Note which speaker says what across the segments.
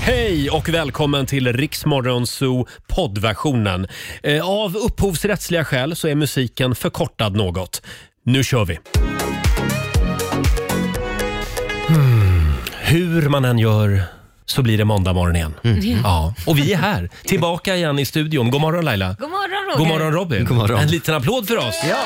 Speaker 1: Hej och välkommen till Riksmorgonzoo poddversionen. Eh, Av upphovsrättsliga skäl så är musiken förkortad något. Nu kör vi! Hmm. Hmm. Hur man än gör så blir det måndag morgon igen. Mm. Ja. Och vi är här, tillbaka igen i studion. God morgon Laila!
Speaker 2: God morgon Roger.
Speaker 1: God morgon Robin!
Speaker 3: God morgon.
Speaker 1: En liten applåd för oss! Ja.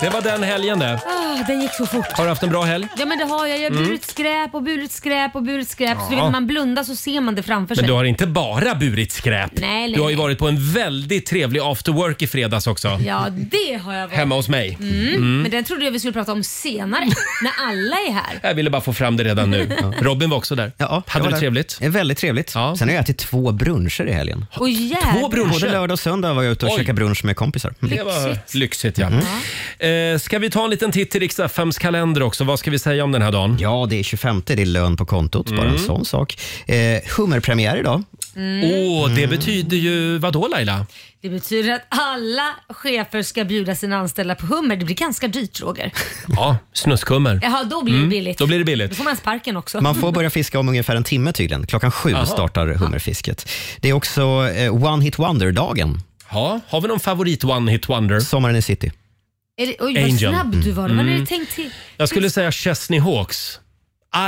Speaker 1: Det var den helgen det.
Speaker 2: Ah, den gick så fort.
Speaker 1: Har du haft en bra helg?
Speaker 2: Ja men det har jag. Jag
Speaker 1: Mm.
Speaker 2: har burit skräp och burit skräp och burit skräp. Så du vet, när man blundar så ser man det framför sig.
Speaker 1: Men du har inte bara burit skräp.
Speaker 2: Nej, nej,
Speaker 1: du har ju
Speaker 2: nej.
Speaker 1: varit på en väldigt trevlig after work i fredags också.
Speaker 2: Ja det har jag varit.
Speaker 1: Hemma hos mig.
Speaker 2: Mm. Men den trodde jag vi skulle prata om senare. när alla är här.
Speaker 1: Jag ville bara få fram det redan nu. Robin var också där.
Speaker 3: Ja, jag
Speaker 1: Hade
Speaker 3: var
Speaker 1: du
Speaker 3: där.
Speaker 1: trevligt?
Speaker 3: Ja, Väldigt trevligt.
Speaker 1: Ja.
Speaker 3: Sen har jag ätit två bruncher i helgen.
Speaker 2: Och jävlar.
Speaker 1: Två bruncher.
Speaker 3: Både lördag och söndag var jag ute och
Speaker 1: Oj.
Speaker 3: käkade brunch med kompisar. Mm.
Speaker 1: Det var lyxigt ja.
Speaker 2: Mm.
Speaker 1: Eh, ska vi ta en liten titt i riks FMs kalender också? Vad ska vi säga om den här dagen?
Speaker 3: Ja, det är 25, det är lön på kontot, bara
Speaker 1: Mm.
Speaker 3: en sån sak. Eh, hummerpremiär idag. Mm.
Speaker 1: Åh, det betyder ju vadå Laila?
Speaker 2: Mm. Det betyder att alla chefer ska bjuda sina anställda på hummer. Det blir ganska dyrt Roger.
Speaker 1: Ja, snuskhummer. Mm.
Speaker 2: Jaha då blir det billigt.
Speaker 1: Då blir det
Speaker 2: Då
Speaker 1: billigt.
Speaker 2: får man sparken också.
Speaker 3: Man får börja fiska om ungefär en timme tydligen. Klockan sju startar hummerfisket. Det är också eh, One Hit Wonder-dagen.
Speaker 1: Ja, har vi någon favorit one hit wonder?
Speaker 3: Sommaren i city.
Speaker 2: Är det, oj vad
Speaker 1: Angel. Mm.
Speaker 2: snabb du var. Vad hade du tänkt till?
Speaker 1: Jag skulle säga Chesney Hawks.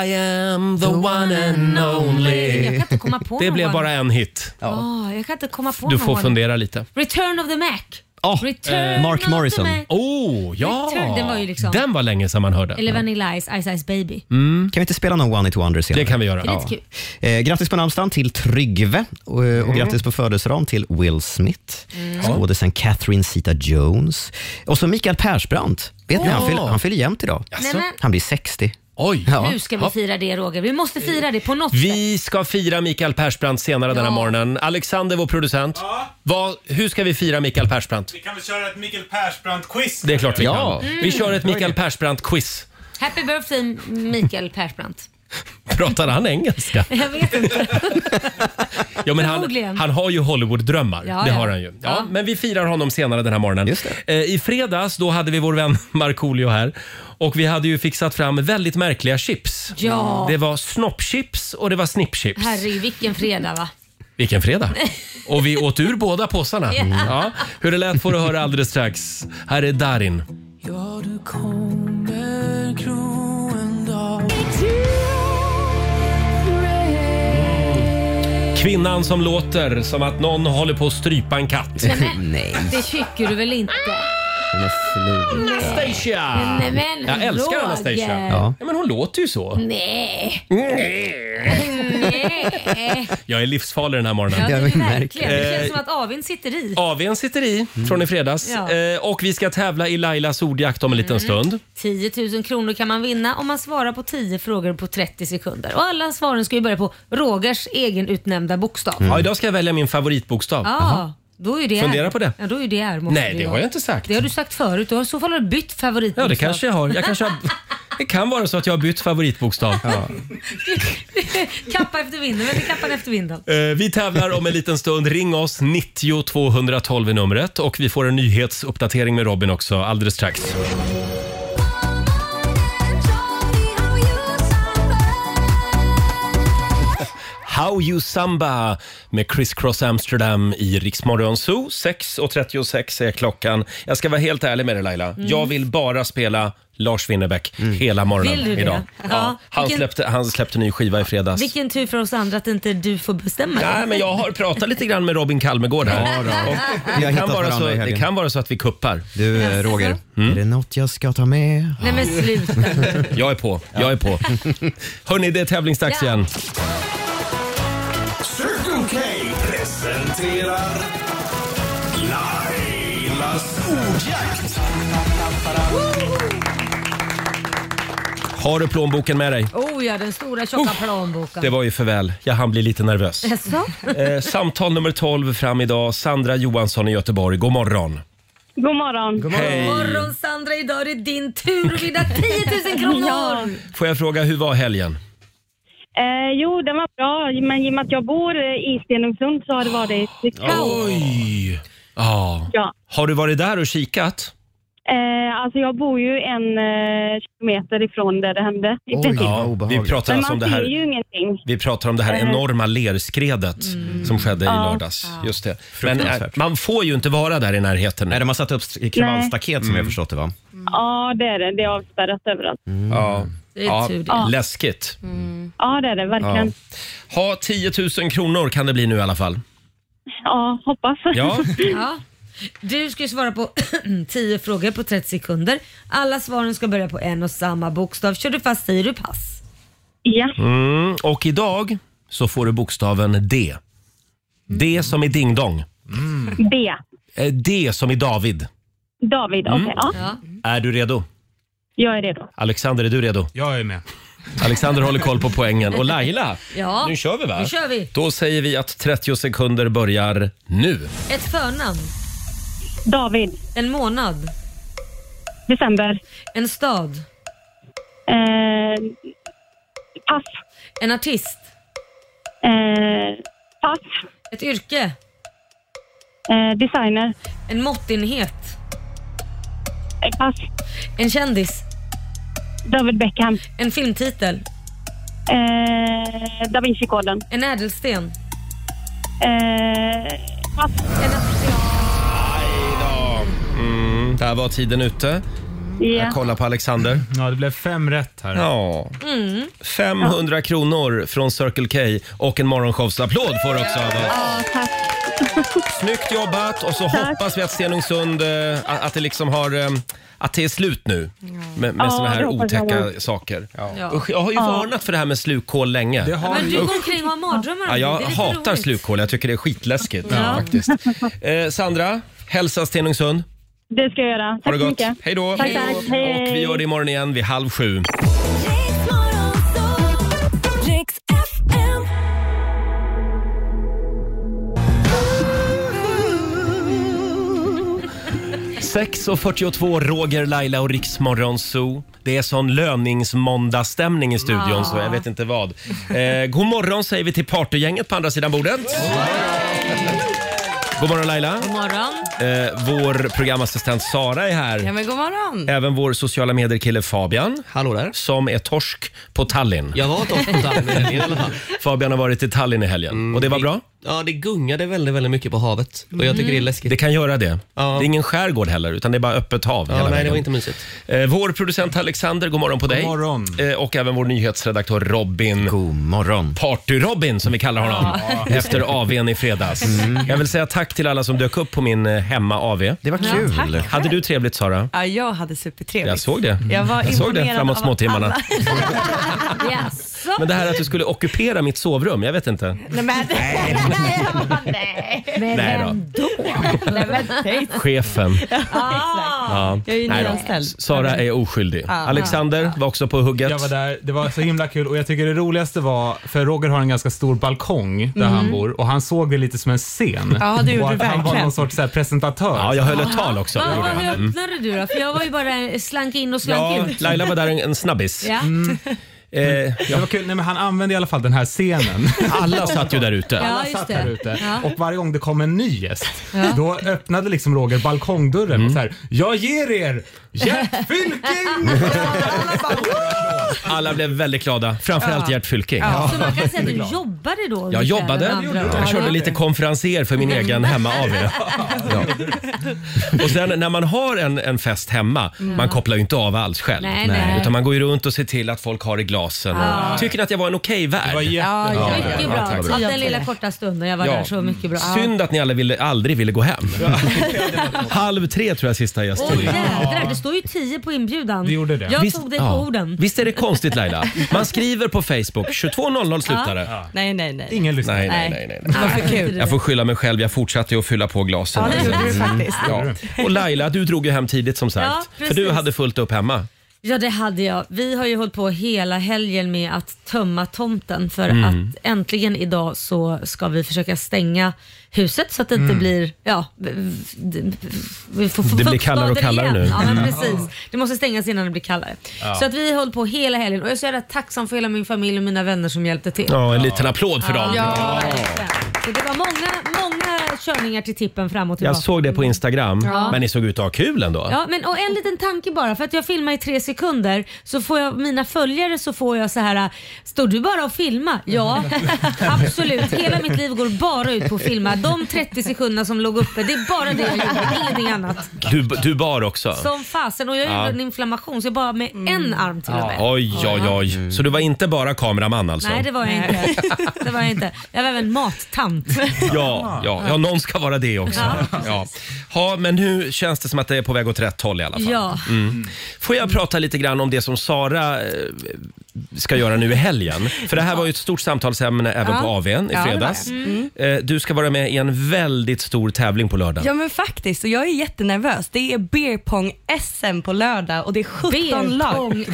Speaker 1: I am the one and
Speaker 2: Jag
Speaker 1: only.
Speaker 2: kan inte komma på
Speaker 1: Det
Speaker 2: någon.
Speaker 1: blev bara en hit.
Speaker 2: Ah, jag kan inte komma på
Speaker 1: Du
Speaker 2: någon.
Speaker 1: får fundera lite.
Speaker 2: Return of the Mac.
Speaker 3: Ja,
Speaker 2: Return
Speaker 3: eh, Mark
Speaker 2: of the
Speaker 3: Morrison.
Speaker 2: Mac.
Speaker 1: Oh, ja!
Speaker 2: Return, den var ju liksom-
Speaker 1: Den var länge sedan man hörde.
Speaker 2: Eller Vanilla Ice, Ice Ice Baby.
Speaker 3: Kan vi inte spela någon One Hit Wonder senare?
Speaker 1: Mm. Det kan vi göra.
Speaker 2: Det är lite kul. Mm.
Speaker 3: Eh, grattis på namnsdagen till Tryggve och, eh, och grattis på födelsedagen till Will Smith, skådisen Catherine Zeta-Jones och så Mikael Persbrandt. Vet ni, han, fyller, han fyller jämnt idag.
Speaker 1: Jaså?
Speaker 2: Nej, men-
Speaker 3: Han blir 60.
Speaker 1: Oj!
Speaker 3: Ja.
Speaker 2: Nu ska vi
Speaker 1: Ja.
Speaker 2: fira det Roger. Vi måste fira det på något sätt.
Speaker 1: Vi ska fira Mikael Persbrandt senare den här
Speaker 2: Ja.
Speaker 1: morgonen. Alexander, vår producent. Vad, hur ska vi fira Mikael Persbrandt?
Speaker 4: Vi kan väl köra ett Mikael Persbrandt-quiz?
Speaker 1: Det är klart vi
Speaker 3: Ja. Mm.
Speaker 1: kan. Vi kör ett Mikael Persbrandt-quiz.
Speaker 2: Happy birthday Mikael Persbrandt.
Speaker 1: Pratar han engelska?
Speaker 2: Jag vet inte.
Speaker 1: Ja, men han,
Speaker 2: Förmodligen.
Speaker 1: han har ju Hollywood-drömmar.
Speaker 2: Ja,
Speaker 1: det
Speaker 2: ja.
Speaker 1: har han ju. Ja,
Speaker 2: Ja.
Speaker 1: Men vi firar honom senare den här morgonen.
Speaker 3: Just
Speaker 1: Eh, I fredags då hade vi vår vän Markoolio här. Och vi hade ju fixat fram väldigt märkliga chips.
Speaker 2: Ja.
Speaker 1: Det var snoppchips och det var snippchips.
Speaker 2: Herre, vilken fredag va?
Speaker 1: Vilken fredag! Och vi åt ur båda påsarna. Mm. Ja. Hur det lät får du höra alldeles strax. Här är Darin. Kvinnan som låter som att någon håller på att strypa en katt.
Speaker 3: Nej,
Speaker 2: Det tycker du väl inte?
Speaker 3: men sluta.
Speaker 1: Anastasia!
Speaker 2: Nej, men
Speaker 1: Jag älskar
Speaker 2: Roger.
Speaker 1: Anastasia.
Speaker 3: Ja.
Speaker 1: Ja, men hon låter ju så. Mm.
Speaker 2: Nej. Nej.
Speaker 1: Jag är livsfarlig den här morgonen.
Speaker 2: Ja, det
Speaker 3: Jag
Speaker 2: är
Speaker 3: märker.
Speaker 2: verkligen. Det känns som att avin sitter
Speaker 4: Eh,
Speaker 2: i.
Speaker 1: AWn sitter i från i fredags
Speaker 2: Ja. Mm.
Speaker 1: Eh, och vi ska tävla i Lailas ordjakt om en liten stund.
Speaker 2: 10 000 kronor kan man vinna om man svarar på 10 frågor på 30 sekunder. Och alla svaren ska ju börja på Rogers egen utnämnda bokstav.
Speaker 1: Mm. Ja, idag ska jag välja min favoritbokstav.
Speaker 2: Ja, då är ju det
Speaker 1: Fundera
Speaker 2: här.
Speaker 1: på det.
Speaker 2: Ja, då är ju det här, måste
Speaker 1: Nej,
Speaker 2: du
Speaker 1: det
Speaker 2: göra.
Speaker 1: har jag inte sagt.
Speaker 2: Det har du sagt förut. Du har i så fall har du bytt favoritbokstav.
Speaker 1: Ja, det kanske jag har. Jag kanske har... Det kan vara så att jag har bytt favoritbokstav.
Speaker 2: kappa efter vinden. Vem är kappan efter vinden?
Speaker 1: Eh, Vi tävlar om en liten stund. Ring oss, 90 212 är numret. Och vi får en nyhetsuppdatering med Robin också alldeles strax. How You Samba med Chris Cross Amsterdam i Riksmorgon Zoo. 6.36 är klockan. Jag ska vara helt ärlig med dig Laila.
Speaker 2: Mm.
Speaker 1: Jag vill bara spela Lars Winnerbäck hela morgonen
Speaker 2: Vill du det?
Speaker 1: idag.
Speaker 2: Ja.
Speaker 1: han,
Speaker 2: Vilken-
Speaker 1: släppte, han släppte ny skiva i fredags.
Speaker 2: Vilken tur för oss andra att inte du får bestämma.
Speaker 1: Nej, men jag har pratat lite grann med Robin Kalmegård här. Och
Speaker 3: Vi har
Speaker 1: det, kan
Speaker 3: hittat
Speaker 1: vara
Speaker 3: varandra
Speaker 1: så,
Speaker 3: i
Speaker 1: det
Speaker 3: helgen.
Speaker 1: kan vara så att vi kuppar. Mm.
Speaker 3: Du, eh, Roger. Är det något jag ska ta med?
Speaker 2: Nej men sluta.
Speaker 1: Jag är på. Jag är på. Hörni, det är tävlingsdags
Speaker 2: Ja.
Speaker 1: igen.
Speaker 4: Circle K presenterar Lailas ordjakt.
Speaker 1: Har du plånboken med dig?
Speaker 2: Oh ja, den stora tjocka plånboken.
Speaker 1: Det var ju för väl. Jag hann bli lite nervös.
Speaker 2: Jaså?
Speaker 1: Eh, samtal nummer 12 fram idag. Sandra Johansson i Göteborg. God morgon.
Speaker 5: God morgon.
Speaker 2: God
Speaker 1: Hej.
Speaker 2: morgon Sandra, idag är det din tur att vinna 10 000 kronor!
Speaker 1: Får jag fråga, hur var helgen?
Speaker 5: Eh, jo, den var bra, men i och med att jag bor eh, i Stenungsund så har det varit lite kaos.
Speaker 1: Oj! Ja.
Speaker 5: Ja.
Speaker 1: Har du varit där och kikat?
Speaker 5: Eh, alltså jag bor ju en eh, kilometer ifrån där det hände. I princip.
Speaker 3: vad
Speaker 1: Ja, vi
Speaker 3: obehagligt.
Speaker 1: pratar
Speaker 5: Men
Speaker 1: alltså
Speaker 5: man
Speaker 1: om det
Speaker 5: ser
Speaker 1: här
Speaker 5: ju ingenting.
Speaker 1: Vi pratar om det här enorma lerskredet som skedde i
Speaker 5: Eh. Mm. Ja.
Speaker 1: lördags. Just det. Men
Speaker 3: Fruktansvärt.
Speaker 1: eh, man får ju inte vara där i närheten.
Speaker 3: Nej,
Speaker 1: Nu.
Speaker 3: de
Speaker 1: Mm.
Speaker 3: har satt upp st- kravallstaket som jag förstått det va?
Speaker 5: Ja, det är det. Det är avspärrat överallt.
Speaker 1: Ja.
Speaker 2: Det är tur det.
Speaker 1: Ja, läskigt.
Speaker 5: Ja, det är det verkligen. Ja,
Speaker 1: Ha 10 000 kronor kan det bli nu i alla fall.
Speaker 5: hoppas.
Speaker 1: Ja,
Speaker 2: Ja. Du ska ju svara på 10 frågor på 30 sekunder. Alla svaren ska börja på en och samma bokstav. Kör du fast säger du pass.
Speaker 5: ja.
Speaker 1: mm, och idag så får du bokstaven D. D som i ding-dong.
Speaker 5: B.
Speaker 1: Eh, D som i David.
Speaker 5: David,
Speaker 1: Mm.
Speaker 5: okej. ja.
Speaker 2: Ja.
Speaker 1: Är du redo?
Speaker 5: Jag är redo.
Speaker 1: Alexander, är du redo?
Speaker 4: Jag är med.
Speaker 1: Alexander håller koll på poängen. Och Laila,
Speaker 2: Ja.
Speaker 1: nu kör vi va?
Speaker 2: Nu kör vi.
Speaker 1: Då säger vi att 30 sekunder börjar nu.
Speaker 2: Ett förnamn,
Speaker 5: David.
Speaker 2: en månad,
Speaker 5: December.
Speaker 2: en stad,
Speaker 5: Eh, pass.
Speaker 2: en artist,
Speaker 5: Eh, pass.
Speaker 2: ett yrke,
Speaker 5: Eh, designer.
Speaker 2: en måttenhet,
Speaker 5: Eh, pass.
Speaker 2: en kändis,
Speaker 5: David Beckham.
Speaker 2: en filmtitel,
Speaker 5: Eh, da Vinci-koden.
Speaker 2: en ädelsten.
Speaker 5: Eh, pass.
Speaker 1: Mm, där var tiden ute. Jag
Speaker 5: Ja.
Speaker 1: kollar på Alexander.
Speaker 4: Ja, det blev fem rätt här.
Speaker 1: Ja.
Speaker 2: Mm.
Speaker 1: 500 kronor från Circle K och en morgonshowsapplåd får du också av oss.
Speaker 5: Ja, tack.
Speaker 1: Snyggt jobbat och så hoppas vi att Stenungsund, eh, att det liksom har eh, att det är slut nu med, med
Speaker 5: Ja,
Speaker 1: såna här
Speaker 5: det hoppas jag
Speaker 1: otäcka
Speaker 5: med.
Speaker 1: saker.
Speaker 2: Ja.
Speaker 1: Usch, jag har ju varnat för det här med slukhål länge.
Speaker 4: Det har
Speaker 2: Men
Speaker 4: vi.
Speaker 2: du går omkring och har mardrömmar om
Speaker 1: Ja,
Speaker 2: det.
Speaker 1: jag
Speaker 2: Det är lite
Speaker 1: hatar
Speaker 2: roligt.
Speaker 1: slukhål, jag tycker det är skitläskigt.
Speaker 2: Ja.
Speaker 1: Faktiskt. Eh, Sandra, hälsa Stenungsund.
Speaker 5: Det ska jag göra. Tack
Speaker 1: Ha det
Speaker 5: så
Speaker 1: gott.
Speaker 5: mycket.
Speaker 1: Hej då.
Speaker 5: Tack, tack. Hej.
Speaker 1: Och vi gör det imorgon igen vid halv sju.
Speaker 6: Riks FM.
Speaker 1: Sex och 42, Roger, Laila och Riksmorgon Zoo. Det är sån löningsmåndagsstämning i studion så jag vet inte vad. Eh, god morgon säger vi till partygänget på andra sidan bordet. God morgon Laila.
Speaker 7: God morgon.
Speaker 1: Eh, vår programassistent Sara är
Speaker 7: Ja,
Speaker 1: här.
Speaker 7: men god morgon.
Speaker 1: Även vår sociala medier-kille Fabian
Speaker 3: Hallå där.
Speaker 1: som är torsk på Tallinn.
Speaker 8: Jag var dock på Tallinn i helgen i alla fall. Mm,
Speaker 1: Fabian har varit i Tallinn i helgen och det var bra.
Speaker 8: Ja, det gungade väldigt, väldigt mycket på havet och jag tycker det är läskigt.
Speaker 1: Det kan göra det.
Speaker 8: Ja.
Speaker 1: Det är ingen skärgård heller utan det är bara öppet hav hela
Speaker 8: Ja, nej,
Speaker 1: vägen.
Speaker 8: det var inte mysigt.
Speaker 1: Eh, Vår producent Alexander, god morgon på dig.
Speaker 4: morgon.
Speaker 1: Eh, Och även vår nyhetsredaktör Robin.
Speaker 3: God morgon.
Speaker 1: Party-Robin som vi kallar honom efter AWn i fredags. Jag vill säga tack till alla som dök upp på min eh, hemma-AW.
Speaker 3: Det var kul.
Speaker 1: Hade du trevligt Sara?
Speaker 7: Ja, jag hade supertrevligt.
Speaker 1: Jag såg det.
Speaker 7: Jag var
Speaker 1: Jag såg det
Speaker 7: imponerad
Speaker 1: framåt
Speaker 7: av
Speaker 1: småtimmarna.
Speaker 7: alla.
Speaker 2: Jaså?
Speaker 1: Men det här att du skulle ockupera mitt sovrum, jag vet inte.
Speaker 7: Nej, men, nej,
Speaker 2: Men
Speaker 1: Nej då.
Speaker 2: vem då?
Speaker 7: nej, men, nej.
Speaker 1: Chefen.
Speaker 7: Ah,
Speaker 1: Ja.
Speaker 7: Jag är ju
Speaker 1: Nej då.
Speaker 7: nyanställd.
Speaker 1: Sara är oskyldig. Alexander var också på hugget.
Speaker 4: Jag var där, det var så himla kul och jag tycker det roligaste var, för Roger har en ganska stor balkong
Speaker 2: Mm.
Speaker 4: där han bor och han såg det lite som en scen.
Speaker 7: Ja, det gjorde
Speaker 4: och
Speaker 7: du
Speaker 4: att han var
Speaker 7: verkligen.
Speaker 4: någon sorts så här, presentatör.
Speaker 1: Ja, jag höll ett tal också. Mm.
Speaker 2: Vad Ah, vad öppnade du då? För jag var ju bara slank in och slank
Speaker 1: Ja,
Speaker 2: ut.
Speaker 1: Laila Mm. var där en, en snabbis.
Speaker 2: Ja.
Speaker 1: Eh,
Speaker 4: Mm. Det var kul, nej, men han använde i alla fall den här scenen.
Speaker 1: alla satt ju där ute.
Speaker 2: Ja,
Speaker 4: Alla
Speaker 2: just
Speaker 4: satt
Speaker 2: det.
Speaker 4: här ute
Speaker 2: Ja.
Speaker 4: och varje gång det kom en ny gäst, då öppnade liksom Roger balkongdörren
Speaker 1: Mm.
Speaker 4: och så här, jag ger er Gert Fylking!
Speaker 1: Alla blev väldigt glada, framförallt Gert Fylking.
Speaker 2: Så man kan säga att du jobbade då?
Speaker 1: Jag
Speaker 2: ungefär,
Speaker 1: jobbade.
Speaker 2: med andra ord.
Speaker 1: Jag körde lite konferenser för min egen hemma-AW. Ja. Och sen när man har en, en fest hemma, man kopplar ju inte av alls själv.
Speaker 2: Nej, nej.
Speaker 1: Utan man går ju runt och ser till att folk har i glasen. Och tycker ni att jag var en okej
Speaker 4: Det var
Speaker 1: värd?
Speaker 7: Ja,
Speaker 4: jättebra.
Speaker 7: ja,
Speaker 2: Mycket
Speaker 7: ja.
Speaker 2: bra.
Speaker 1: tack.
Speaker 2: Av den lilla korta stunden jag var
Speaker 1: Ja.
Speaker 2: där så mycket bra. Ja.
Speaker 1: Synd att ni alla ville, aldrig ville gå hem. Halv tre tror jag sista gästen
Speaker 2: Åh jädrar, det står ju 10 på inbjudan.
Speaker 4: Det gjorde det.
Speaker 2: Jag
Speaker 1: Visst-
Speaker 2: tog dig på
Speaker 1: ja.
Speaker 2: orden.
Speaker 1: Visst är det konstigt Laila? Man skriver på Facebook 22.00 slutar det.
Speaker 7: Nej, nej, nej.
Speaker 4: Ingen lyssnade.
Speaker 1: Nej, nej, nej, nej. nej.
Speaker 7: Vad för kul.
Speaker 1: Jag får skylla mig själv, jag fortsatte ju att fylla på glasen.
Speaker 7: Ja, det gjorde du faktiskt.
Speaker 1: Ja. Och Laila, du drog ju hem tidigt som sagt.
Speaker 2: Mm. Ja,
Speaker 1: för du
Speaker 2: precis.
Speaker 1: hade fullt upp hemma.
Speaker 2: Ja det hade jag. Vi har ju hållit på hela helgen med att tömma tomten för
Speaker 1: Mm.
Speaker 2: att äntligen idag så ska vi försöka stänga huset så att det inte blir, ja, v- v- vi får
Speaker 1: Mm. Det blir
Speaker 2: fuktskador
Speaker 1: kallare och kallare
Speaker 2: igen.
Speaker 1: nu. Mm.
Speaker 2: Ja men precis. Det måste stängas innan det blir kallare. Så att vi har hållit på hela helgen och jag är så jävla tacksam för hela min familj och mina vänner som hjälpte till.
Speaker 1: Ja, en liten applåd för dem.
Speaker 2: Ja, verkligen. Så det var många, många körningar till tippen fram och tillbaka.
Speaker 1: Jag såg det på Instagram,
Speaker 2: Ja.
Speaker 1: men ni såg ut att ha kul ändå.
Speaker 2: Ja, men och en liten tanke bara. För att jag filmar i tre sekunder så får jag mina följare så får jag så här. äh, Står du bara och filma? Ja, absolut. Hela mitt liv går bara ut på att filma. De 30 sekunderna som låg uppe, det är bara det jag gjorde. Ingenting annat.
Speaker 1: Du, du bar också.
Speaker 2: Som fasen. Och jag gjorde
Speaker 1: Ja.
Speaker 2: en inflammation så jag bara med en arm till och med.
Speaker 1: Oj, oj, oj. Så du var inte bara kameraman alltså?
Speaker 2: Nej, det var jag inte. Det var jag inte. Jag var även mattant.
Speaker 1: Ja, ja, ja, någon ska vara det också.
Speaker 2: Ja.
Speaker 1: Ja. Ja, men nu känns det som att det är på väg åt rätt håll i alla fall.
Speaker 2: Ja.
Speaker 1: Mm. Får jag prata lite grann om det som Sara eh, ska göra nu i helgen? För det här var ju ett stort samtalsämne även
Speaker 7: Ja.
Speaker 1: på AWn i
Speaker 7: Ja, det
Speaker 1: fredags.
Speaker 7: var det. Mm.
Speaker 1: Eh, Du ska vara med i en väldigt stor tävling på lördag.
Speaker 7: Ja men faktiskt, och jag är jättenervös. Det är beer pong SM på lördag och det är 17 lag.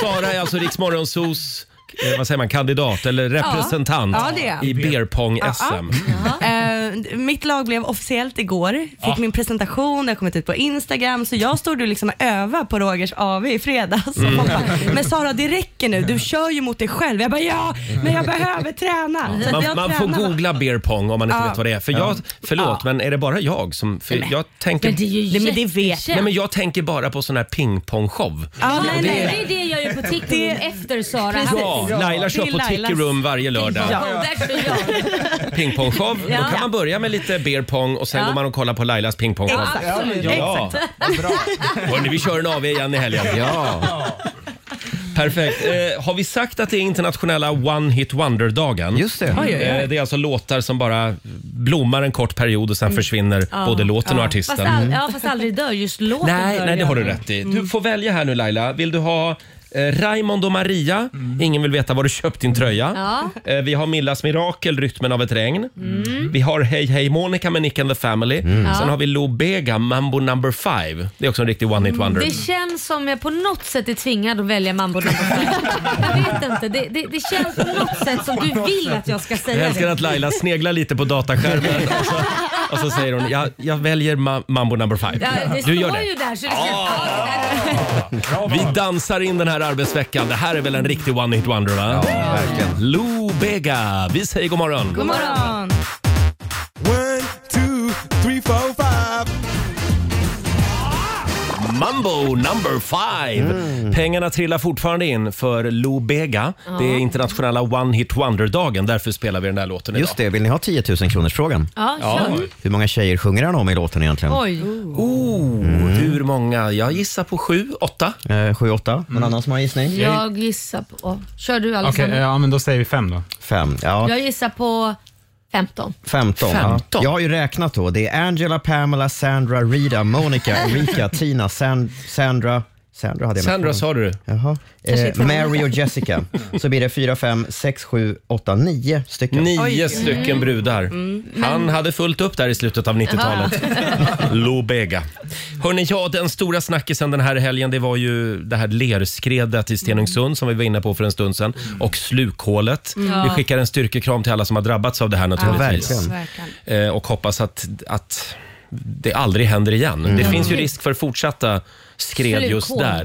Speaker 1: Sara är alltså Rix Morgonzos eh, vad säger man, kandidat eller representant
Speaker 7: Ja, det är jag.
Speaker 1: i beerpong-SM.
Speaker 7: Eh, mitt lag blev officiellt igår, fick
Speaker 1: Ja.
Speaker 7: min presentation, det har kommit ut på Instagram, så jag stod och liksom öva på Rogers AV i fredags.
Speaker 1: Mm.
Speaker 7: Mm. Men Sara det räcker nu, du kör ju mot dig själv. Jag bara ja, men jag behöver träna. Så att
Speaker 1: Man,
Speaker 7: jag
Speaker 1: man får
Speaker 7: tränar bara.
Speaker 1: googla beer pong om man inte
Speaker 7: Ja.
Speaker 1: vet vad det är. För
Speaker 7: Ja.
Speaker 1: jag, förlåt, men är det bara jag som... För jag tänker,
Speaker 2: Men det är ju
Speaker 7: Nej, men det vet jag. jättekänt.
Speaker 1: Nej, men jag tänker bara på sån här pingpongshow.
Speaker 2: Ja, nej,
Speaker 7: nej, nej.
Speaker 2: Det är det jag gör på TikTok efter Sara.
Speaker 1: Ja, Laila kör på Ticky Room varje lördag.
Speaker 2: Ja, där står jag.
Speaker 1: Pingpongshow.
Speaker 2: Ja.
Speaker 1: Då kan man börja med lite beer pong och sen
Speaker 2: Ja.
Speaker 1: går man och kollar på Lailas pingpongshow.
Speaker 2: Exakt.
Speaker 1: Ja. Hörni, vi kör en AV igen i helgen. Ja. Perfekt. Eh, har vi sagt att det är internationella One Hit Wonder-dagen? Just det.
Speaker 2: Oj, oj, oj.
Speaker 1: Eh, det är alltså låtar som bara blommar en kort period och sen försvinner
Speaker 2: Mm. Ja.
Speaker 1: både låten och
Speaker 2: Ja.
Speaker 1: artisten. Mm.
Speaker 2: Fast, all, ja, fast aldrig dör, just låten
Speaker 1: Nej,
Speaker 2: dör
Speaker 1: nej, det
Speaker 2: ju
Speaker 1: har du
Speaker 2: aldrig.
Speaker 1: rätt i.
Speaker 2: Mm.
Speaker 1: Du får välja här nu Laila. Vill du ha eh, Raymond och Maria? Ingen vill veta var du köpt din tröja.
Speaker 2: Mm. Ja.
Speaker 1: Eh, vi har Millas Mirakel, Rytmen av ett regn.
Speaker 2: Mm.
Speaker 1: Vi har Hej Hej Monica med Nick and the Family.
Speaker 2: Ja.
Speaker 1: Sen har vi Lou Bega, Mambo number five. Det är också en riktig one hit wonder.
Speaker 2: Mm. Det känns som jag på något sätt är tvingad att välja mambo nummer fem. Jag vet inte. Det, det, det känns på något sätt som du vill att jag ska säga
Speaker 1: Jag älskar
Speaker 2: det.
Speaker 1: att Laila sneglar lite på dataskärmen och så, och så säger hon jag, jag väljer ma- Mambo number five.
Speaker 2: Ja, det
Speaker 1: du
Speaker 2: står
Speaker 1: gör det.
Speaker 2: ju där så det ska...
Speaker 1: Vi dansar in den här arbetsveckan. Det här är väl en riktig one hit wonder va? Ja, verkligen. Lou Bega. Vi säger god morgon.
Speaker 7: God morgon.
Speaker 1: One, two, three, four, five. Mambo number five. Pengarna trillar fortfarande in för Lou Bega.
Speaker 2: Ja.
Speaker 1: Det är internationella One Hit Wonder-dagen. Därför spelar vi den där låten idag.
Speaker 3: Just det, vill ni ha 10 000 kronors frågan?
Speaker 2: Ja, kör.
Speaker 3: Hur många tjejer sjunger han om i låten egentligen?
Speaker 1: Ah.
Speaker 3: Mm.
Speaker 2: Oj.
Speaker 1: Oh, hur många? Jag gissar på sju, åtta. Mm.
Speaker 3: Eh, sju, åtta. Någon annan som har en gissning?
Speaker 2: Jag Alltså- gissar på... åh, Kör du
Speaker 4: Okej,
Speaker 2: Alexander.
Speaker 4: eh, ja men då säger vi fem då.
Speaker 3: Fem, ja.
Speaker 2: Jag gissar på 15.
Speaker 3: 15. Ja. Jag har ju räknat då. Det är Angela, Pamela, Sandra, Rita, Monica, Erika, Tina, San, Sandra. Sandra hade jag med.
Speaker 1: Sandra sa du.
Speaker 3: Jaha.
Speaker 1: Kanske
Speaker 3: Eh,
Speaker 1: inte
Speaker 3: Mary
Speaker 1: Monica.
Speaker 3: och Jessica. Så blir det fyra, fem, sex, sju, åtta, nio stycken.
Speaker 1: Nio
Speaker 9: Mm.
Speaker 1: stycken brudar. Han hade fullt upp där i slutet av 90-talet. Lou Bega. Hörrni, ja, den stora snackisen den här helgen det var ju det här lerskredet i Stenungsund som vi var inne på för en stund sedan och slukhålet.
Speaker 9: Mm. Ja.
Speaker 1: Vi skickar en styrkekram till alla som har drabbats av det här naturligtvis.
Speaker 9: verkligen.
Speaker 1: Eh, och hoppas att, att det aldrig händer igen.
Speaker 9: Mm.
Speaker 1: Det
Speaker 9: Ja.
Speaker 1: finns ju risk för fortsatta skred just
Speaker 2: Slukhål.
Speaker 1: där.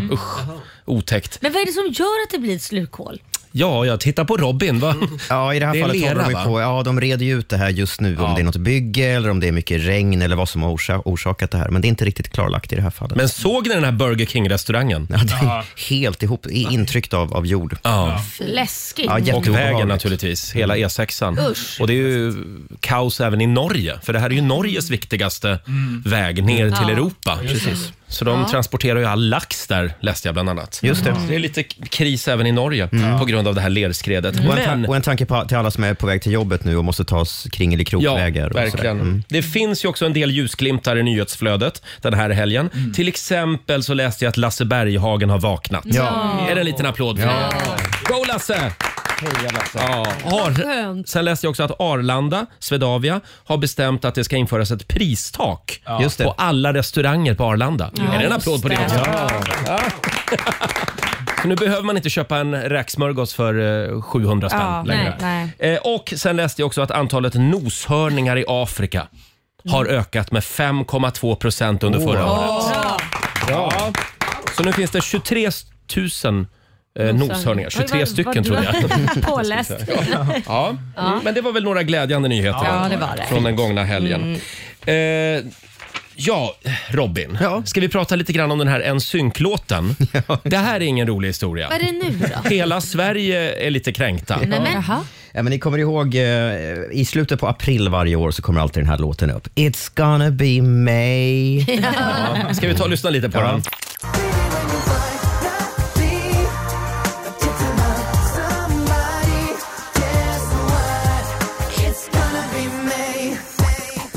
Speaker 2: Ja.
Speaker 1: usch. Otäckt.
Speaker 2: Men vad är det som gör att det blir ett slukhål?
Speaker 1: Ja, jag tittar på Robin. Va?
Speaker 3: Ja, i det här
Speaker 1: är
Speaker 3: fallet
Speaker 1: lera,
Speaker 3: håller de
Speaker 1: va?
Speaker 3: ju på. Ja, de reder ju ut det här just nu om det är något bygge eller om det är mycket regn eller vad som har orsa- orsakat det här. Men det är inte riktigt klarlagt i det här fallet.
Speaker 1: Men såg ni den här Burger King-restaurangen?
Speaker 3: Ja, det är helt ihop, i- intryckt av, av jord.
Speaker 1: Ja.
Speaker 2: Läskigt.
Speaker 1: och vägen naturligtvis, hela
Speaker 3: Mm.
Speaker 1: E6an.
Speaker 2: Usch. Mm.
Speaker 1: Och det är ju kaos även i Norge, för det här är ju Norges viktigaste
Speaker 6: Mm.
Speaker 1: väg ner
Speaker 2: Ja.
Speaker 1: till Europa.
Speaker 2: Precis.
Speaker 1: Så de
Speaker 2: Ja.
Speaker 1: transporterar ju all lax där, läste jag bland annat.
Speaker 3: Just det. Mm.
Speaker 1: Så det är lite kris även i Norge på grund av det här lerskredet.
Speaker 3: Och, en
Speaker 1: Mm. Men-
Speaker 3: ta- och en tanke på, till alla som är på väg till jobbet nu och måste ta s- kringelikrokvägar. och sådär.
Speaker 1: Verkligen.
Speaker 3: Mm.
Speaker 1: Det finns ju också en del ljusglimtar i nyhetsflödet den här helgen.
Speaker 9: Mm.
Speaker 1: Till exempel så läste jag att Lasse Berghagen har vaknat.
Speaker 9: Ja.
Speaker 1: Är det en liten applåd för
Speaker 9: Ja.
Speaker 1: det? Go Lasse! Ja.
Speaker 9: Vad
Speaker 1: Ar-
Speaker 9: skönt.
Speaker 1: Sen läste jag också att Arlanda, Swedavia, har bestämt att det ska införas ett pristak
Speaker 9: Ja. Just det.
Speaker 1: på alla restauranger på Arlanda.
Speaker 9: Ja.
Speaker 1: Är det en applåd på det också?
Speaker 9: Ja.
Speaker 1: Så nu behöver man inte köpa en räksmörgås för eh, 700 spänn
Speaker 9: Ja,
Speaker 1: längre.
Speaker 9: nej,
Speaker 1: Eh, Och sen läste jag också att antalet noshörningar i Afrika har
Speaker 2: Mm.
Speaker 1: ökat med 5,2 procent under förra året.
Speaker 9: Bra.
Speaker 1: Ja. Så nu finns det 23 000 Eh, noshörningar, 23 stycken tror jag.
Speaker 2: Påläst.
Speaker 1: Ja. Mm, men det var väl några glädjande nyheter
Speaker 2: Ja, det Mm. var det.
Speaker 1: från den gångna helgen. Eh, ja, Robin.
Speaker 3: Ja.
Speaker 1: Ska vi prata lite grann om den här NSYNC-låten? Det här är ingen rolig historia.
Speaker 2: Vad är det nu då?
Speaker 1: Hela Sverige är lite kränkta.
Speaker 2: Nej, men,
Speaker 3: Ja, men ni kommer ihåg, eh, i slutet på april varje år så kommer alltid den här låten upp. It's gonna be May.
Speaker 1: Ja. Ska vi ta och lyssna lite på den?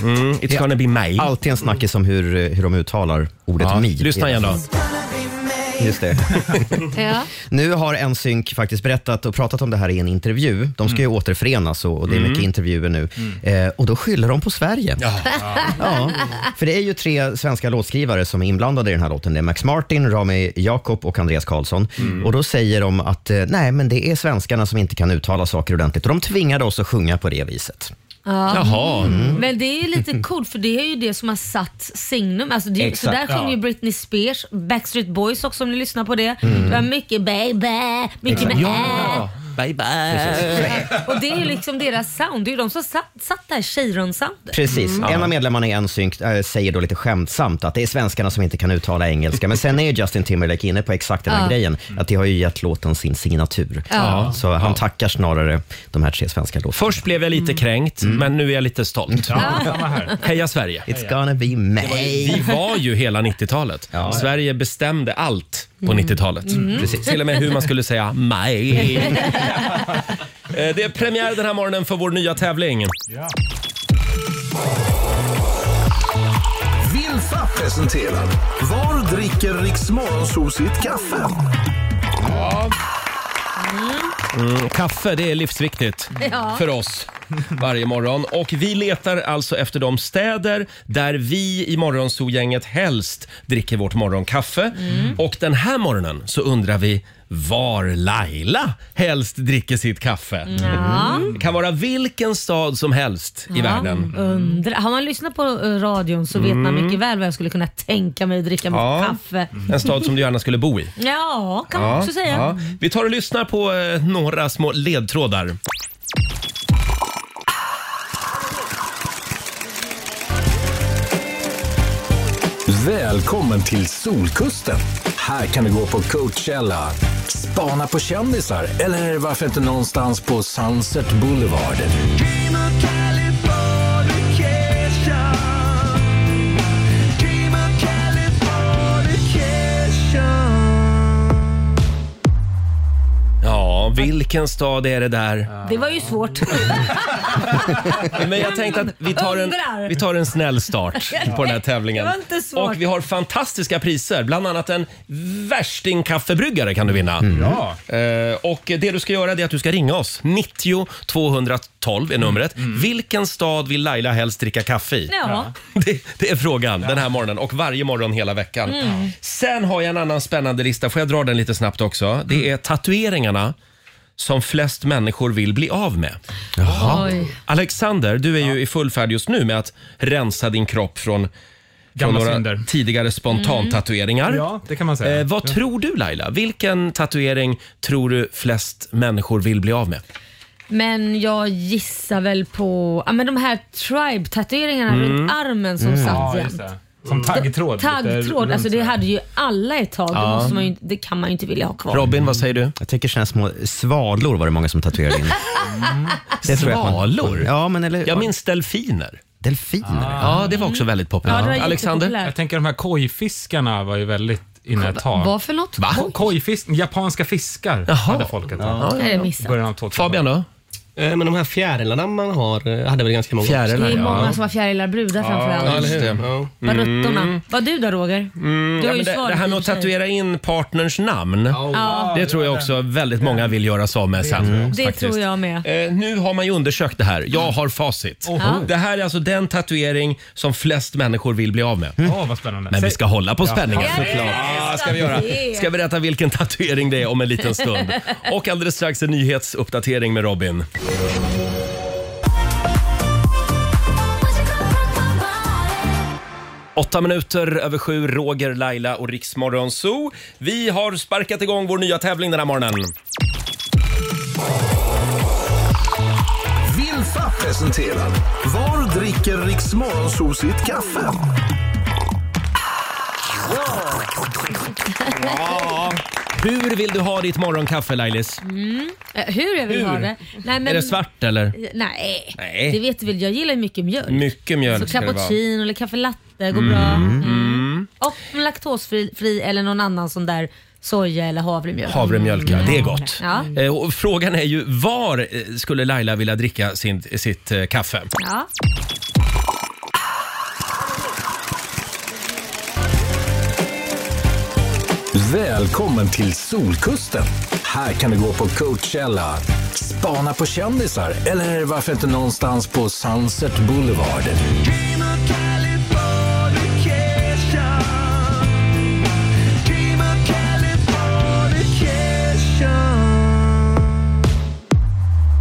Speaker 1: Mm, it's gonna be May.
Speaker 3: Alltid en snackis om hur, eh, hur de uttalar ordet
Speaker 1: Ja,
Speaker 3: me.
Speaker 1: lyssna igen då.
Speaker 3: Just det.
Speaker 2: ja.
Speaker 3: Nu har NSYNC faktiskt berättat och pratat om det här i en intervju. De ska ju
Speaker 1: Mm.
Speaker 3: återförenas och, och det är mycket intervjuer nu. Eh, och då skyller de på Sverige.
Speaker 1: Ja.
Speaker 3: Ja, för det är ju tre svenska låtskrivare som är inblandade i den här låten. Det är Max Martin, Rami Jakob och Andreas Karlsson.
Speaker 1: Mm.
Speaker 3: Och då säger de att eh, nej, men det är svenskarna som inte kan uttala saker ordentligt och de tvingade oss att sjunga på det viset.
Speaker 1: Jaha.
Speaker 2: men det är ju lite coolt för det är ju det som har satt signum. Alltså det är, ju- så där
Speaker 3: Exakt.
Speaker 2: sjöng ju
Speaker 4: Ja.
Speaker 2: Britney Spears, Backstreet Boys också om ni lyssnar på det.
Speaker 1: Mm.
Speaker 2: Det var mycket baby, mycket med ä.
Speaker 8: Bye bye.
Speaker 2: Och det är ju liksom deras sound. Det Mm. är ju de som satt, satt där tjejrumssoundet.
Speaker 3: Precis.
Speaker 1: Mm.
Speaker 3: En av medlemmarna i NSYNC äh, säger då lite skämtsamt att det är svenskarna som inte kan uttala engelska. Men sen är Justin Timberlake inne på exakt den här grejen, att det har ju gett låten sin signatur.
Speaker 2: Ja.
Speaker 3: Så han tackar snarare de här tre svenska låtarna. Mm.
Speaker 1: Först blev jag lite kränkt, men nu är jag lite stolt.
Speaker 4: Ja, samma här.
Speaker 1: Heja Sverige!
Speaker 3: It's gonna be May.
Speaker 1: Vi var ju hela 90-talet. Sverige bestämde allt på 90-talet. Precis. Till och med hur man skulle säga maj. Eh, Det är premiär den här morgonen för vår nya tävling.
Speaker 4: Ja.
Speaker 9: Vilfa presenterar Var dricker Riks Morgonzoo sitt kaffe?
Speaker 1: Mm, Kaffe, det är livsviktigt
Speaker 2: Ja.
Speaker 1: för oss varje morgon. Och vi letar alltså efter de städer där vi i Morgonzoo-gänget helst dricker vårt morgonkaffe.
Speaker 2: Mm.
Speaker 1: Och den här morgonen så undrar vi var Laila helst dricker sitt kaffe.
Speaker 2: Ja. Mm.
Speaker 1: Det kan vara vilken stad som helst i världen.
Speaker 2: Undra, har man lyssnat på eh, radion så vet man mycket väl vad jag skulle kunna tänka mig att dricka med
Speaker 1: Mm. Ja.
Speaker 2: kaffe.
Speaker 1: En stad som du gärna skulle bo i.
Speaker 2: Ja, kan man också säga.
Speaker 1: Ja. Vi tar och lyssnar på eh, några små ledtrådar.
Speaker 9: Välkommen till Solkusten. Här kan du gå på Coachella, spana på kändisar eller varför inte någonstans på Sunset Boulevard.
Speaker 1: Ja, vilken stad är det där?
Speaker 2: Det var ju svårt.
Speaker 1: Men jag tänkte att vi tar en,
Speaker 2: Undrar.
Speaker 1: vi tar en snäll start på den här tävlingen.
Speaker 2: Det var inte svårt.
Speaker 1: Och vi har fantastiska priser, bland annat en värstingkaffebryggare kan du vinna.
Speaker 4: Ja.
Speaker 1: Eh, och det du ska göra det är att du ska ringa oss. 90 212 är numret. Vilken stad vill Laila helst dricka kaffe i?
Speaker 2: Ja.
Speaker 1: Det, det är frågan den här morgonen och varje morgon hela veckan.
Speaker 2: Mm.
Speaker 1: Sen har jag en annan spännande lista. Får jag dra den lite snabbt också?
Speaker 2: Mm.
Speaker 1: Det är tatueringarna som flest människor vill bli av med.
Speaker 2: Oj.
Speaker 1: Alexander, du är ju i full färd just nu med att rensa din kropp från, från
Speaker 4: Gamla
Speaker 1: några
Speaker 4: synder.
Speaker 1: tidigare
Speaker 2: Mm.
Speaker 1: spontantatueringar.
Speaker 4: Ja, det kan man säga.
Speaker 1: Eh, vad tror du Laila? Vilken tatuering tror du flest människor vill bli av med?
Speaker 2: Men jag gissar väl på ja, men de här tribe-tatueringarna
Speaker 1: Mm.
Speaker 2: runt armen som satt
Speaker 4: Mm. ja,
Speaker 2: jämt.
Speaker 4: just det. Som taggtråd. lite
Speaker 2: Taggtråd,
Speaker 4: runt
Speaker 2: alltså det
Speaker 4: så här.
Speaker 2: hade ju alla ett tag. Det, måste man ju, det kan man ju inte vilja ha kvar.
Speaker 1: Robin, vad säger du?
Speaker 3: Jag tänker såna här små svalor var det många som tatuerade
Speaker 1: Mm.
Speaker 3: in. Det tror jag att man-
Speaker 1: Svalor?
Speaker 3: Ja, men eller
Speaker 1: Jag minns delfiner.
Speaker 3: delfiner.
Speaker 1: Ja, det var också väldigt
Speaker 2: Ja,
Speaker 1: populärt.
Speaker 2: det var
Speaker 1: Alexander?
Speaker 2: jättepopulärt.
Speaker 4: Jag tänker de här kojfiskarna var ju väldigt inne ett tag.
Speaker 2: Vad för något? Va?
Speaker 4: Ko- Kojfisk, japanska fiskar hade folk ett tag.
Speaker 2: Nej, det missade
Speaker 4: Början av 2000-talet.
Speaker 1: Fabian då?
Speaker 8: Eh, Men de här fjärilarna man har eh, hade väl ganska många. också.
Speaker 2: jag. Det är
Speaker 1: Fjärilar, ja. Mm.
Speaker 2: många som har fjärilar brudar
Speaker 8: Ja,
Speaker 2: framförallt.
Speaker 8: eller hur?
Speaker 1: Just det.
Speaker 8: Ja.
Speaker 2: Vad rötterna. Vad du då
Speaker 1: Mm,
Speaker 2: Roger? du
Speaker 1: Ja,
Speaker 2: har ju
Speaker 1: men det,
Speaker 2: svarat
Speaker 1: det här
Speaker 2: i
Speaker 1: med
Speaker 2: och
Speaker 1: att
Speaker 2: för sig.
Speaker 1: tatuera in partners namn, det tror jag också väldigt många vill göra sig av med sen.
Speaker 2: Det
Speaker 1: faktiskt.
Speaker 2: tror jag med.
Speaker 1: Eh, nu har man ju undersökt det här. Jag har facit. Det här är alltså den tatuering som flest människor vill bli av med.
Speaker 4: Åh, vad spännande.
Speaker 1: Men vi ska hålla på spänningen.
Speaker 2: Ja,
Speaker 1: Ja, ska vi göra. Ska berätta vilken tatuering det är om en liten stund. Och alldeles strax en nyhetsuppdatering med Robin. Åtta minuter över sju, Roger, Laila och Riksmorgon Zoo. Vi har sparkat igång vår nya tävling den här morgonen.
Speaker 9: Vilfa presenterar Var dricker Riks Morgonzoo sitt kaffe?
Speaker 1: Ja. Hur vill du ha ditt morgonkaffe Lailis?
Speaker 2: Eh, Hur jag vill
Speaker 1: Hur?
Speaker 2: ha det? Nej, men-
Speaker 1: Är det svart eller?
Speaker 2: Nej.
Speaker 1: Nej.
Speaker 2: det vet du väl. Jag gillar ju mycket mjölk.
Speaker 1: Mycket
Speaker 2: Så
Speaker 1: mjölk ska det vara.
Speaker 2: cappuccino eller kaffe latte går bra. Mm. Och en laktosfri fri eller någon annan sån där soja eller havremjölk.
Speaker 1: Havremjölk, ja. Det är gott.
Speaker 2: Ja.
Speaker 1: Eh, och frågan är ju var eh, skulle Laila vilja dricka sin, sitt eh, kaffe?
Speaker 2: Ja.
Speaker 9: Välkommen till Solkusten. Här kan du gå på Coachella, spana på kändisar eller varför inte någonstans på Sunset Boulevard.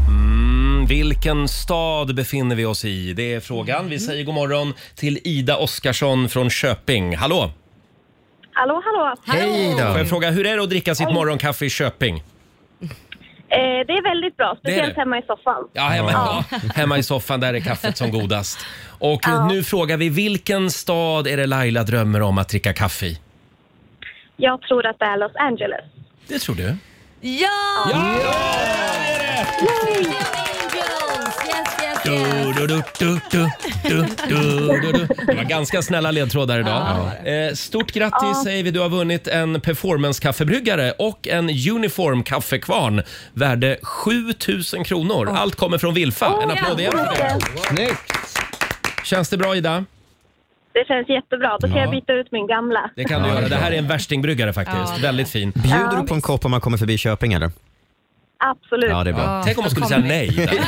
Speaker 1: Mm, vilken stad befinner vi oss i? Det är frågan.
Speaker 2: Mm.
Speaker 1: Vi säger god morgon till Ida Oskarsson från Köping. Hallå!
Speaker 5: Hallå, hallå.
Speaker 3: Hej
Speaker 1: Får
Speaker 3: då!
Speaker 1: jag fråga, hur är det att dricka sitt morgonkaffe i Köping?
Speaker 5: Eh, det är väldigt bra,
Speaker 1: är
Speaker 5: speciellt
Speaker 1: det.
Speaker 5: hemma i soffan.
Speaker 1: Ja, hemma, ja. hemma i soffan, där är kaffet som godast. Och eh, nu frågar vi, vilken stad är det Laila drömmer om att dricka kaffe i?
Speaker 5: Jag tror att det är Los Angeles.
Speaker 1: Det tror du?
Speaker 2: Ja! Angels! Yes, yes, yes.
Speaker 1: Du, du, du, du, du, du, du, du. Det var ganska snälla ledtrådar idag. Eh, Stort grattis säger vi. Du har vunnit en performance-kaffebryggare och en uniform kaffekvarn värde 7000 kronor. Allt kommer från Wilfa. En applåd igen. för det.
Speaker 3: Snyggt!
Speaker 1: Känns det bra Ida?
Speaker 5: Det känns jättebra. Då kan
Speaker 1: Ja.
Speaker 5: jag byta ut min gamla.
Speaker 1: Det kan du göra. Det här är en värstingbryggare faktiskt. Väldigt fin.
Speaker 3: Bjuder du på en kopp om man kommer förbi Köping eller?
Speaker 5: Absolut.
Speaker 3: Ja, det är bra.
Speaker 1: Tänk om man skulle säga nej. Ida.
Speaker 2: Inget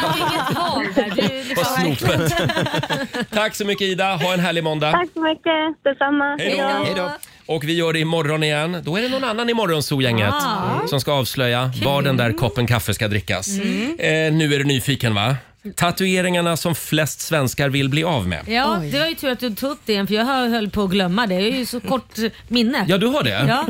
Speaker 2: val där. Du är
Speaker 1: Vad
Speaker 2: liksom verkligen...
Speaker 1: snopet. Tack så mycket Ida. Ha en härlig måndag.
Speaker 5: Tack så mycket. Detsamma.
Speaker 1: Hej då.
Speaker 3: Hej då!
Speaker 1: Och vi gör det imorgon igen. Då är det någon annan i morgonzoo-gänget
Speaker 2: Ja.
Speaker 1: som ska avslöja var den där koppen kaffe ska drickas.
Speaker 2: Mm.
Speaker 1: Eh, nu är du nyfiken va? Tatueringarna som flest svenskar vill bli av med.
Speaker 2: Ja, det var ju tur att du tog upp det igen för jag höll på att glömma det. Jag är ju så kort minne.
Speaker 1: Ja, du har det?
Speaker 2: Ja,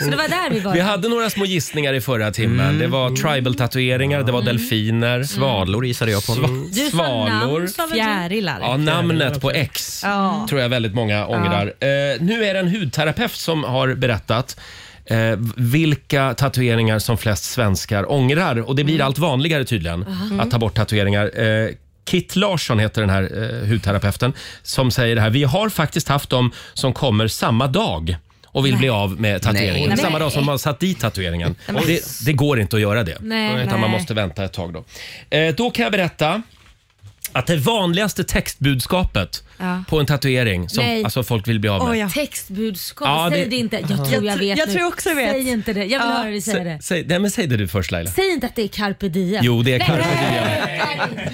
Speaker 2: så det var där vi var.
Speaker 1: Mm. Vi hade några små gissningar i förra timmen. Det var tribal-tatueringar, det var delfiner,
Speaker 3: Mm. Svalor gissade jag på.
Speaker 2: Mm. Du sa
Speaker 1: svalor.
Speaker 2: namn, sa väl du?
Speaker 7: Fjärilar.
Speaker 1: Ja, namnet på X tror jag väldigt många ångrar. Eh, nu är det en hudterapeut som har berättat eh, vilka tatueringar som flest svenskar ångrar. Och Det blir allt vanligare tydligen att ta bort tatueringar. Eh, Kit Larsson heter den här eh, hudterapeuten som säger det här. Vi har faktiskt haft dem som kommer samma dag och vill bli av med tatueringen.
Speaker 3: Nej.
Speaker 1: Samma dag som man satt dit tatueringen. Det, det går inte att göra det.
Speaker 2: Nej.
Speaker 1: Utan man
Speaker 2: Nej.
Speaker 1: måste vänta ett tag då. Eh, då kan jag berätta att det vanligaste textbudskapet på en tatuering som
Speaker 2: Nej.
Speaker 1: alltså folk vill bli av med.
Speaker 7: Oj, ja.
Speaker 2: Textbudskap,
Speaker 1: Ja,
Speaker 2: säg
Speaker 1: det-
Speaker 2: det, inte. Jag tror jag
Speaker 7: tr-
Speaker 2: vet
Speaker 7: jag
Speaker 2: nu.
Speaker 7: tror också jag vet.
Speaker 2: Säg inte det. Jag vill
Speaker 7: Ja.
Speaker 2: höra dig säga det.
Speaker 1: Sä- säg, nej, men säg det du först Laila.
Speaker 2: Säg inte att det är carpe diem.
Speaker 1: Jo, det är carpe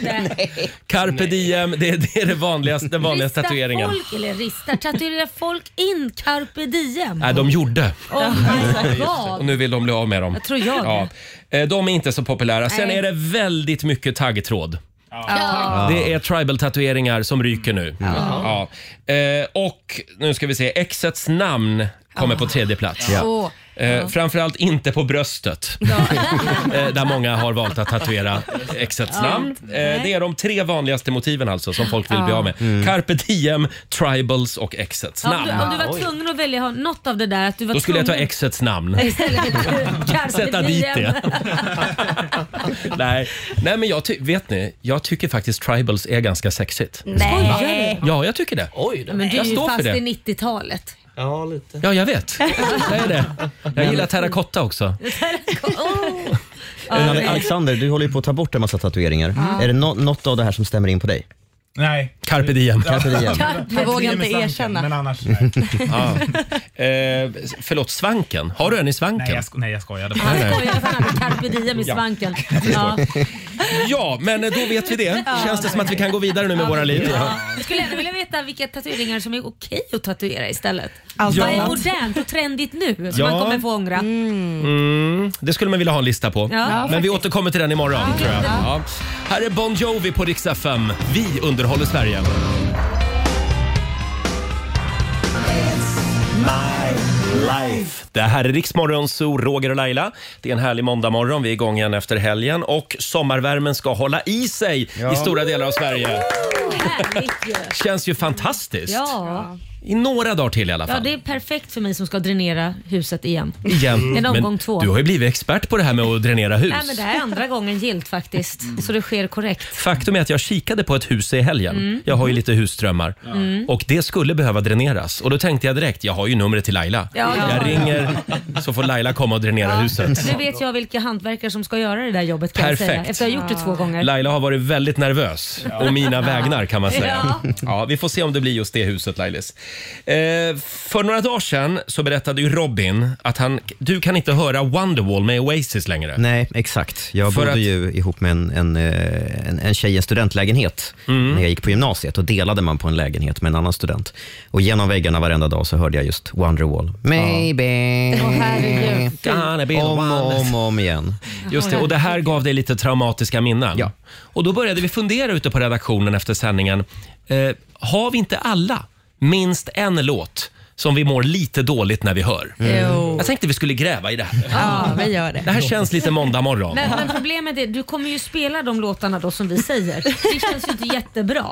Speaker 2: Nej, nej.
Speaker 1: Carpe diem, det, är- det är det vanligaste, den vanligaste
Speaker 2: Ristar
Speaker 1: tatueringen.
Speaker 2: folk, eller ristar, tatuerar folk in carpe diem?
Speaker 1: Nej, de gjorde.
Speaker 2: Oh my
Speaker 1: Och
Speaker 2: god.
Speaker 1: nu vill de bli av med dem.
Speaker 2: Jag tror jag
Speaker 1: Ja.
Speaker 2: det.
Speaker 1: Eh, De är inte så populära. Sen
Speaker 2: Nej.
Speaker 1: är det väldigt mycket taggtråd.
Speaker 2: Ja.
Speaker 1: Det är tribal-tatueringar som ryker nu. Ja. Eh, och nu ska vi se, exets namn kommer på tredje plats.
Speaker 2: Åh.
Speaker 1: Eh, framförallt inte på bröstet, eh, där många har valt att tatuera exets namn. Eh, det är de tre vanligaste motiven alltså som folk vill bli av med.
Speaker 8: Mm.
Speaker 1: Carpe diem, tribals och exets
Speaker 2: Ja, om, du, om
Speaker 1: namn.
Speaker 2: du var tvungen att välja ha- något av det där. Att du var
Speaker 1: Då skulle jag ta
Speaker 2: tvungen-
Speaker 1: exets namn.
Speaker 2: istället för carpe
Speaker 1: Sätta dit
Speaker 2: diem.
Speaker 1: det. Nej. Nej, men jag ty- vet ni, jag tycker faktiskt tribals är ganska sexigt.
Speaker 7: Nej.
Speaker 1: Ja, jag tycker det.
Speaker 8: Oj, det
Speaker 2: Men du är
Speaker 1: Jag
Speaker 2: ju
Speaker 1: står för
Speaker 2: fast
Speaker 1: det.
Speaker 2: i 90-talet.
Speaker 8: Ja, lite.
Speaker 1: Ja, jag vet. Jag, är det. jag gillar terrakotta också.
Speaker 3: Men Alexander, du håller ju på att ta bort en massa tatueringar. Är det nå- något av det här som stämmer in på dig?
Speaker 4: Nej.
Speaker 1: Carpe diem.
Speaker 3: Carpe diem.
Speaker 7: Jag vågar inte
Speaker 4: Med svanken, Men
Speaker 7: erkänna.
Speaker 4: annars, nej.
Speaker 1: Eh, förlåt, svanken. Har du en i svanken?
Speaker 4: Nej, jag, sko- nej, jag skojade.
Speaker 2: Han skojar för han hade carpe diem i svanken. Ja.
Speaker 1: Ja, men då vet vi det. Känns det som att vi kan gå vidare nu med våra liv?
Speaker 2: Ja. Jag skulle ändå vilja veta vilka tatueringar som är okej att tatuera istället.
Speaker 7: Allt
Speaker 2: Vad är
Speaker 7: annat.
Speaker 2: modernt och trendigt nu som
Speaker 1: Ja. Mm.
Speaker 2: man kommer få ångra?
Speaker 1: Det skulle man vilja ha en lista på.
Speaker 2: Ja,
Speaker 1: men
Speaker 2: faktiskt.
Speaker 1: vi återkommer till den imorgon. Tror jag. Ja. Här är Bon Jovi på Rix FM. Vi underhåller Sverige.
Speaker 9: life.
Speaker 1: Det här är Riksmorgon Zoo, Roger och Laila. Det är en härlig måndagmorgon. Vi är igång igen efter helgen och sommarvärmen ska hålla i sig i stora delar av Sverige.
Speaker 2: Härligt ju.
Speaker 1: Känns ju fantastiskt.
Speaker 2: Ja.
Speaker 1: I några dagar till i alla
Speaker 2: ja,
Speaker 1: fall.
Speaker 2: det är perfekt för mig som ska dränera huset igen.
Speaker 1: Igen.
Speaker 2: En omgång
Speaker 1: Men
Speaker 2: två.
Speaker 1: Du har ju blivit expert på det här med att dränera hus.
Speaker 2: Nej, men det här är andra gången gilt faktiskt, så det sker korrekt.
Speaker 1: Faktum är att jag kikade på ett hus i helgen.
Speaker 2: Mm.
Speaker 1: Jag har ju lite husdrömmar. Och det skulle behöva dräneras. Och då tänkte jag direkt, jag har ju numret till Laila.
Speaker 2: Ja, ja.
Speaker 1: Jag ringer så får Laila komma och dränera huset.
Speaker 2: Nu vet jag vilka hantverkare som ska göra det där jobbet kan jag säga,
Speaker 1: Perfekt.
Speaker 2: efter att ha gjort det två gånger.
Speaker 1: Laila har varit väldigt nervös och mina vägnar kan man säga.
Speaker 2: Ja.
Speaker 1: Ja, vi får se om det blir just det huset Lailis. Eh, för några dagar sedan så berättade ju Robin att han, du kan inte höra Wonderwall med Oasis längre.
Speaker 3: Nej, exakt. Jag
Speaker 1: För
Speaker 3: bodde
Speaker 1: att-
Speaker 3: ju ihop med en, en, eh, en, en tjej i en studentlägenhet
Speaker 1: Mm.
Speaker 3: när jag gick på gymnasiet. Och delade man på en lägenhet med en annan student. Och genom väggarna varenda dag så hörde jag just Wonderwall. Maybe.
Speaker 2: Åh herregud.
Speaker 1: Gonna be the
Speaker 3: Om
Speaker 1: one.
Speaker 3: och om och om igen.
Speaker 1: Just det, och det här gav dig lite traumatiska minnen.
Speaker 3: Ja.
Speaker 1: Och då började vi fundera ute på redaktionen efter sändningen. Eh, har vi inte alla minst en låt som vi mår lite dåligt när vi hör?
Speaker 7: Jo.
Speaker 1: Jag tänkte vi skulle gräva i det här.
Speaker 7: Ja, vi gör det.
Speaker 1: Det här känns lite måndag morgon.
Speaker 2: Men, men problemet är, du kommer ju spela de låtarna då som vi säger. Det känns ju inte jättebra.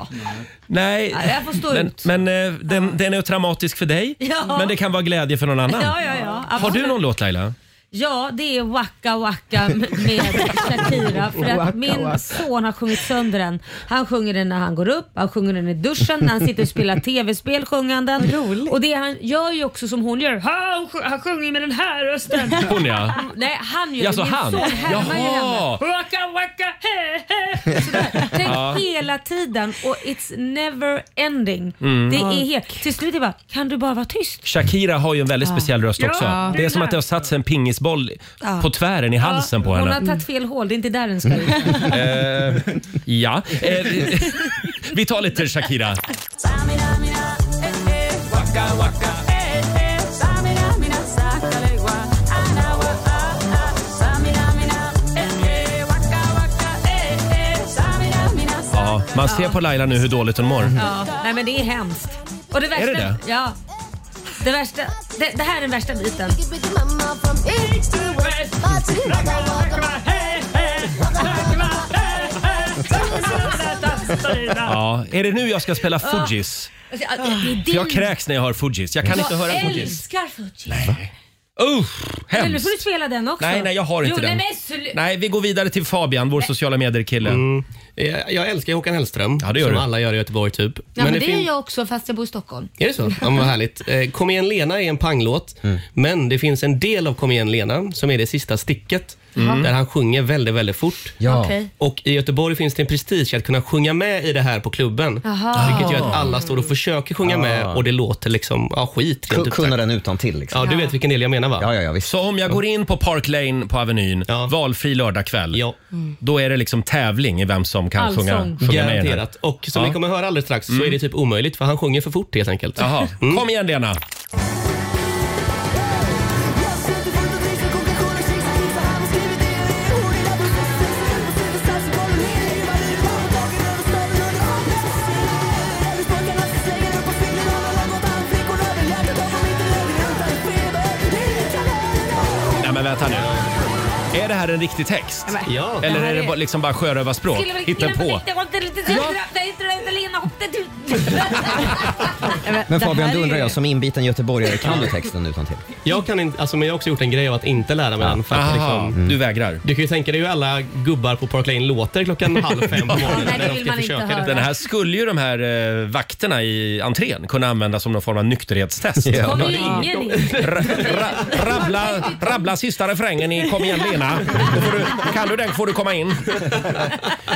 Speaker 1: Nej,
Speaker 2: Ja, det här får stå
Speaker 1: men,
Speaker 2: ut.
Speaker 1: men eh, den, den är traumatisk för dig,
Speaker 2: Ja.
Speaker 1: men det kan vara glädje för någon annan.
Speaker 2: Ja, ja, ja.
Speaker 1: Har du
Speaker 2: absolut.
Speaker 1: någon låt Laila?
Speaker 2: Ja, det är Waka Waka m- med Shakira. För att min son har sjungit sönder den. Han sjunger den när han går upp, han sjunger den i duschen, när han sitter och spelar tv-spel sjunger han den. Och det han gör ju också som hon gör. Han, sj- han sjunger med den här rösten.
Speaker 1: Hon ja.
Speaker 2: Nej, han gör
Speaker 1: Jaså,
Speaker 2: det. Min
Speaker 1: han?
Speaker 2: son härmar ju henne.
Speaker 1: Jaha.
Speaker 2: Waka waka he he. Sådär. Tänk hela tiden och it's never ending.
Speaker 1: Mm.
Speaker 2: Det är helt... Till slut är det bara, kan du bara vara tyst?
Speaker 1: Shakira har ju en väldigt speciell röst
Speaker 2: Ja,
Speaker 1: också.
Speaker 2: den
Speaker 1: Det är som
Speaker 2: här.
Speaker 1: att det har satt sig en pingisboll på tvären i halsen på
Speaker 2: Ja,
Speaker 1: henne.
Speaker 2: Hon har tagit fel hål, det är inte där den ska
Speaker 8: Mm.
Speaker 2: ut.
Speaker 1: Eh, ja. Eh, vi- vi tar lite Shakira. Ja, man ser på Laila nu hur dåligt hon mår.
Speaker 2: Ja. Nej men det är hemskt. Och det värsta,
Speaker 1: det det?
Speaker 2: Ja. Det, värsta, det, det här är den värsta biten.
Speaker 1: Ja, är det nu jag ska spela Fugees?
Speaker 2: Alltså, ja, det är din...
Speaker 1: För jag kräks när jag hör Fugees. Jag kan inte höra
Speaker 2: Jag
Speaker 1: Fugees.
Speaker 2: älskar Fugees.
Speaker 1: Uh,
Speaker 2: Eller nu
Speaker 1: hemskt.
Speaker 2: får du spela den också.
Speaker 1: Nej, nej, jag har inte
Speaker 2: jo,
Speaker 1: den.
Speaker 2: Nej, men, slu-
Speaker 1: Nej, vi går vidare till Fabian, vår sociala medier-kille.
Speaker 8: Eh, Jag älskar Håkan Hellström,
Speaker 1: Ja, det gör
Speaker 8: som
Speaker 1: du.
Speaker 8: alla gör i Göteborg typ.
Speaker 2: Ja, men, det,
Speaker 8: fin-
Speaker 2: gör jag också fast jag bor i Stockholm.
Speaker 8: Är det så? Ja, men vad härligt. Eh, Kom igen Lena är en panglåt,
Speaker 3: Mm.
Speaker 8: men det finns en del av Kom igen Lena som är det sista sticket, där han sjunger väldigt, väldigt fort.
Speaker 2: Mm.
Speaker 3: Ja.
Speaker 2: Okej.
Speaker 8: Och I Göteborg finns det en prestige att kunna sjunga med i det här på klubben.
Speaker 2: Jaha.
Speaker 8: Vilket gör att
Speaker 3: Ah.
Speaker 8: alla står och försöker sjunga med och det låter liksom ja, skit. Rent
Speaker 3: Ku-
Speaker 8: ut sagt.
Speaker 3: Kunna den utan till liksom.
Speaker 8: Ja, du vet vilken del jag menar va?
Speaker 3: Ja, ja, ja, visst.
Speaker 1: Så om jag går in på Park Lane på Avenyn,
Speaker 8: Ja.
Speaker 1: valfri lördagkväll,
Speaker 8: Ja.
Speaker 1: då är det liksom tävling i vem som kan
Speaker 2: Mm. Allsång.
Speaker 1: sjunga, sjunga med i den här.
Speaker 8: Garanterat. Och som
Speaker 1: Ja. Mm.
Speaker 8: ni kommer höra alldeles strax så är det typ omöjligt för han sjunger för fort helt enkelt. Mm.
Speaker 1: Jaha. Kom igen Lena! Nej men vänta nu. Är det här en riktig text?
Speaker 8: Ja.
Speaker 1: Eller är
Speaker 2: här
Speaker 1: det
Speaker 2: är-
Speaker 1: bara, liksom bara sjörövarspråk? Hitta på.
Speaker 3: Men Fabian,
Speaker 7: här
Speaker 3: då
Speaker 7: är-
Speaker 3: undrar jag, som inbiten göteborgare, kan du texten utan till?
Speaker 8: Jag, kan inte, alltså, men jag har också gjort en grej av att inte lära mig den. För att
Speaker 1: Aha,
Speaker 8: liksom,
Speaker 1: du vägrar.
Speaker 8: Du kan ju tänka dig hur alla gubbar på Park Lane låter klockan halv fem på morgonen
Speaker 2: Nej, det
Speaker 8: när de
Speaker 2: vill
Speaker 8: ska
Speaker 2: man inte
Speaker 8: försöka.
Speaker 2: höra.
Speaker 8: det.
Speaker 1: Den här skulle ju de här eh, vakterna i entrén kunna använda som någon form av nykterhetstest.
Speaker 2: Kommer ju ingen in.
Speaker 1: Ra, ra, rabbla, rabbla sista refrängen i Kom igen Lena. Då får du, kan du den får du komma in.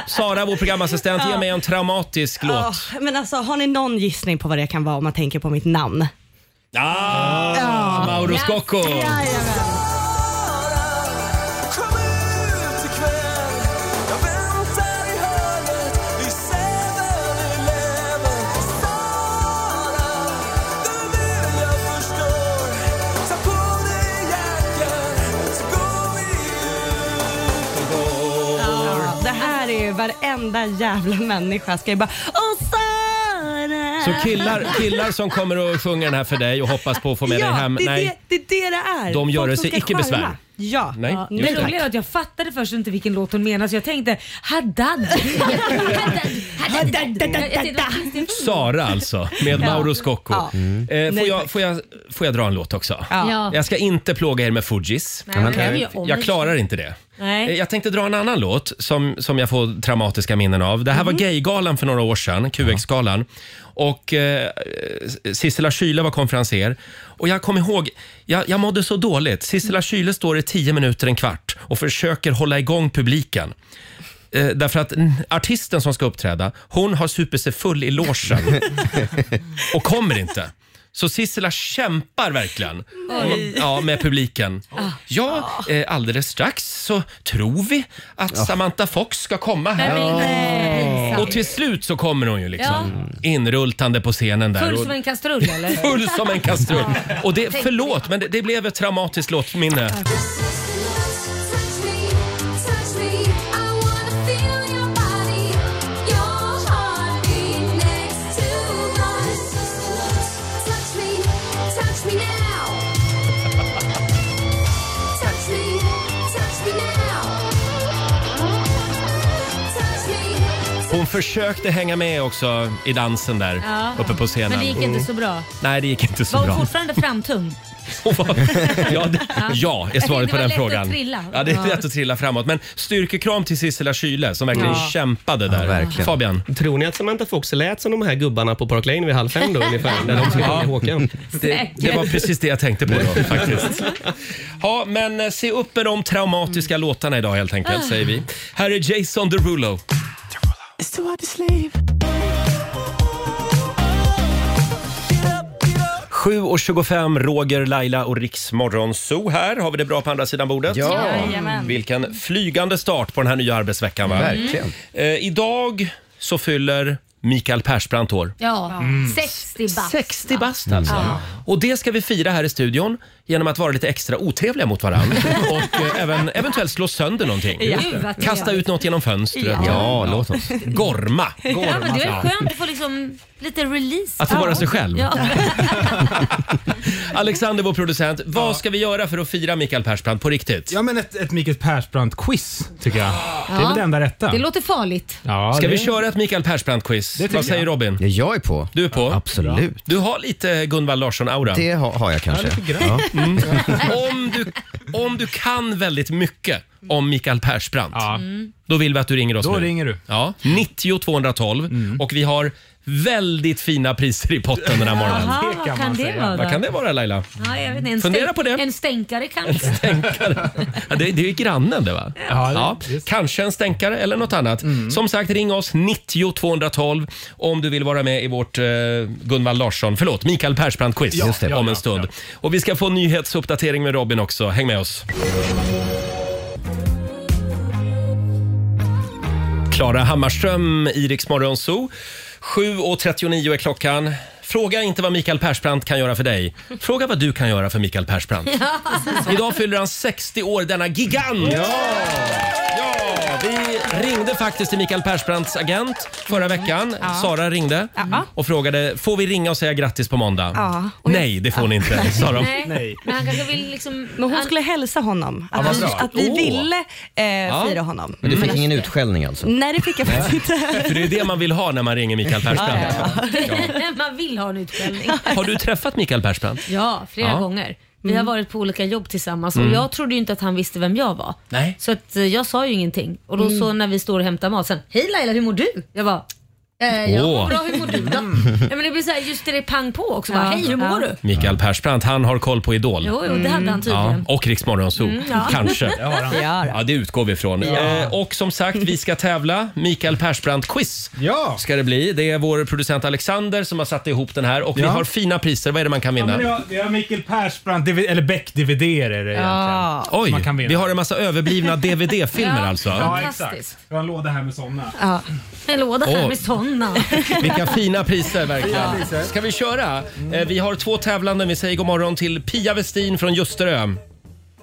Speaker 1: Sara, vår programassistent, ge mig en traumatisk
Speaker 7: Ja,
Speaker 1: låt.
Speaker 7: men alltså, har ni någon gissning på vad det kan vara om man tänker på mitt namn?
Speaker 1: Ah, Mauro Scocco!
Speaker 7: Ja, det här är ju varenda jävla människa. Ska jag bara Åh Sara,
Speaker 1: Så killar, killar som kommer och sjunger den här för dig och hoppas på att få med
Speaker 7: ja,
Speaker 1: dig hem.
Speaker 7: det, är
Speaker 1: Nej.
Speaker 7: Det, det är det det är.
Speaker 1: De gör
Speaker 7: Folk
Speaker 1: det
Speaker 7: som
Speaker 1: sig
Speaker 7: ska
Speaker 1: icke besvär.
Speaker 7: charma. Ja.
Speaker 1: Nej,
Speaker 2: Ja,
Speaker 1: just
Speaker 2: det
Speaker 1: det.
Speaker 2: roliga är att jag fattade först inte vilken låt hon menade så jag tänkte Haddad. Haddad. Haddad.
Speaker 1: Sara alltså, med Mauro Scocco. Eh, får, jag, får, jag, får jag dra en låt också?
Speaker 2: Mm. Ja.
Speaker 1: Jag ska inte plåga er med Fugees.
Speaker 2: Nej, men det är ju om
Speaker 1: Jag
Speaker 2: det.
Speaker 1: klarar inte det.
Speaker 2: Nej.
Speaker 1: Eh, Jag tänkte dra en annan låt som, som jag får traumatiska minnen av. Det här
Speaker 2: Mm.
Speaker 1: var Gaygalan för några år sedan, QX-galan. Och eh, Sissela Kyle var konferenser. Och jag kommer ihåg, jag, jag mådde så dåligt. Sissela Kyle står i tio minuter, en kvart och försöker hålla igång publiken. Eh, därför att mm, artisten som ska uppträda, hon har supit sig full i logen och kommer inte. Så Sissela kämpar verkligen ja, med publiken.
Speaker 2: Ah.
Speaker 1: Ja, eh, alldeles strax så tror vi att Samantha Fox ska komma
Speaker 2: Nej,
Speaker 1: här.
Speaker 2: men nej.
Speaker 1: Och till slut så kommer hon ju liksom inrultande på scenen där.
Speaker 2: Full
Speaker 1: och-
Speaker 2: som en kastrull eller?
Speaker 1: Full som en kastrull. Och det, förlåt, men det, det blev ett traumatiskt låtminne. Hon försökte hänga med också i dansen där
Speaker 2: Ja.
Speaker 1: uppe på scenen.
Speaker 2: Men det gick inte så bra.
Speaker 1: Nej, det gick inte så
Speaker 2: Var hon
Speaker 1: bra.
Speaker 2: fortfarande framtung?
Speaker 1: Hon var, ja, det, ja, är
Speaker 2: Det var
Speaker 1: svaret på den
Speaker 2: lätt att
Speaker 1: frågan.
Speaker 2: trilla.
Speaker 1: Ja, det är
Speaker 2: Ja.
Speaker 1: lätt att trilla framåt. Men styrkekram till Sissela Kyle som verkligen
Speaker 2: Ja.
Speaker 1: kämpade där.
Speaker 3: Ja, verkligen.
Speaker 1: Fabian?
Speaker 8: Tror ni att Samantha Fox lät som de här gubbarna på Park Lane vid halv fem då ungefär? När de skulle ja. Håkan.
Speaker 1: Det,
Speaker 2: Säkert.
Speaker 1: det var precis det jag tänkte på då, faktiskt. Ja, men eh, se upp med de traumatiska låtarna idag helt
Speaker 2: Ah.
Speaker 1: enkelt, säger vi. Här är Jason Derulo. Sju och 25, Roger, Laila och Riksmorgon Zoo här. Har vi det bra på andra sidan bordet?
Speaker 3: Ja.
Speaker 7: Jajamän.
Speaker 1: Vilken flygande start på den här nya arbetsveckan. Va?
Speaker 3: Mm. Verkligen.
Speaker 1: Eh, idag så fyller Mikael Persbrandt år.
Speaker 2: Ja, 60 baht.
Speaker 1: 60 bast alltså. Och det ska vi fira här i studion genom att vara lite extra otrevliga mot varandra och eh, även eventuellt slå sönder någonting.
Speaker 2: Gud, vad
Speaker 1: Kasta ut något genom fönstret.
Speaker 3: Ja, låt oss.
Speaker 1: Gorma.
Speaker 2: Ja, men det är skönt att få liksom lite release.
Speaker 1: Att få vara sig själv.
Speaker 2: Ja.
Speaker 1: Alexander, vår producent, vad ska vi göra för att fira Mikael Persbrandt på riktigt?
Speaker 4: Ja, men ett, ett Mikael Persbrandt-quiz tycker jag. Det är väl det enda rätta.
Speaker 2: Det låter farligt.
Speaker 4: Ja,
Speaker 1: Ska
Speaker 4: det-
Speaker 1: vi köra ett Mikael Persbrandt-quiz?
Speaker 4: tycker
Speaker 1: Vad säger
Speaker 4: jag.
Speaker 1: Robin?
Speaker 3: Ja, Jag är på.
Speaker 1: Du är på?
Speaker 3: Absolut.
Speaker 1: Du har lite Gunvald Larsson-aura.
Speaker 3: Det har, har jag kanske. Ja.
Speaker 1: Om du, om du kan väldigt mycket om Mikael Persbrandt,
Speaker 4: Ja,
Speaker 1: då vill vi att du ringer oss
Speaker 4: då
Speaker 1: nu.
Speaker 4: ringer du. Mm.
Speaker 1: Ja, 90 212 och vi har väldigt fina priser i potten den här morgonen.
Speaker 2: Jaha,
Speaker 4: Det kan
Speaker 2: vad kan
Speaker 4: man
Speaker 2: det
Speaker 4: säga.
Speaker 2: vara då?
Speaker 1: Vad kan det vara Laila?
Speaker 2: Ja, jag vet inte. En
Speaker 1: Fundera
Speaker 2: stänk-
Speaker 1: på det.
Speaker 2: En stänkare kanske.
Speaker 1: Ja, det, det är ju grannen det va?
Speaker 4: Ja, det- just. Mm.
Speaker 1: kanske en stänkare eller något annat. Som sagt, ring oss 90 212 om du vill vara med i vårt eh, Gunvald Larsson, förlåt, Mikael Persbrandt-quiz
Speaker 4: Ja, just det.
Speaker 1: om
Speaker 4: Ja,
Speaker 1: en
Speaker 4: ja,
Speaker 1: stund. Och vi ska få en nyhetsuppdatering med Robin också. Häng med oss. Klara Hammarström, Iriks Zoo. 7.39 är klockan. Fråga inte vad Mikael Persbrandt kan göra för dig. Fråga vad du kan göra för Mikael Persbrandt. Idag fyller han 60 år, denna gigant! Ja! vi ringde faktiskt till Mikael Persbrandts agent förra
Speaker 7: Mm.
Speaker 1: veckan. Sara ringde Mm. och frågade får vi ringa och säga grattis på måndag.
Speaker 7: Ja. Och jag-
Speaker 1: Nej, det får ni inte, sa de.
Speaker 2: Nej.
Speaker 4: Nej.
Speaker 2: Men han kanske vill liksom...
Speaker 7: Men hon
Speaker 2: han-
Speaker 7: skulle hälsa honom. Att,
Speaker 4: vad
Speaker 7: vi,
Speaker 4: bra.
Speaker 7: att vi
Speaker 1: Åh.
Speaker 7: ville eh, fira honom. Mm.
Speaker 3: Men du fick ingen utskällning alltså?
Speaker 7: Nej, det fick jag faktiskt inte.
Speaker 1: För det är det man vill ha när man ringer Mikael Persbrandt.
Speaker 2: Man vill ha en utskällning.
Speaker 1: Har du träffat Mikael Persbrandt?
Speaker 2: Ja, flera
Speaker 1: Ja. Mm.
Speaker 2: gånger. Vi
Speaker 7: Mm.
Speaker 2: har varit på olika jobb tillsammans och jag trodde ju inte att han visste vem jag var.
Speaker 1: Nej.
Speaker 2: Så att, eh, jag sa ju ingenting. Och
Speaker 7: Mm.
Speaker 2: då så när vi står och hämtar mat sen, hej Laila hur mår du? Jag bara, eh, jag
Speaker 1: Åh.
Speaker 2: mår bra hur mår du då? ja, men det blir så här, just det det är pang på också. Bara,
Speaker 7: Ja.
Speaker 2: hej hur mår
Speaker 7: Ja.
Speaker 2: du?
Speaker 1: Mikael Persbrandt, han har koll på Idol.
Speaker 2: Jo, jo det hade han
Speaker 1: Mm. Ja,
Speaker 2: tydligen. Mm,
Speaker 1: och Rix Morgonzoo. Kanske.
Speaker 7: Ja, då.
Speaker 1: Ja, det utgår vi ifrån. Eh, och som sagt, vi ska tävla. Mikael Persbrandt-quiz
Speaker 4: Ja.
Speaker 1: ska det bli. Det är vår producent Alexander som har satt ihop den här och vi
Speaker 4: Ja.
Speaker 1: har fina priser. Vad är det man kan
Speaker 4: Ja, men
Speaker 1: vinna?
Speaker 4: vi har- vi har Mikael Persbrandt, divi- eller Beck-DVD är det egentligen.
Speaker 7: Ja.
Speaker 1: Oj,
Speaker 4: man kan vinna.
Speaker 1: vi har en massa överblivna DVD-filmer
Speaker 2: Ja.
Speaker 1: alltså.
Speaker 4: Ja,
Speaker 2: Fantastiskt.
Speaker 4: exakt. Vi har en låda här med sådana.
Speaker 2: En låda här
Speaker 1: Åh.
Speaker 2: med sådana.
Speaker 1: Vilka fina priser verkligen. Ska vi köra? Eh, Vi har två tävlande. Vi säger god morgon till Pia Westin från Ljusterö.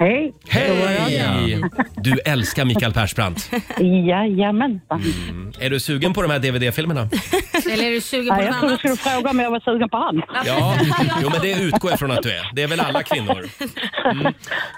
Speaker 5: Hej!
Speaker 1: Hej! Du älskar Mikael Persbrandt.
Speaker 5: Jajamensan.
Speaker 1: Är du sugen på de här DVD-filmerna?
Speaker 2: Eller är du sugen
Speaker 5: Ja,
Speaker 2: på
Speaker 5: jag
Speaker 2: något
Speaker 5: trodde du
Speaker 2: annat?
Speaker 5: skulle fråga om jag var sugen på han.
Speaker 1: Ja, jo, men det utgår jag från att du är. Det är väl alla kvinnor. Mm.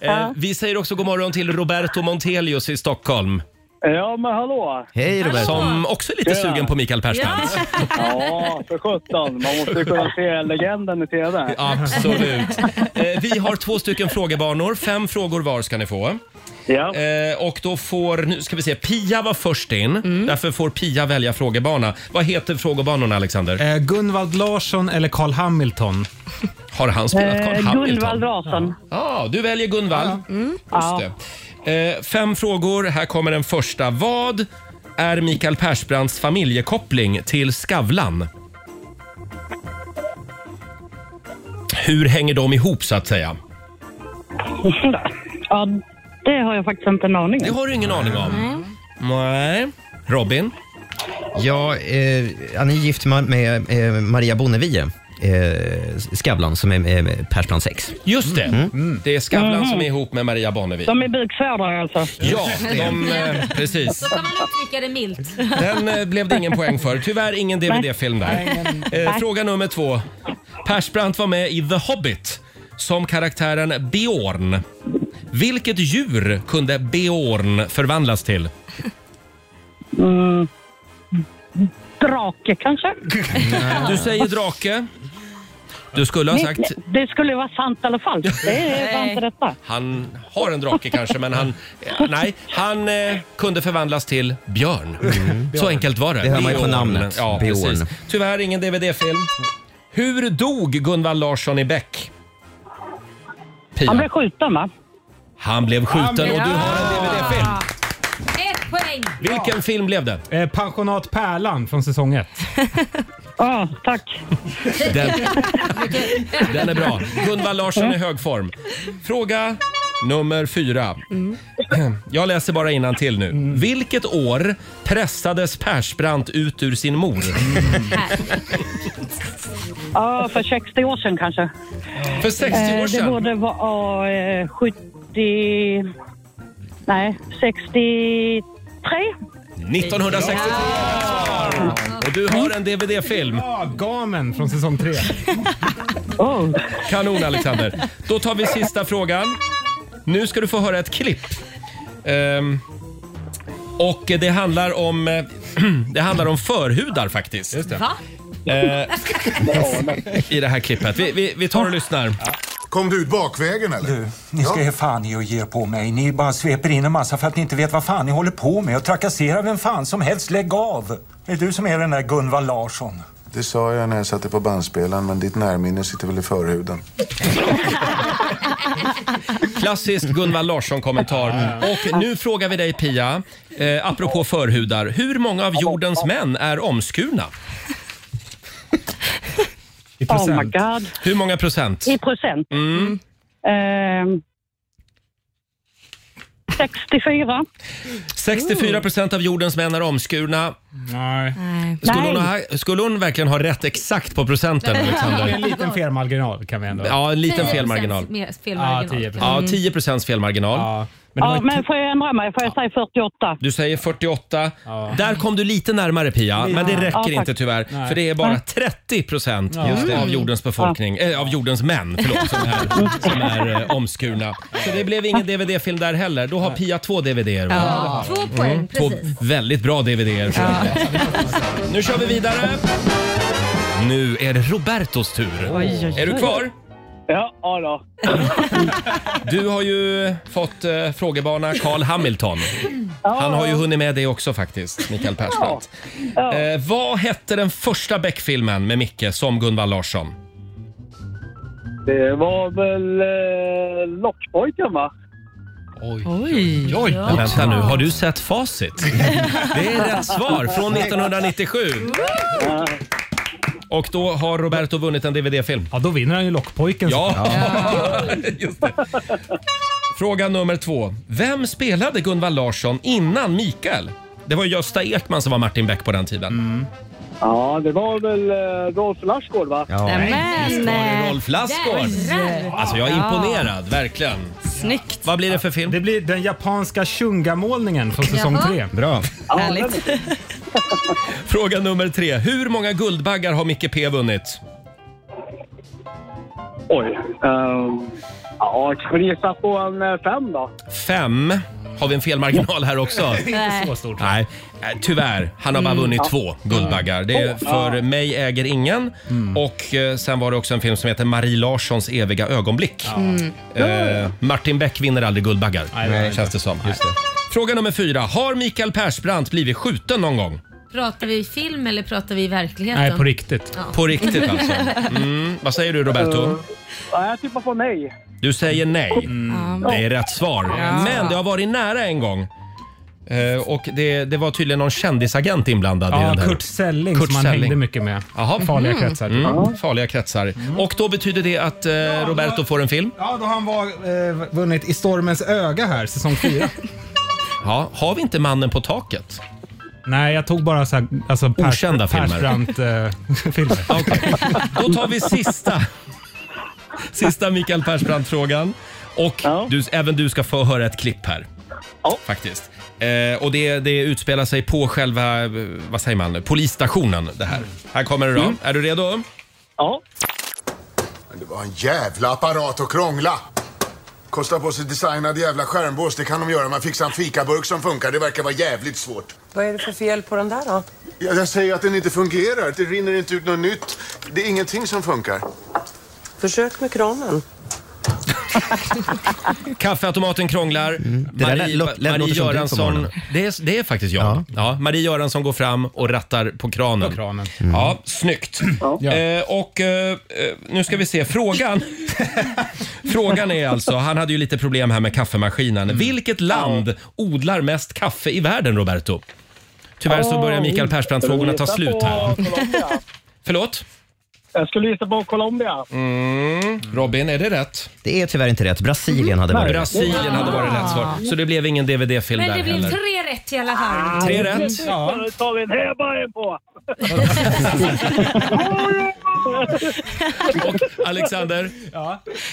Speaker 1: Eh, vi säger också god morgon till Roberto Montelius i Stockholm
Speaker 10: Ja, men hallå!
Speaker 3: Hej Robert.
Speaker 1: som också är lite
Speaker 10: Tjena.
Speaker 1: sugen på Mikael Persbrandt.
Speaker 10: Ja, för sjutton. Man måste ju kunna se legenden i TV.
Speaker 1: Absolut. Eh, vi har två stycken frågebanor. Fem frågor var ska ni få.
Speaker 10: Ja.
Speaker 1: Eh, och då får, nu ska vi se, Pia var först in.
Speaker 5: Mm.
Speaker 1: Därför får Pia välja frågebana. Vad heter frågebanorna Alexander?
Speaker 4: Eh, Gunvald Larsson eller Carl Hamilton?
Speaker 1: Har han spelat Carl
Speaker 5: Eh, Gunvald
Speaker 1: Hamilton?
Speaker 5: Larsson.
Speaker 1: Ja, du väljer Gunvald.
Speaker 7: Mm.
Speaker 1: Just
Speaker 5: Ja.
Speaker 1: det. Eh, fem frågor. Här kommer den första. Vad är Mikael Persbrandts familjekoppling till Skavlan? Hur hänger de ihop så att säga?
Speaker 5: ja, det har jag faktiskt inte en aning
Speaker 1: Det
Speaker 5: om.
Speaker 1: har du ingen aning om. Nej. Robin?
Speaker 3: Ja, eh, han är gift ma- med eh, Maria Bonnevie. Eh, Skavlan som är eh, Mm. Persbrandt 6.
Speaker 1: Just det. Det är Skavlan som är ihop med Maria Bonnevie.
Speaker 5: De är buksfödare alltså.
Speaker 1: Ja, de, eh, precis.
Speaker 2: Så kan man uttrycka det milt.
Speaker 1: Den eh, blev det ingen poäng för. Tyvärr ingen DVD-film där. Eh, fråga nummer två. Persbrandt var med i The Hobbit som karaktären Beorn. Vilket djur kunde Beorn förvandlas till?
Speaker 5: Mm.
Speaker 1: eh,
Speaker 5: Drake kanske?
Speaker 1: Du säger drake. Du skulle ha sagt...
Speaker 5: Det skulle vara sant eller falskt. Det var inte detta.
Speaker 1: Han har en drake kanske, men han... eh, Nej, han eh, kunde förvandlas till björn. Så enkelt var det.
Speaker 3: Mm. Det hör man ju på
Speaker 1: Björn.
Speaker 3: namnet.
Speaker 1: Ja, precis.
Speaker 3: Björn.
Speaker 1: Tyvärr ingen DVD-film. Hur dog Gunvald Larsson i Bäck?
Speaker 5: Han
Speaker 1: Pia.
Speaker 5: blev skjuten va?
Speaker 1: Han blev skjuten och du har en DVD-film.
Speaker 2: Ett poäng!
Speaker 1: Vilken film blev det?
Speaker 4: Eh, pensionat Pärlan från säsong 1.
Speaker 5: Ja, tack.
Speaker 1: Den, den är bra. Gunvald Larsson i hög form. Fråga nummer fyra. Jag läser bara innan till nu.
Speaker 5: Mm.
Speaker 1: Vilket år pressades Persbrandt ut ur sin mor?
Speaker 5: Ja, för 60 år sedan kanske.
Speaker 1: För 60
Speaker 5: Eh,
Speaker 1: år
Speaker 5: det
Speaker 1: sedan?
Speaker 5: borde vara ja, eh, 70... Nej, 63.
Speaker 1: 1963 Och du har en DVD-film.
Speaker 4: Ja, Gamen från säsong 3.
Speaker 5: Oh.
Speaker 1: Kanon Alexander. Då tar vi sista frågan. Nu ska du få höra ett klipp. Ehm, och det handlar om, eh, det handlar om förhudar faktiskt.
Speaker 2: Va?
Speaker 1: Eh. I det här klippet. Vi, vi, vi tar och lyssnar.
Speaker 9: Kom du ut bakvägen eller?
Speaker 10: Du, ni ska ge fan i och ge er på mig. Ni bara sveper in en massa för att ni inte vet vad fan ni håller på med och trakasserar vem fan som helst. Lägg av! Det är du som är den där Gunvald Larsson.
Speaker 9: Det sa jag när jag satte på bandspelaren, men ditt närminne sitter väl i förhuden.
Speaker 1: Klassisk Gunvald Larsson-kommentar. Och nu frågar vi dig Pia, eh, apropå förhudar. Hur många av jordens män är omskurna?
Speaker 4: I
Speaker 5: oh my
Speaker 4: procent.
Speaker 5: god.
Speaker 1: Hur många procent?
Speaker 5: I procent?
Speaker 1: Mm.
Speaker 5: Ehm, 64.
Speaker 1: 64 procent av jordens män är omskurna.
Speaker 4: Nej.
Speaker 7: Nej.
Speaker 1: Skulle
Speaker 5: Nej.
Speaker 1: hon, ha, skulle hon verkligen ha rätt exakt på procenten Alexander?
Speaker 4: En liten felmarginal kan vi ändå.
Speaker 1: Ja, en liten
Speaker 2: 10%
Speaker 1: felmarginal.
Speaker 2: mer-
Speaker 4: Ja,
Speaker 2: Felmarginal.
Speaker 4: 10
Speaker 1: Ja, 10 procents felmarginal.
Speaker 4: Ja, men det var
Speaker 5: Ja,
Speaker 4: ju
Speaker 5: men får jag ändra mig? Får jag säga 48?
Speaker 1: Du säger 48. Där kom du lite närmare Pia, men det
Speaker 5: Ja,
Speaker 1: räcker
Speaker 5: tack. Mm.
Speaker 1: inte tyvärr. För det är bara 30 procent av jordens befolkning, äh, av jordens män, förlåt, som är, som är eh, omskurna. Så det blev ingen DVD-film där heller. Då har Pia två DVD-er. va?
Speaker 2: Ja. Två poäng,
Speaker 1: Mm. Två
Speaker 2: precis.
Speaker 1: väldigt bra DVD-er. får jag säga. Nu kör vi vidare. Nu är det Robertos tur. Är du kvar?
Speaker 10: Ja, ja då.
Speaker 1: Du har ju fått eh, frågebana Carl Hamilton. Han har ju hunnit med det också faktiskt, Mikael Persbrandt. Eh, vad hette den första Beck-filmen med Micke som Gunvald Larsson?
Speaker 10: Det var väl eh, Lockpojken, va?
Speaker 7: Oj.
Speaker 1: Oj, vänta nu. Har du sett facit? Det är rätt svar från 1997. Och då har Roberto vunnit en DVD-film.
Speaker 4: Ja, då vinner han ju Lockpojken.
Speaker 1: Ja, just det. Fråga nummer två. Vem spelade
Speaker 4: Mm.
Speaker 1: Gunvald Larsson innan Mikael? Det var Gösta Ekman som var Martin Beck på den tiden.
Speaker 11: Ja, det var väl eh, Rolf Lassgård va?
Speaker 1: Ja. Visst var
Speaker 5: Äh,
Speaker 1: det Rolf Lassgård?
Speaker 11: Jävlar!
Speaker 1: Alltså jag är
Speaker 4: Ja.
Speaker 1: imponerad, verkligen.
Speaker 7: Snyggt.
Speaker 1: Vad blir det för film?
Speaker 4: Det blir den japanska shunga-målningen från säsong
Speaker 1: Jaha.
Speaker 4: tre.
Speaker 1: Bra.
Speaker 7: Härligt.
Speaker 1: Fråga nummer tre. Hur många Guldbaggar har Micke P vunnit?
Speaker 11: Oj. Um, ja, kanske gissa på en eh, fem då.
Speaker 1: Fem. Har vi en felmarginal här också?
Speaker 11: Inte så stort.
Speaker 1: Nej, eh, tyvärr. Han har bara
Speaker 11: Mm.
Speaker 1: vunnit
Speaker 11: Ja.
Speaker 1: två Guldbaggar. Det är
Speaker 11: Två?
Speaker 1: för
Speaker 11: Ja.
Speaker 1: mig äger ingen. Och eh, sen var det också en film som heter Marie Larssons eviga ögonblick.
Speaker 6: Mm.
Speaker 1: Eh, Martin Beck vinner aldrig Guldbaggar,
Speaker 4: Nej.
Speaker 1: känns det som. Fråga nummer fyra. Har Mikael Persbrandt blivit skjuten någon gång?
Speaker 2: Pratar vi i film eller pratar vi i verkligheten?
Speaker 1: riktigt.
Speaker 2: Ja.
Speaker 1: På riktigt alltså. Mm. Vad säger du Roberto?
Speaker 11: Ja, jag tippar på nej.
Speaker 1: Du säger nej.
Speaker 11: Ja.
Speaker 1: Det är rätt svar.
Speaker 11: Ja.
Speaker 1: Men det har varit nära en gång. Eh, och det, det var tydligen någon kändisagent inblandad i
Speaker 4: Ja,
Speaker 1: den här.
Speaker 4: Kurt Selling som han hängde mycket med.
Speaker 1: Jaha.
Speaker 4: Farliga kretsar.
Speaker 1: Mm,
Speaker 4: Ja.
Speaker 1: Farliga kretsar. Och då betyder det att eh, Roberto får en film.
Speaker 4: Ja, då har han var, eh, vunnit I stormens öga här, säsong fyra.
Speaker 1: Ja, har vi inte Mannen på taket?
Speaker 4: Nej, jag tog bara så här, alltså eh, per,
Speaker 1: Okända filmer.
Speaker 4: Persbrandt-filmer.
Speaker 1: Då tar vi sista. Sista Mikael Persbrandt-frågan. Och du, även du ska få höra ett klipp här. Faktiskt. Eh, och det, det utspelar sig på själva, eh, vad säger man, polisstationen det här. Här kommer det då.
Speaker 12: Mm.
Speaker 1: Är du redo?
Speaker 12: Ja. Det var en jävla apparat att krångla. Kosta på sig designad jävla skärmbås, det kan de göra. Man fixar en fikaburk som funkar, det verkar vara jävligt svårt.
Speaker 13: Vad är det för fel på den där då?
Speaker 12: Jag, jag säger att den inte fungerar, det rinner inte ut något nytt. Det är ingenting som funkar.
Speaker 13: Försök med kranen.
Speaker 1: Kaffeautomaten krånglar.
Speaker 3: Mm. Det där lät-
Speaker 1: Marie,
Speaker 3: låt- lät-
Speaker 1: Marie
Speaker 3: låter som du på
Speaker 1: Göransson.
Speaker 3: morgonen.
Speaker 1: Det är, det är faktiskt jag. Ja. Marie Göransson går fram och rattar på kranen. Mm.
Speaker 4: På kranen. Mm.
Speaker 1: Ja, snyggt. Eh, och eh, eh, nu ska vi se frågan. frågan är alltså, han hade ju lite problem här med kaffemaskinen.
Speaker 3: Mm.
Speaker 1: Vilket land odlar mest kaffe i världen, Roberto? Tyvärr så börjar Mikael Persbrandt-frågorna ta slut här. Förlåt?
Speaker 11: Jag skulle gissa på Colombia.
Speaker 1: Mm. Robin, är det rätt?
Speaker 3: Det är tyvärr inte rätt. Brasilien
Speaker 11: Mm.
Speaker 3: hade varit
Speaker 1: Brasilien hade varit rätt svar. Så det blev ingen DVD-film
Speaker 2: Men
Speaker 1: där
Speaker 2: det blev
Speaker 1: heller. Ah.
Speaker 2: tre rätt i alla fall.
Speaker 1: Tre rätt.
Speaker 11: Ja. Då tar vi en häbajen på.
Speaker 1: Och Alexander,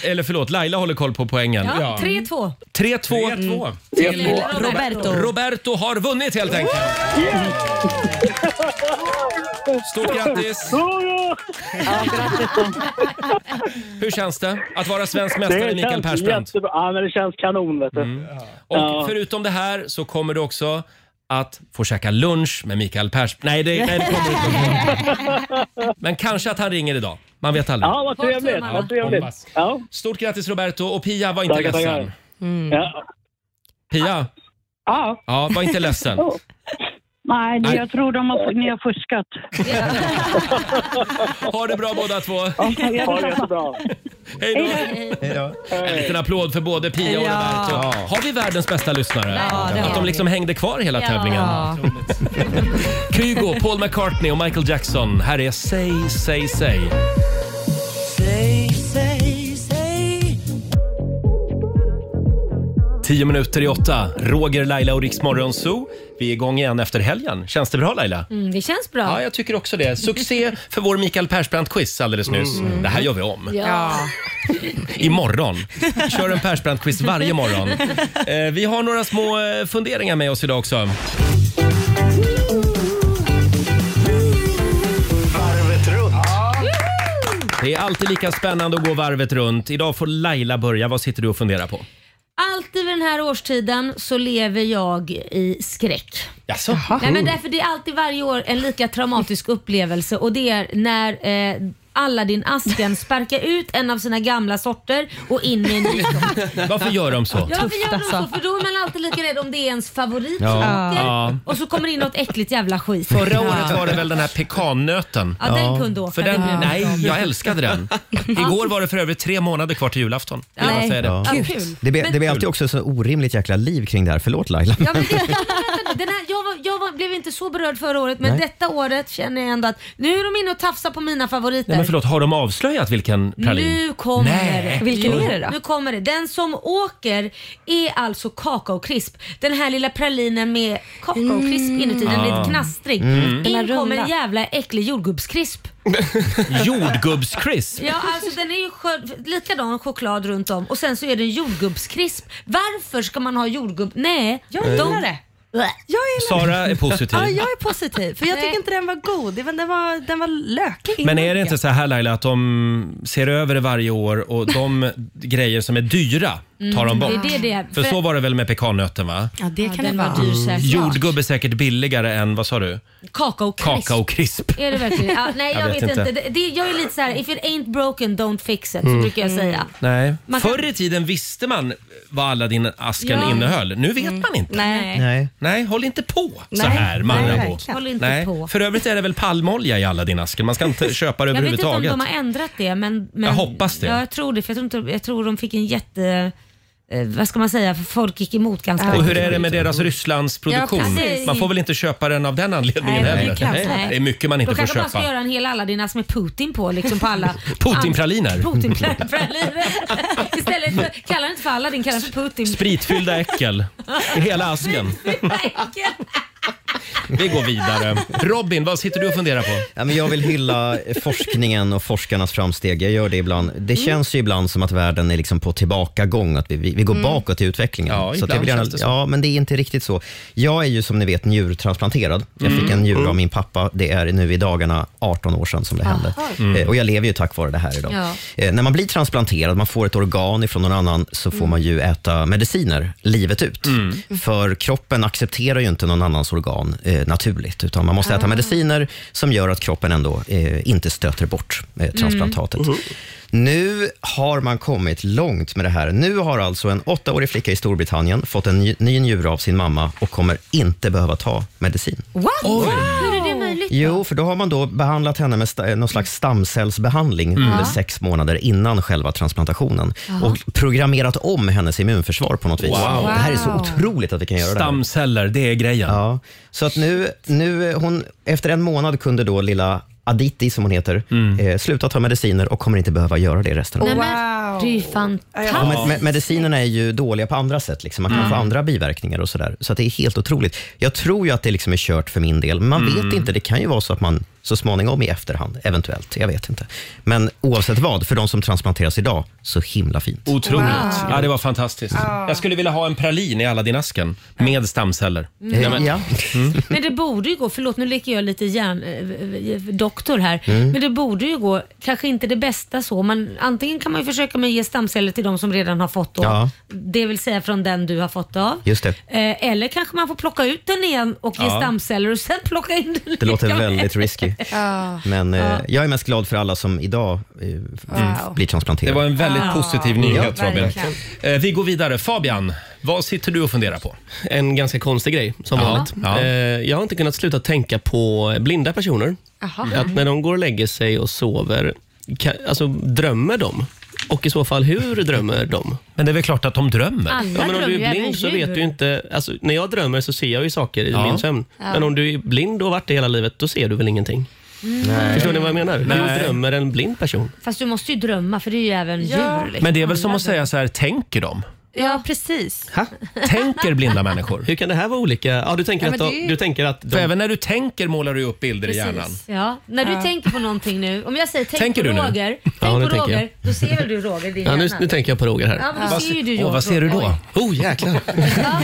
Speaker 1: eller förlåt, Laila håller koll på poängen.
Speaker 2: Ja, 3-2.
Speaker 1: 3-2
Speaker 2: 3-2.
Speaker 1: till
Speaker 2: Till
Speaker 1: Mm. Roberto.
Speaker 2: Roberto.
Speaker 1: Roberto har vunnit helt enkelt. Stort grattis! Hur känns det att vara svensk mästare Mikael
Speaker 11: känns
Speaker 1: Persbrandt? Mm.
Speaker 11: jättebra. Ja, men det känns kanon vet du. Ja.
Speaker 1: Och förutom det här så kommer du också att få käka lunch med Mikael Persbrandt. Nej, det, nej, det kommer du inte. Men kanske att han ringer idag. Man vet aldrig.
Speaker 11: Ja, vad trevligt. Vad trevligt. Ja.
Speaker 1: Stort grattis Roberto och Pia var inte
Speaker 11: Tackar,
Speaker 1: ledsen.
Speaker 11: tackar. Ja.
Speaker 1: Pia,
Speaker 5: Ja.
Speaker 1: ja, var inte ledsen.
Speaker 5: Oh. Nej,
Speaker 1: Nej.
Speaker 5: jag tror de har, ni har fuskat.
Speaker 1: Ha det bra båda två.
Speaker 5: Ha det jättebra.
Speaker 1: Hej då. En liten applåd för både Pia och
Speaker 6: Ja.
Speaker 1: Roberto. Har vi världens bästa lyssnare?
Speaker 6: Ja, det
Speaker 1: Att
Speaker 6: har
Speaker 1: de
Speaker 6: vi.
Speaker 1: liksom hängde kvar hela
Speaker 6: Ja.
Speaker 1: tävlingen. Kygo, Paul McCartney och Michael Jackson. Här är Say, say, say.
Speaker 6: Säg, säg, säg.
Speaker 1: Tio minuter i åtta. Roger, Laila och Riksmorgon Zoo. Vi är igång igen efter helgen. Känns det bra Laila?
Speaker 2: Mm, det känns bra.
Speaker 1: Ja, jag tycker också det. Succé för vår Mikael Persbrandt-quiz alldeles nyss.
Speaker 2: Mm.
Speaker 1: Det här gör vi om.
Speaker 2: Ja.
Speaker 1: Imorgon. Kör en Persbrandt-quiz varje morgon. Eh, vi har några små eh, funderingar med oss idag också.
Speaker 6: Varvet runt.
Speaker 1: Det är alltid lika spännande att gå varvet runt. Idag får Laila börja. Vad sitter du och funderar på?
Speaker 2: Alltid vid den här årstiden så lever jag i skräck.
Speaker 1: Jaså?
Speaker 2: Nej, men därför det är alltid varje år en lika traumatisk upplevelse och det är när eh, Aladdin Asken sparkar ut en av sina gamla sorter och in i en ny alltså. sort.
Speaker 1: Varför gör de så?
Speaker 2: Ja, varför gör de så? För då är man alltid lika rädd om det är ens favorit
Speaker 1: Ja.
Speaker 2: socker,
Speaker 1: Ja.
Speaker 2: och så kommer det in något äckligt jävla skit.
Speaker 1: Förra året var det väl den här pekannöten?
Speaker 2: Ja, den Ja. kunde åka,
Speaker 1: För den,
Speaker 2: det blev
Speaker 1: nej,
Speaker 2: bra.
Speaker 1: jag älskade den. Igår var det för övrigt tre månader kvar till julafton. Vill jag bara
Speaker 2: Nej.
Speaker 1: säga det.
Speaker 2: Ja.
Speaker 3: Ja.
Speaker 2: Kul.
Speaker 3: Det, be,
Speaker 2: Men-
Speaker 3: det blir alltid också så orimligt jäkla liv kring det här. Förlåt Laila.
Speaker 2: Ja, men det, vänta, vänta, den här, jag, var, jag var, blev inte så berörd förra året men
Speaker 3: Nej.
Speaker 2: detta året känner jag ändå att nu är de inne och tafsar på mina favoriter.
Speaker 3: Nej, men
Speaker 1: förlåt, har de avslöjat vilken pralin?
Speaker 2: Nu kommer
Speaker 1: Nej.
Speaker 2: det.
Speaker 1: Oj.
Speaker 2: Nu kommer det. Den som åker är alltså kakaokrisp. Den här lilla pralinen med kakaokrisp
Speaker 7: Mm.
Speaker 2: inuti. Den blir
Speaker 1: Ah.
Speaker 2: lite knastrig.
Speaker 1: Mm. Den här
Speaker 2: In
Speaker 1: runda.
Speaker 2: kommer en jävla äcklig jordgubbskrisp.
Speaker 1: Jordgubbskrisp?
Speaker 2: Ja, alltså den är ju skör, likadan choklad runt om och sen så är det en jordgubbskrisp. Varför ska man ha jordgubb? Nej,
Speaker 7: Jag
Speaker 1: Nej.
Speaker 7: gillar det. Jag gillar
Speaker 1: Sara
Speaker 7: det.
Speaker 1: är positiv.
Speaker 7: Ja, jag är positiv. För jag tycker inte den var god. Den den var, den var lökig.
Speaker 1: Men är det inte så här Laila att de ser över det varje år och de grejer som är dyra tar de
Speaker 2: Mm,
Speaker 1: bort?
Speaker 2: det är det det är.
Speaker 1: För
Speaker 2: För-
Speaker 1: så var det väl med pekannöten va?
Speaker 7: Ja, det kan
Speaker 2: den
Speaker 7: det
Speaker 2: var
Speaker 7: vara.
Speaker 2: dyr säkert.
Speaker 1: Jordgubb är säkert billigare än, vad sa du?
Speaker 2: Kakaokrisp.
Speaker 1: Kakaokrisp.
Speaker 2: Är det verkligen? Ja, nej, jag, vet, inte. Det, det, jag är lite så här: if it ain't broken don't fix it. Så
Speaker 1: Mm.
Speaker 2: brukar jag säga.
Speaker 1: Nej.
Speaker 2: Man kan-
Speaker 1: Förr i tiden visste man vad alla dina asken
Speaker 2: Ja. Mm.
Speaker 1: innehöll. Nu vet man inte.
Speaker 2: Nej.
Speaker 3: Nej.
Speaker 1: Nej, håll inte på så
Speaker 2: Nej.
Speaker 1: här
Speaker 2: Nej,
Speaker 1: Marabou.
Speaker 2: verkligen. Håll inte på.
Speaker 1: För övrigt är det väl palmolja i alla dina asken? Man ska inte köpa det
Speaker 2: Jag vet inte om
Speaker 1: överhuvudtaget.
Speaker 2: de har ändrat det men, men
Speaker 1: Jag hoppas det.
Speaker 2: Ja, jag tror det för jag tror, inte, jag tror de fick en jätte... Eh, vad ska man säga? För folk gick emot ganska
Speaker 1: Och
Speaker 2: mycket.
Speaker 1: hur är det med deras Rysslandsproduktion?
Speaker 2: Ja, precis.
Speaker 1: man får väl inte köpa den av den anledningen
Speaker 2: Nej,
Speaker 1: heller?
Speaker 2: det kan-
Speaker 1: Det är mycket man inte
Speaker 2: Då
Speaker 1: får
Speaker 2: kanske man ska
Speaker 1: köpa.
Speaker 2: göra en hel Aladdin med Putin på liksom på alla...
Speaker 1: Putinpraliner.
Speaker 2: Putinpraliner. Istället för, kalla den inte för Aladdin, kalla den för Putin.
Speaker 1: Spritfyllda äckel i hela asken. Vi går vidare. Robin, vad sitter du och funderar på?
Speaker 3: Ja, men jag vill hylla forskningen och forskarnas framsteg. Jag gör det ibland. Det
Speaker 14: Mm.
Speaker 3: känns ju ibland som att världen är liksom på tillbakagång, att vi, vi, vi går
Speaker 14: Mm.
Speaker 3: bakåt i utvecklingen.
Speaker 14: Ja,
Speaker 3: att
Speaker 14: ibland
Speaker 3: jag vill
Speaker 14: känns det så.
Speaker 3: Ja, men det är inte riktigt så. Jag är ju som ni vet njurtransplanterad. Jag
Speaker 14: Mm.
Speaker 3: fick en njure
Speaker 14: Mm.
Speaker 3: av min pappa. Det är nu i dagarna 18 år sedan som det hände.
Speaker 14: Aha. Mm.
Speaker 3: Eh, Och jag lever ju tack vare det här idag.
Speaker 14: Ja.
Speaker 3: Eh, När man blir transplanterad, man får ett organ ifrån någon annan, så får
Speaker 14: Mm.
Speaker 3: man ju äta mediciner livet ut. För kroppen accepterar ju inte någon annans organ eh, naturligt, utan man måste äta
Speaker 14: Ah.
Speaker 3: mediciner som gör att kroppen ändå eh, inte stöter bort eh, transplantatet. Nu har man kommit långt med det här. Nu har alltså en åttaårig flicka i Storbritannien fått en ny, ny njure av sin mamma och kommer inte behöva ta medicin.
Speaker 2: What? Hur är det möjligt?
Speaker 3: Jo, för då har man då behandlat henne med sta- eh, någon slags stamcellsbehandling
Speaker 2: Mm.
Speaker 3: under
Speaker 2: Ja.
Speaker 3: sex månader innan själva transplantationen
Speaker 2: Jaha.
Speaker 3: och programmerat om hennes immunförsvar på något vis.
Speaker 1: Wow.
Speaker 3: Det här är så
Speaker 1: Wow.
Speaker 3: otroligt att vi kan göra det. här.
Speaker 1: Stamceller, det är grejen.
Speaker 3: Ja. Så att nu, nu eh, hon, efter en månad kunde då lilla Aditi, som hon heter, eh, sluta ta mediciner och kommer inte behöva göra det resten av
Speaker 2: Mm. Nej,
Speaker 3: livet.
Speaker 2: men, det är ju
Speaker 3: Ja, men,
Speaker 2: fantastiskt.
Speaker 3: me- medicinerna är ju dåliga på andra sätt. Liksom. Man kan
Speaker 2: Mm.
Speaker 3: få andra biverkningar och sådär. Så att det är helt otroligt. Jag tror ju att det liksom är kört för min del, men man
Speaker 14: Mm.
Speaker 3: vet inte. Det kan ju vara så att man så småningom i efterhand, eventuellt. Jag vet inte. Men oavsett vad, för de som transplanteras idag, så himla fint.
Speaker 1: Otroligt.
Speaker 3: Wow.
Speaker 1: Ja, det var fantastiskt.
Speaker 2: Ja.
Speaker 1: Jag skulle vilja ha en pralin i Aladdin-asken med stamceller.
Speaker 2: Mm.
Speaker 1: Nej, men-
Speaker 2: Ja.
Speaker 1: Mm.
Speaker 2: Men det borde ju gå, förlåt nu leker jag lite hjärn, eh, eh, doktor här,
Speaker 1: Mm.
Speaker 2: men det borde ju gå, kanske inte det bästa så, men antingen kan man ju försöka med att ge stamceller till de som redan har fått då,
Speaker 3: Ja.
Speaker 2: det vill säga från den du har fått av.
Speaker 3: Just det.
Speaker 2: Eh, Eller kanske man får plocka ut den igen och ge
Speaker 3: Ja.
Speaker 2: stamceller och sen plocka in den
Speaker 3: Det låter
Speaker 2: lika med.
Speaker 3: väldigt risky.
Speaker 2: Ja.
Speaker 3: Men eh,
Speaker 2: Ja.
Speaker 3: jag är mest glad för alla som idag eh, f-
Speaker 1: Wow.
Speaker 3: blir
Speaker 1: Det
Speaker 3: transplanterade.
Speaker 1: var en väldigt
Speaker 3: Ja.
Speaker 1: positiv nyhet
Speaker 3: Ja,
Speaker 1: Robin.
Speaker 3: verkligen.
Speaker 1: Eh, Vi går vidare. Fabian, vad sitter du och funderar på?
Speaker 8: En ganska konstig grej som
Speaker 1: Ja.
Speaker 8: vanligt.
Speaker 1: Ja.
Speaker 8: Eh, Jag har inte kunnat sluta tänka på blinda personer.
Speaker 1: Jaha.
Speaker 8: Att när de går och lägger sig och sover, kan, alltså drömmer de? Och i så fall, hur drömmer de?
Speaker 1: Men det är väl klart att de drömmer.
Speaker 8: Ja,
Speaker 1: Alla
Speaker 8: men om
Speaker 1: drömmer,
Speaker 8: du är
Speaker 1: även
Speaker 8: blind så
Speaker 1: djur.
Speaker 8: vet du inte... Alltså, när jag drömmer så ser jag ju saker i
Speaker 1: Ja.
Speaker 8: min sömn.
Speaker 1: Ja.
Speaker 8: Men om du är blind och har varit det hela livet, då ser du väl ingenting?
Speaker 2: Mm.
Speaker 1: Nej.
Speaker 8: Förstår ni vad jag menar?
Speaker 1: Nej.
Speaker 8: Hur drömmer en blind person?
Speaker 2: Fast du måste ju drömma för det är ju även djur. liksom.
Speaker 1: Men det är väl som att säga så här, tänker de?
Speaker 2: Ja, precis.
Speaker 1: Tänker blinda människor?
Speaker 8: Hur kan det här vara olika? Ja, du tänker,
Speaker 2: Ja,
Speaker 8: att,
Speaker 2: men
Speaker 8: de-
Speaker 2: det är ju-
Speaker 8: du tänker att... De...
Speaker 1: För även när du tänker målar du upp bilder i hjärnan.
Speaker 2: Ja, när du
Speaker 8: Ja.
Speaker 2: tänker på någonting nu, om jag säger tänk
Speaker 8: Tänker
Speaker 2: på
Speaker 8: du nu?
Speaker 2: Roger,
Speaker 8: Ja,
Speaker 2: tänk
Speaker 8: nu
Speaker 2: på
Speaker 8: tänker jag.
Speaker 2: Roger, då ser väl du Roger i din
Speaker 8: Ja, nu,
Speaker 2: hjärna?
Speaker 8: nu tänker jag på Roger här.
Speaker 2: Ja, men då ser ju du
Speaker 8: Åh,
Speaker 2: Roger.
Speaker 8: vad ser du då? Oh, jäklar.
Speaker 2: Ja,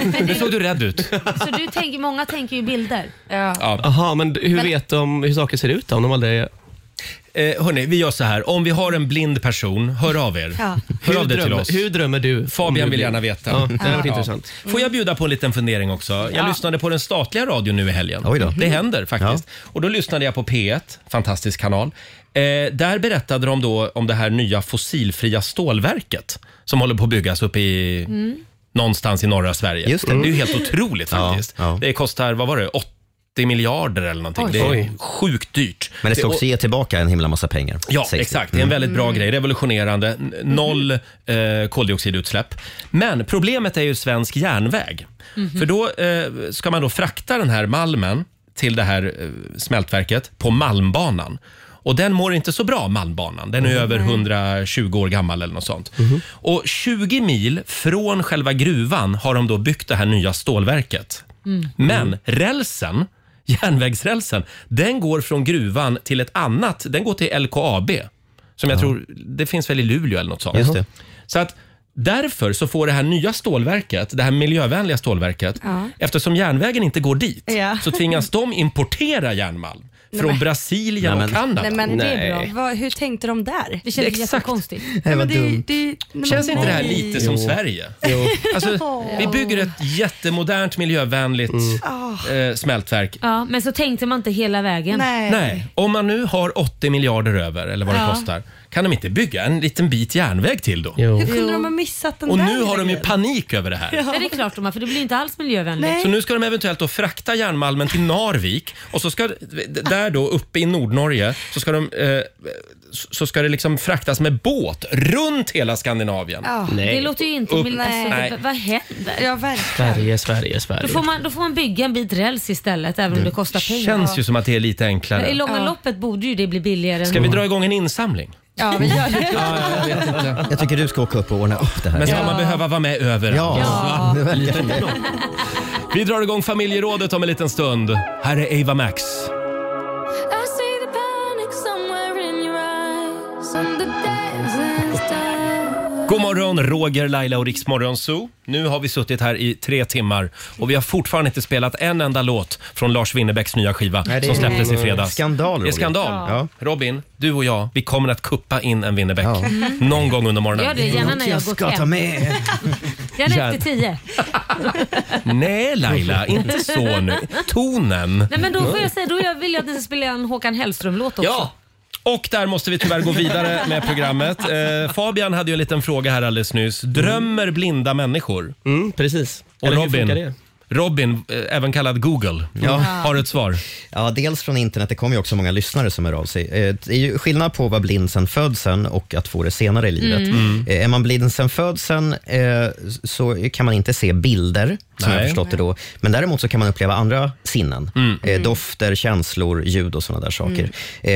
Speaker 2: men
Speaker 8: Nu
Speaker 2: det,
Speaker 8: såg du rädd ut.
Speaker 2: så du tänker, många tänker ju bilder. Ja.
Speaker 8: Jaha, men d- hur vet de hur saker ser ut då, om de aldrig...
Speaker 1: Eh, hörni, vi gör så här. Om vi har en blind person, hör av er.
Speaker 8: Ja.
Speaker 1: Hör
Speaker 8: Hur
Speaker 1: av dig till
Speaker 8: drömmer-
Speaker 1: oss.
Speaker 8: hur drömmer du? Om
Speaker 1: Fabian
Speaker 8: du
Speaker 1: vill
Speaker 8: blir-
Speaker 1: gärna veta.
Speaker 8: Ja, det hade varit intressant.
Speaker 1: Får jag bjuda på en liten fundering också? Jag
Speaker 8: Ja.
Speaker 1: lyssnade på den statliga radion nu i helgen. Det händer faktiskt. Och då lyssnade jag på P1, fantastisk kanal. Eh, där berättade de då om det här nya fossilfria stålverket som håller på att byggas uppe i
Speaker 8: Mm.
Speaker 1: någonstans i norra Sverige.
Speaker 14: Just det.
Speaker 1: är ju helt otroligt faktiskt.
Speaker 3: Ja, ja.
Speaker 1: Det kostar, vad var det, 80 miljarder eller någonting.
Speaker 3: Oj.
Speaker 1: Det är
Speaker 3: Oj.
Speaker 1: sjukt dyrt.
Speaker 3: Men det ska också
Speaker 1: och-
Speaker 3: ge tillbaka en himla massa pengar.
Speaker 1: Ja,
Speaker 3: sägs det.
Speaker 1: exakt. Det är en
Speaker 3: Mm.
Speaker 1: väldigt bra grej. Revolutionerande. N- Noll eh, koldioxidutsläpp. Men problemet är ju svensk järnväg.
Speaker 2: Mm.
Speaker 14: Mhm.
Speaker 1: För då eh, ska man då frakta den här malmen till det här eh, smältverket på Malmbanan. Och den mår inte så bra, Malmbanan. Den är
Speaker 8: Mhm.
Speaker 1: över 120 år gammal eller något sånt. Och 20 mil från själva gruvan har de då byggt det här nya stålverket.
Speaker 2: Mm.
Speaker 7: Mm.
Speaker 1: Men rälsen, järnvägsrälsen, den går från gruvan till ett annat. Den går till LKAB. Som jag tror, det finns väl i Luleå eller något sånt.
Speaker 3: Just det.
Speaker 1: Så att därför så får det här nya stålverket, det här miljövänliga stålverket,
Speaker 7: Ja.
Speaker 1: eftersom järnvägen inte går dit,
Speaker 7: Ja.
Speaker 1: så tvingas de importera järnmalm
Speaker 7: Nej,
Speaker 1: från
Speaker 7: men-
Speaker 1: Brasilien och Kanada.
Speaker 7: Nej, men det är bra. Vad, hur tänkte de där? Det
Speaker 2: kändes Exakt.
Speaker 7: jättekonstigt.
Speaker 1: Nej, vad dumt.
Speaker 7: det, nej,
Speaker 1: Känns
Speaker 7: men
Speaker 1: inte det här
Speaker 7: nej.
Speaker 1: lite som Sverige? Alltså, vi bygger ett jättemodernt, miljövänligt
Speaker 7: Mm. Ah.
Speaker 1: eh, smältverk.
Speaker 2: Ja, men så tänkte man inte hela vägen.
Speaker 1: Nej, om man nu har 80 miljarder över, eller vad det
Speaker 2: Ja.
Speaker 1: kostar, kan de inte bygga en liten bit järnväg till då?
Speaker 7: Hur kunde de ha missat den
Speaker 1: Och
Speaker 7: där?
Speaker 1: nu har de ju panik över det här.
Speaker 2: Ja. Det är klart de har, för det blir inte alls miljövänligt.
Speaker 1: Så nu ska de eventuellt då frakta järnmalmen till Narvik och så ska d- där då uppe i Nordnorge så ska, de, eh, s- så ska det liksom fraktas med båt runt hela Skandinavien.
Speaker 2: Ja, det låter ju inte...
Speaker 1: Upp-
Speaker 2: mil- alltså,
Speaker 1: nej.
Speaker 2: v- Vad händer?
Speaker 7: Ja, verkligen.
Speaker 1: Sverige, Sverige,
Speaker 2: Då
Speaker 1: Sverige.
Speaker 2: får, man, då får man bygga en bit räls istället även om det kostar pengar.
Speaker 1: Känns ju som att det är lite
Speaker 2: Men I
Speaker 1: enklare.
Speaker 2: långa loppet borde ju det bli billigare.
Speaker 1: Ska
Speaker 2: än-
Speaker 1: vi dra igång en insamling?
Speaker 2: Ja, vi gör det.
Speaker 3: Jag tycker du ska åka upp och ordna upp det här.
Speaker 1: Men ska man behöva vara med överallt?
Speaker 3: Ja.
Speaker 1: Va? Vi drar igång familjerådet om en liten stund. Här är Ava Max.
Speaker 6: I see the panic somewhere in your eyes on the dancing star.
Speaker 1: God morgon, Roger, Laila och Riksmorgon Zoo. Nu har vi suttit här i tre timmar och vi har fortfarande inte spelat en enda låt från Lars Winnerbäcks nya skiva
Speaker 3: Nej, det
Speaker 1: som
Speaker 3: är
Speaker 1: släpptes i
Speaker 3: en
Speaker 1: fredags.
Speaker 3: skandal,
Speaker 1: Det är
Speaker 3: Roger.
Speaker 1: skandal.
Speaker 3: Ja.
Speaker 1: Robin, du och jag, vi kommer att kuppa in en Winnerbäck någon gång under morgonen.
Speaker 2: Gör det gärna när jag,
Speaker 3: Jag
Speaker 2: gått
Speaker 3: ska
Speaker 2: hem.
Speaker 3: ta med.
Speaker 2: Gärna efter tio.
Speaker 1: Nej, Laila, inte så nu. Tonen.
Speaker 2: Nej, men då får jag säga, då jag vill jag att ni ska spela en Håkan Hellström-låt också.
Speaker 1: Ja! Och där måste vi tyvärr gå vidare med programmet. Eh, Fabian hade ju en liten fråga här alldeles nyss. Drömmer blinda människor?
Speaker 8: Mm. precis.
Speaker 1: Och
Speaker 8: Eller hur
Speaker 1: Robin,
Speaker 8: funkar det?
Speaker 1: Robin, eh, även kallad Google,
Speaker 3: Ja.
Speaker 1: har ett svar.
Speaker 3: Ja, dels från internet. Det kommer ju också många lyssnare som hör av sig. Eh, Det är ju skillnad på att vara blind sen födseln och att få det senare i livet.
Speaker 6: Mm.
Speaker 3: Eh, Är man blind sen födseln eh, så kan man inte se bilder, som jag
Speaker 6: Nej.
Speaker 3: har förstått det då. Men däremot så kan man uppleva andra sinnen.
Speaker 1: Mm.
Speaker 3: Eh, Dofter, känslor, ljud och sådana där saker. Eh,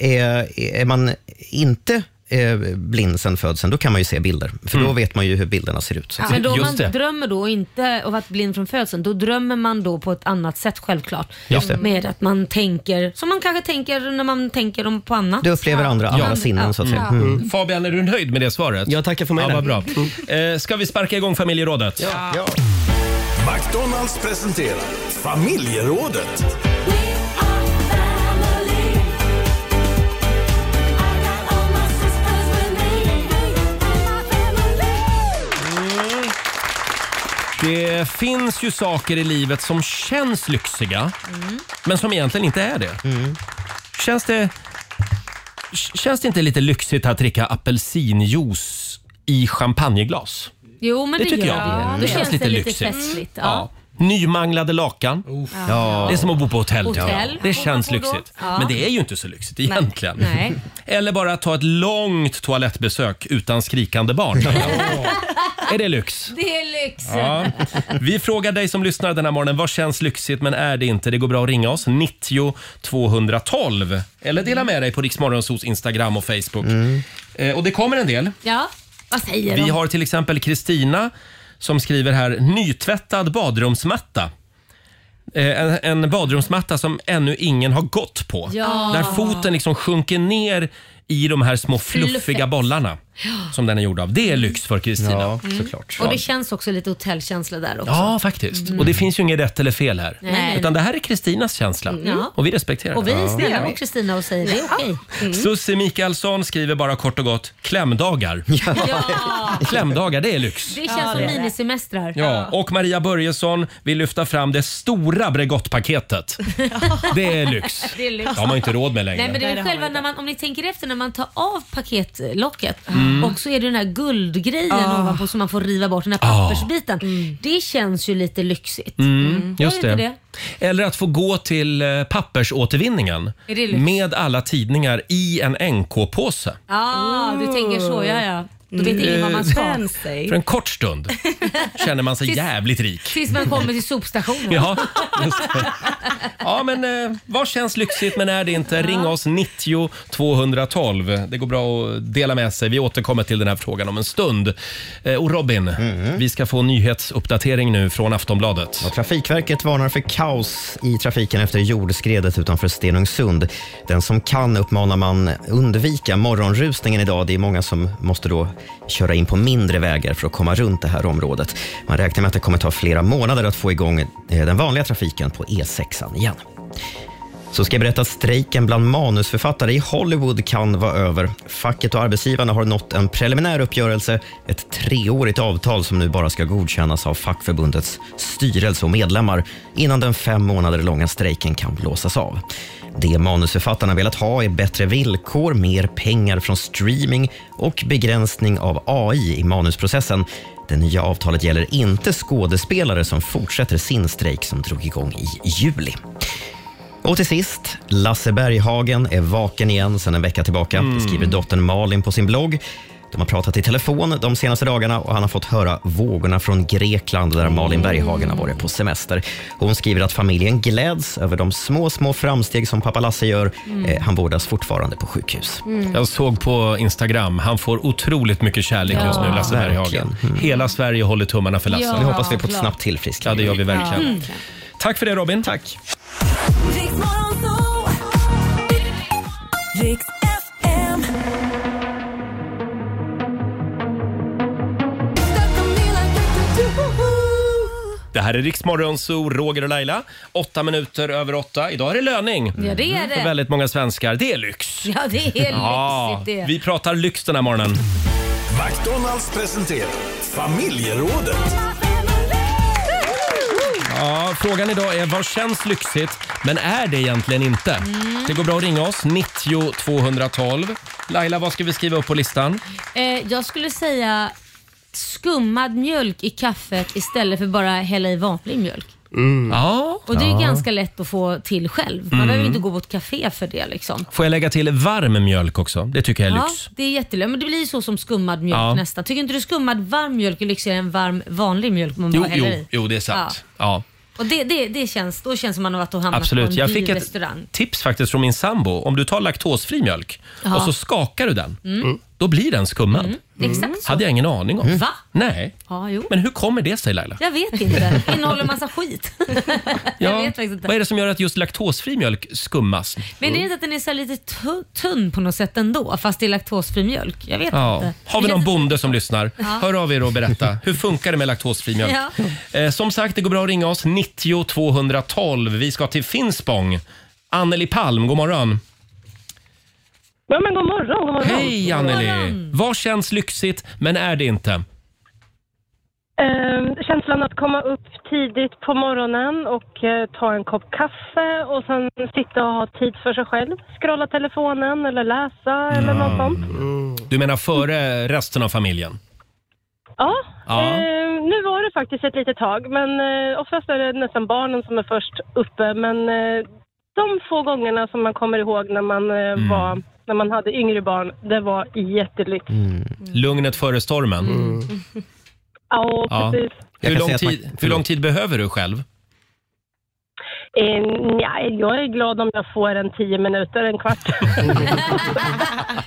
Speaker 3: Är, är man inte eh, blind sen födseln, då kan man ju se bilder. För
Speaker 1: Mm.
Speaker 3: då vet man ju hur bilderna ser ut. så att
Speaker 2: Men då
Speaker 3: säga.
Speaker 2: om man drömmer då och inte och varit blind från födseln, då drömmer man då på ett annat sätt självklart.
Speaker 3: Just det.
Speaker 2: Med att man tänker, som man kanske tänker när man tänker om på annat.
Speaker 3: Du upplever andra- andra sinnen, så att säga.
Speaker 2: Ja.
Speaker 3: Mm.
Speaker 1: Fabian, är du nöjd med det svaret? Jag
Speaker 8: tackar för mig. Mm.
Speaker 1: Ja, vad bra. Eh, ska vi sparka igång familjerådet?
Speaker 9: Ja. McDonalds presenterar familjerådet.
Speaker 1: Det finns ju saker i livet som känns lyxiga,
Speaker 2: Mm.
Speaker 1: men som egentligen inte är det. Känns det... k- Känns det inte lite lyxigt att dricka apelsinjuice i champagneglas?
Speaker 2: Jo, men det,
Speaker 1: tycker
Speaker 2: gör
Speaker 1: jag.
Speaker 2: det.
Speaker 1: Det
Speaker 2: Då
Speaker 1: känns
Speaker 2: känns
Speaker 1: lite
Speaker 2: det lite
Speaker 1: lyxigt.
Speaker 2: festligt.
Speaker 1: Ja.
Speaker 2: Ja.
Speaker 1: Nymanglade lakan.
Speaker 2: Ja.
Speaker 1: Det är som att bo på hotell. tror jag.
Speaker 2: Hotell.
Speaker 1: Det känns
Speaker 2: Får man bo då?
Speaker 1: lyxigt.
Speaker 2: Ja.
Speaker 1: Men det är ju inte så lyxigt
Speaker 2: Nej.
Speaker 1: egentligen.
Speaker 2: Nej.
Speaker 1: Eller bara att ta ett långt toalettbesök utan skrikande barn. Är det lyx?
Speaker 2: Det är lyx.
Speaker 1: Ja. Vi frågar dig som lyssnar den här morgonen, vad känns lyxigt men är det inte? Det går bra att ringa oss, 90 212. Eller dela med dig på Riksmorgonsos Instagram och Facebook. Eh, och det kommer en del.
Speaker 2: Mm. Ja, vad säger
Speaker 1: Vi
Speaker 2: de?
Speaker 1: har till exempel Kristina som skriver här, nytvättad badrumsmatta. Eh, En, en badrumsmatta som ännu ingen har gått på.
Speaker 6: Ja.
Speaker 1: Där foten liksom sjunker ner i de här små fluffiga
Speaker 2: Fluffet.
Speaker 1: bollarna som den är gjord av. Det är lyx för Kristina.
Speaker 3: Ja,
Speaker 2: Mm. Och det känns också lite hotellkänsla där också.
Speaker 1: Ja, faktiskt.
Speaker 2: Mm.
Speaker 1: Och det finns ju inget rätt eller fel här.
Speaker 2: Nej. Mm.
Speaker 1: Utan det här är Kristinas känsla.
Speaker 2: Ja.
Speaker 1: Och vi respekterar
Speaker 2: Och vi
Speaker 1: det.
Speaker 2: är snälla mot Kristina och säger det är okej. Mm.
Speaker 1: Sussi Mikaelsson skriver bara kort och gott klämdagar. Klämdagar, det är lyx.
Speaker 2: Det känns som minisemestrar.
Speaker 1: Ja, och Maria Börjesson vill lyfta fram det stora Bregottpaketet. Det är lyx.
Speaker 2: Det är lyx.
Speaker 1: Det har man ju inte råd med längre.
Speaker 2: Nej men det är väl själva när man, om ni tänker efter när man tar av paketlocket
Speaker 1: Mm.
Speaker 2: och så är det den här guldgrejen
Speaker 7: Ah.
Speaker 2: ovanpå som man får riva bort, den här
Speaker 1: Ah.
Speaker 2: pappersbiten. Det känns ju lite lyxigt.
Speaker 1: Mm, just
Speaker 2: Gör
Speaker 1: det.
Speaker 2: inte
Speaker 1: Eller att få gå till eh, pappersåtervinningen
Speaker 2: Är det lyx?
Speaker 1: med alla tidningar i en NK-påse.
Speaker 2: Ja, Ah, du tänker så. Ja, ja. Då vet ingen vad man ska.
Speaker 1: Mm. För en kort stund känner man sig jävligt rik.
Speaker 2: Tills man kommer till sopstationen.
Speaker 1: Ja, Ja, men eh, vad känns lyxigt men är det inte? Ring oss 90 212. Det går bra att dela med sig. Vi återkommer till den här frågan om en stund. Eh, och Robin,
Speaker 3: Mm.
Speaker 1: vi ska få en nyhetsuppdatering nu från Aftonbladet.
Speaker 3: Ja, Trafikverket varnar för kaos i trafiken efter jordskredet utanför Stenungsund. Den som kan uppmanar man undvika morgonrusningen idag. Det är många som måste då köra in på mindre vägar för att komma runt det här området. Man räknar med att det kommer ta flera månader att få igång eh, den vanliga trafiken på E6 igen. Så ska jag berätta att strejken bland manusförfattare i Hollywood kan vara över. Facket och arbetsgivarna har nått en preliminär uppgörelse, ett treårigt avtal som nu bara ska godkännas av fackförbundets styrelse och medlemmar innan den fem månader långa strejken kan blåsas av. Det manusförfattarna velat ha är bättre villkor, mer pengar från streaming och begränsning av AI i manusprocessen. Det nya avtalet gäller inte skådespelare som fortsätter sin strejk som drog igång i juli. Och till sist, Lasse Berghagen är vaken igen sedan en vecka tillbaka.
Speaker 1: Mm.
Speaker 3: Det skriver dottern Malin på sin blogg. De har pratat i telefon de senaste dagarna och han har fått höra vågorna från Grekland där Malin Berghagen har varit på semester. Hon skriver att familjen gläds över de små, små framsteg som pappa Lasse gör.
Speaker 1: Mm.
Speaker 3: Eh, Han vårdas fortfarande på sjukhus.
Speaker 1: Mm. Jag såg på Instagram, han får otroligt mycket kärlek
Speaker 3: Ja.
Speaker 1: just nu, Lasse Berghagen.
Speaker 3: Verkligen. Mm.
Speaker 1: Hela Sverige håller tummarna för Lasse.
Speaker 3: Ja, Vi hoppas vi på ett klart.
Speaker 1: snabbt
Speaker 3: tillfrisknande.
Speaker 1: Ja, det gör vi
Speaker 6: Ja,
Speaker 2: Mm.
Speaker 1: verkligen.
Speaker 6: verkligen.
Speaker 1: Tack för det Robin. Tack.
Speaker 6: Riks FM.
Speaker 1: Det här är Riksmorgon Zoo, Roger och Laila. Åtta minuter över åtta. Idag är det löning. Mm.
Speaker 2: Ja, det är det.
Speaker 1: För väldigt många svenskar. Det är lyx.
Speaker 2: Ja, det är lyxigt det.
Speaker 1: Vi pratar lyx den här morgonen.
Speaker 9: McDonalds presenterar familjerådet.
Speaker 1: Ja, frågan idag är vad känns lyxigt, men är det egentligen inte?
Speaker 2: Mm.
Speaker 1: Det går bra att ringa oss, 90 212. Laila, vad ska vi skriva upp på listan?
Speaker 2: Eh, jag skulle säga skummad mjölk i kaffet istället för bara hälla i vanlig mjölk.
Speaker 1: Ja.
Speaker 2: Och det är
Speaker 1: Ja.
Speaker 2: ju ganska lätt att få till själv. Man
Speaker 1: Mm.
Speaker 2: behöver inte gå på ett café för det liksom.
Speaker 1: Får jag lägga till varm mjölk också? Det tycker jag är
Speaker 2: Ja,
Speaker 1: lyx.
Speaker 2: det är jättelätt. Men det blir ju så som skummad mjölk
Speaker 1: Ja.
Speaker 2: nästan. Tycker inte du skummad varm mjölk är lyxigare än varm vanlig mjölk man
Speaker 1: Jo,
Speaker 2: bara häller
Speaker 1: jo,
Speaker 2: i?
Speaker 1: jo, det är sant.
Speaker 2: Ja.
Speaker 1: Ja.
Speaker 2: Och det, det, det känns, då känns det som man har varit och handlat på
Speaker 1: Absolut.
Speaker 2: en
Speaker 1: Jag
Speaker 2: dyr
Speaker 1: fick ett
Speaker 2: restaurang.
Speaker 1: tips faktiskt från min sambo. Om du tar laktosfri mjölk
Speaker 2: Ja.
Speaker 1: och så skakar du den,
Speaker 2: Mm.
Speaker 1: då blir den skummad.
Speaker 2: Mm. Exakt så.
Speaker 1: Hade jag ingen aning om.
Speaker 2: Mm. Va?
Speaker 1: Nej.
Speaker 2: Ja, jo.
Speaker 1: Men hur kommer det sig Laila?
Speaker 2: Jag vet inte. Innehåller massa skit. jag vet faktiskt inte.
Speaker 1: Vad är det som gör att just laktosfri mjölk skummas?
Speaker 2: Men det är inte att den är så här lite tu- tunn på något sätt ändå, fast det är laktosfri mjölk? Jag vet
Speaker 1: Ja.
Speaker 2: inte.
Speaker 1: Har vi någon bonde som lyssnar?
Speaker 2: Ja.
Speaker 1: Hör av er och berätta. Hur funkar det med laktosfri mjölk? Eh, som sagt, det går bra att ringa oss. 90 212. Vi ska till Finspång. Anneli Palm, god morgon.
Speaker 14: Ja, men god morgon, god morgon.
Speaker 1: Hej Anneli! Vad känns lyxigt, men är det inte?
Speaker 14: Ehm, känslan att komma upp tidigt på morgonen och eh, ta en kopp kaffe och sen sitta och ha tid för sig själv. Scrolla telefonen eller läsa eller något sånt.
Speaker 1: Du menar före resten av familjen?
Speaker 14: Ja,
Speaker 1: Ja.
Speaker 14: ehm, nu var det faktiskt ett litet tag men eh, oftast är det nästan barnen som är först uppe men eh, de få gångerna som man kommer ihåg när man, eh,
Speaker 1: Mm.
Speaker 14: var, när man hade yngre barn, det var jättelyx.
Speaker 1: Lugnet före stormen?
Speaker 14: Ja,
Speaker 1: Ja.
Speaker 14: Mm. precis.
Speaker 1: Hur, lång tid, hur lång tid behöver du själv?
Speaker 14: Eh, nej, jag är glad om jag får en tio minuter, en kvart.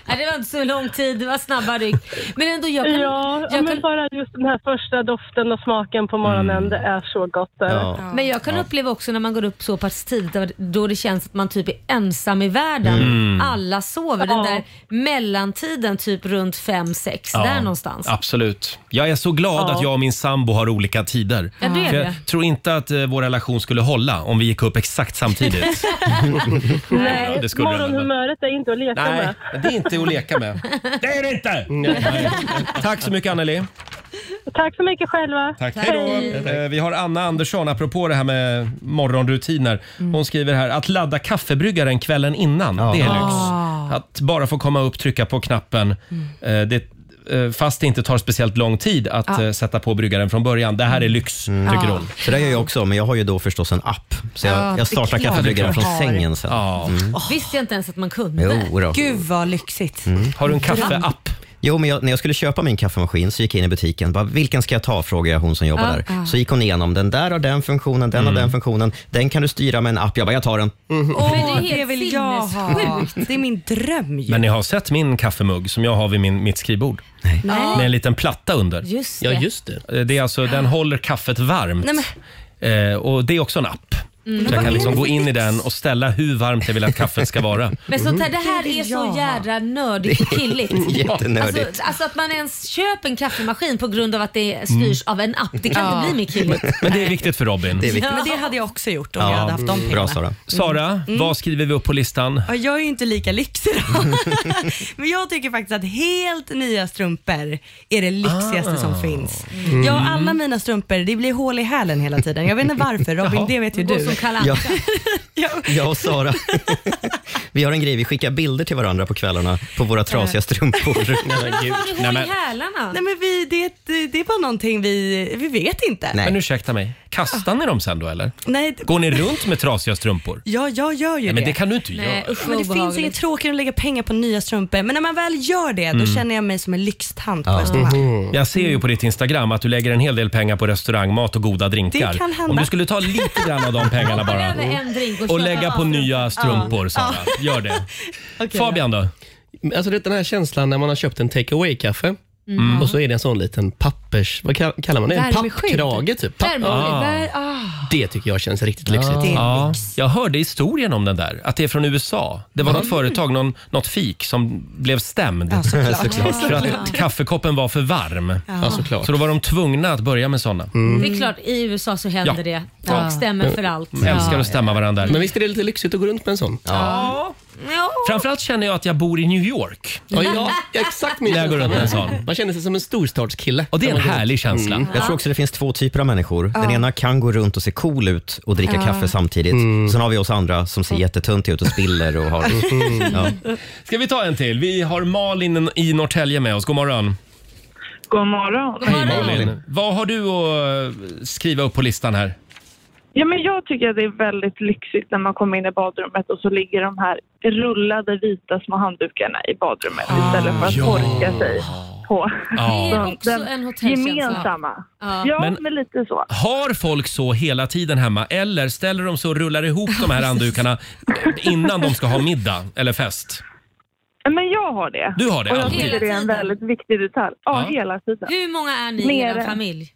Speaker 2: Nej, det var inte så lång tid, det var snabba ryck. Men ändå, jag kan...
Speaker 14: ja,
Speaker 2: jag
Speaker 14: men
Speaker 2: kan
Speaker 14: bara just den här första doften och smaken på morgonen,
Speaker 1: Mm.
Speaker 14: det är så gott. Ja.
Speaker 2: men jag kan uppleva också när man går upp så pass tidigt då det känns att man typ är ensam i världen.
Speaker 1: Mm.
Speaker 2: Alla sover. Den där mellantiden typ runt fem sex
Speaker 1: Ja,
Speaker 2: där någonstans.
Speaker 1: Absolut. Jag är så glad
Speaker 2: Ja.
Speaker 1: att jag och min sambo har olika tider.
Speaker 2: Ja, det är
Speaker 1: För jag
Speaker 2: det.
Speaker 1: tror inte att eh, vår relation skulle hålla om vi gick upp exakt samtidigt.
Speaker 14: Nej,
Speaker 1: Ja, det skulle den väl.
Speaker 14: morgonhumöret är inte att leka
Speaker 1: Nej,
Speaker 14: med.
Speaker 1: det är inte att leka med. Det är det inte! Nej. Tack så mycket Anneli.
Speaker 14: Tack så mycket själva.
Speaker 1: Hej då. Eh, Vi har Anna Andersson, apropå det här med morgonrutiner. Hon skriver här, att ladda kaffebryggaren kvällen innan, det är lyx.
Speaker 6: Ah.
Speaker 1: Att bara få komma upp, trycka på knappen. eh, Det, eh, fast det inte tar speciellt lång tid att
Speaker 3: Ja. Mm.
Speaker 1: eh, sätta på bryggaren från början. Det här är lyx, tycker
Speaker 3: Ja.
Speaker 1: hon.
Speaker 3: Så det gör jag också, men jag har ju då förstås en app. Så jag,
Speaker 2: Ja, det är
Speaker 3: jag startar
Speaker 2: klart
Speaker 3: kaffebryggaren
Speaker 2: du
Speaker 3: från
Speaker 2: har.
Speaker 3: sängen sen. Mm.
Speaker 1: Ja.
Speaker 2: Oh. Visste jag inte ens att man kunde.
Speaker 3: Jo då.
Speaker 7: Gud vad lyxigt.
Speaker 1: Har du en kaffeapp?
Speaker 3: Mm. Jo, men jag, när jag skulle köpa min kaffemaskin så gick jag in i butiken. Bara, Vilken ska jag ta? frågade jag hon som jobbar
Speaker 15: Ja,
Speaker 3: där.
Speaker 15: ja.
Speaker 3: Så gick hon igenom. Den där har den funktionen, den har den funktionen. Den kan du styra med en app. Jag bara, jag tar den.
Speaker 6: Mm.
Speaker 7: Åh,
Speaker 2: Men det är
Speaker 7: det,
Speaker 2: helt
Speaker 7: vill jag ha.
Speaker 2: sinnessjukt.
Speaker 7: Det är min dröm ju.
Speaker 1: Men ni har sett min kaffemugg som jag har vid min, mitt skrivbord? Nej.
Speaker 7: Nej.
Speaker 1: Med en liten platta under.
Speaker 7: Just det. Ja, just
Speaker 1: det. är alltså, den håller kaffet varmt.
Speaker 7: Nej, men,
Speaker 1: Eh, och det är också en app.
Speaker 2: Mm.
Speaker 1: Så
Speaker 2: Men
Speaker 1: jag
Speaker 2: vad
Speaker 1: kan
Speaker 2: är
Speaker 1: liksom
Speaker 2: det
Speaker 1: gå
Speaker 2: för
Speaker 1: in i den och ställa hur varmt jag vill att kaffet ska vara.
Speaker 2: Men sånt här, det här
Speaker 7: Det vill
Speaker 2: är
Speaker 7: jag
Speaker 2: så
Speaker 7: ha.
Speaker 2: jädra nördigt och killigt.
Speaker 1: Jättenördigt.
Speaker 2: Alltså, alltså att man ens köper en kaffemaskin på grund av att det styrs av en app, det kan
Speaker 7: Ja.
Speaker 2: inte bli mer killigt.
Speaker 1: Mm. Men, men det är viktigt för Robin.
Speaker 7: det men det hade jag också gjort om
Speaker 1: Ja.
Speaker 7: jag hade haft de
Speaker 1: Mm.
Speaker 7: pengarna.
Speaker 1: Bra, Sara. Sara,
Speaker 7: Mm.
Speaker 1: vad skriver vi upp på listan?
Speaker 7: Ja, Jag är ju inte lika lyxig då. Men jag tycker faktiskt att helt nya strumpor är det lyxigaste
Speaker 1: Ah.
Speaker 7: som finns.
Speaker 1: Mm.
Speaker 7: Jag och alla mina strumpor, det blir hål i hälen hela tiden. Jag vet inte varför Robin,
Speaker 3: Jaha.
Speaker 7: det vet ju
Speaker 3: Går
Speaker 7: du.
Speaker 3: som Kalle Anka. Ja. Jag och Sara, vi har en grej. Vi skickar bilder till varandra på kvällarna på våra trasiga strumpor.
Speaker 7: Nej, men, Nej, men vi, det, det, det är bara någonting vi, vi vet inte.
Speaker 1: Men ursäkta mig, kastar ni dem sen då eller?
Speaker 7: Nej,
Speaker 1: Går ni runt med trasiga strumpor?
Speaker 7: Ja, jag gör ju
Speaker 1: Nej,
Speaker 7: det.
Speaker 1: men det kan du inte Nej, göra. usch,
Speaker 7: men
Speaker 1: vad
Speaker 7: det finns
Speaker 1: obehagligt.
Speaker 7: inget tråkigare än att lägga pengar på nya strumpor. Men när man väl gör det, då
Speaker 1: Mm.
Speaker 7: känner jag mig som en lyxtant på restaurang.
Speaker 1: Mm-hmm. Jag ser ju på ditt Instagram att du lägger en hel del pengar på restaurangmat och goda drinkar.
Speaker 7: Det kan hända.
Speaker 1: Om du skulle ta lite grann av de pengarna
Speaker 2: Hoppa
Speaker 1: bara
Speaker 2: över en drink och
Speaker 1: och
Speaker 2: köpa
Speaker 1: lägga på
Speaker 2: bara
Speaker 1: nya strumpor,
Speaker 8: Ja.
Speaker 1: Sara. Gör det. Fabian då?
Speaker 8: Alltså det är den här känslan när man har köpt en take away-kaffe
Speaker 1: Mm.
Speaker 8: och så är det en sån liten pappers... Vad kall- kallar man det? En
Speaker 1: Värmeskydd.
Speaker 8: pappkrage typ. Papp-
Speaker 1: Värmeskydd. Vär-
Speaker 2: ah.
Speaker 8: Det tycker jag känns riktigt lyxigt.
Speaker 1: Ah. Ja. Jag hörde historien om den där, att det är från USA. Det var
Speaker 8: Mm.
Speaker 1: något företag, någon, något fik som blev stämd
Speaker 8: Ja, såklart. Såklart.
Speaker 1: för att kaffekoppen var för varm.
Speaker 8: Ja, såklart. Mm.
Speaker 1: Så då var de tvungna att börja med sådana.
Speaker 2: Mm. Det är klart, i USA så händer
Speaker 1: Mm. Ja.
Speaker 2: det. Folk
Speaker 1: Ja.
Speaker 2: stämmer för allt.
Speaker 1: De älskar att stämma varandra.
Speaker 8: Men visst är det lite lyxigt att gå runt med en sån?
Speaker 1: Ja. Framförallt känner jag att jag bor i New York.
Speaker 8: Ja, ja, exakt min
Speaker 1: När jag går runt med en sån.
Speaker 8: Man känner sig som en storstadskille.
Speaker 1: Och det är en
Speaker 8: När man går
Speaker 1: härlig
Speaker 8: runt.
Speaker 1: känsla.
Speaker 8: Mm.
Speaker 3: Jag tror också det finns två typer av människor. Den
Speaker 8: Ja.
Speaker 3: ena kan gå runt och se cool ut och dricka
Speaker 8: Ja.
Speaker 3: kaffe samtidigt. Sen har vi oss andra som ser jättetunt ut och spiller och har...
Speaker 1: Mm.
Speaker 3: Ja.
Speaker 1: Ska vi ta en till? Vi har Malin i Norrtälje med oss. God morgon.
Speaker 16: God morgon.
Speaker 1: Hej Malin. Vad har du att eh, skriva upp på listan här?
Speaker 16: Ja, men jag tycker att det är väldigt lyxigt när man kommer in i badrummet och så ligger de här rullade vita små handdukarna i badrummet
Speaker 2: Ah,
Speaker 16: istället för att torka sig på.
Speaker 1: Ja. Det är
Speaker 16: Så
Speaker 2: också
Speaker 16: den
Speaker 2: en hotellkänsla.
Speaker 16: Gemensamma.
Speaker 2: Ja.
Speaker 16: Ja,
Speaker 1: Men-
Speaker 16: men, lite så.
Speaker 1: Har folk så hela tiden hemma eller ställer de så och rullar ihop de här handdukarna innan de ska ha middag eller fest?
Speaker 16: Men jag har det.
Speaker 1: Du har det,
Speaker 16: Och jag
Speaker 1: alltid.
Speaker 16: tycker det är en väldigt viktig detalj. Ja,
Speaker 1: Ja.
Speaker 16: hela tiden.
Speaker 2: Hur många är ni i
Speaker 16: Mer
Speaker 2: er
Speaker 16: än-
Speaker 2: familj?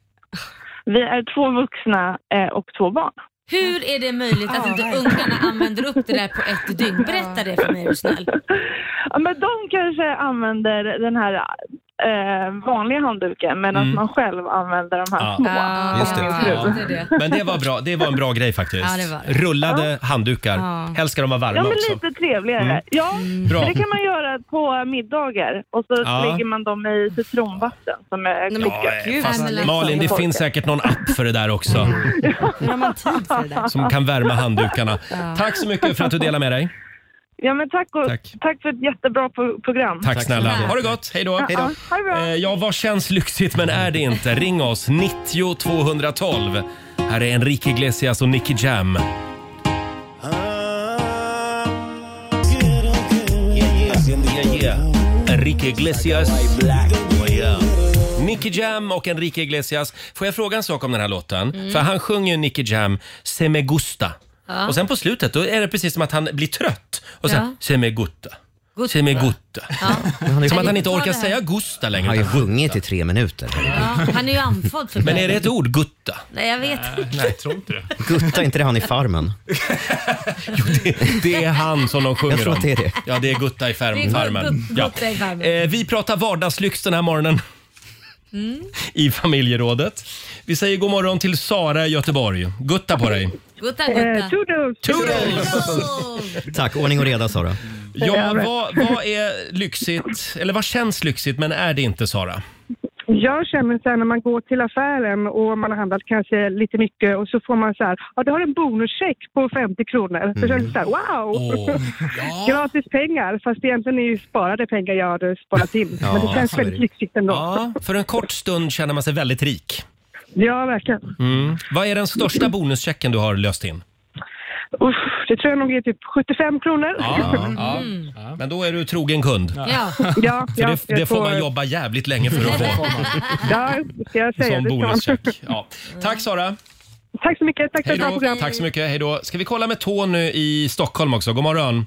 Speaker 16: Vi är två vuxna eh, och två barn.
Speaker 2: Hur är det möjligt att inte ungarna använder upp det där på ett dygn? Berätta det för mig är du snäll.
Speaker 16: Ja, men de kanske använder den här eh, vanliga handduken medan
Speaker 1: Mm.
Speaker 16: man själv använder de här
Speaker 1: Ja.
Speaker 16: små.
Speaker 1: Ah, just det.
Speaker 16: Ja.
Speaker 1: Men det var, bra, det var en bra grej faktiskt.
Speaker 16: Ja, det var det.
Speaker 1: Rullade handdukar.
Speaker 16: Ja.
Speaker 1: Helst ska de vara varma
Speaker 16: Ja, men
Speaker 1: också.
Speaker 16: lite trevligare.
Speaker 1: Mm.
Speaker 16: Ja,
Speaker 1: Bra.
Speaker 16: men det kan man göra på middagar och så
Speaker 1: Ja.
Speaker 16: lägger man dem i citronvatten som är kokat.
Speaker 1: Ja, fast Malin, det finns säkert någon app för det där också
Speaker 16: Mm.
Speaker 7: Hur har man tid för det där?
Speaker 1: som kan värma handdukarna.
Speaker 16: Ja.
Speaker 1: Tack så mycket för att du delar med dig.
Speaker 16: Ja, men tack, och,
Speaker 1: Tack.
Speaker 16: tack. för ett jättebra po- program.
Speaker 1: Tack snälla. Ha det gott. Hej då.
Speaker 16: Ja, ja. Ha det bra.
Speaker 1: Eh, Ja, vad känns lyxigt men är det inte? Ring oss, 90 212. Här är Enrique Iglesias och Nicky Jam. Yeah, yeah. Enrique Iglesias. Yeah. Nicky Jam och Enrique Iglesias. Får jag fråga en sak om den här låten?
Speaker 2: Mm.
Speaker 1: För han sjunger ju Nicky Jam, Se me gusta.
Speaker 2: Ja.
Speaker 1: Och sen på slutet då är det precis som att han blir trött och sen
Speaker 2: Ja.
Speaker 1: Se me gutta. Se me gutta. Som att han inte orkar säga gusta längre.
Speaker 3: Han har ju sjungit i tre minuter.
Speaker 2: Ja, han är ju andfådd för
Speaker 1: Men är det ett
Speaker 2: kväll.
Speaker 1: ord, gutta?
Speaker 2: Nej, jag vet inte.
Speaker 1: Nej, jag tror inte det.
Speaker 3: Gutta, är inte det han i Farmen?
Speaker 1: Det är han som de sjunger
Speaker 3: Jag tror
Speaker 1: om.
Speaker 3: att det är det.
Speaker 1: Ja, det är Gutta i
Speaker 2: Det är
Speaker 1: färm-
Speaker 2: gu-
Speaker 1: farmen. Mm.
Speaker 2: gu-
Speaker 1: Ja.
Speaker 2: gutta i farmen.
Speaker 1: Eh, vi pratar vardagslyx den här morgonen i familjerådet. Vi säger god morgon till Sara i Göteborg. Gutta på dig!
Speaker 2: Gutta,
Speaker 16: Eh,
Speaker 2: gutta.
Speaker 16: toodles.
Speaker 3: Tack, ordning och reda Sara.
Speaker 1: Ja, vad, vad är lyxigt, eller vad känns lyxigt men är det inte Sara?
Speaker 17: Jag känner så här när man går till affären och man har handlat kanske lite mycket och så får man så här, ja du har en bonuscheck på 50 kronor. Så känns det så här, wow!
Speaker 1: Mm. Åh,
Speaker 17: Gratis pengar, fast egentligen är det ju sparade pengar jag hade sparat in.
Speaker 1: Ja,
Speaker 17: Men det känns
Speaker 1: så är det.
Speaker 17: väldigt lyxigt ändå.
Speaker 1: Ja, för en kort stund känner man sig väldigt rik.
Speaker 17: ja verkligen.
Speaker 1: Mm. Vad är den största bonuschecken du har löst in?
Speaker 17: Usch, det tror jag nog är typ 75 kronor.
Speaker 1: Ja, ja. Men då är du trogen kund.
Speaker 17: Ja. Ja,
Speaker 1: För
Speaker 17: ja,
Speaker 1: det, det
Speaker 17: jag
Speaker 1: får man
Speaker 17: får-
Speaker 1: jobba jävligt länge för att få.
Speaker 17: Ja, det ska jag säga. Det
Speaker 1: Som
Speaker 17: ska man.
Speaker 1: bonuscheck. Ja. Tack Sara!
Speaker 17: Tack så mycket. Tack för
Speaker 1: Hej
Speaker 17: ett bra
Speaker 1: då.
Speaker 17: program.
Speaker 1: Tack så mycket, hej då. Ska vi kolla med Tony i Stockholm också? God morgon.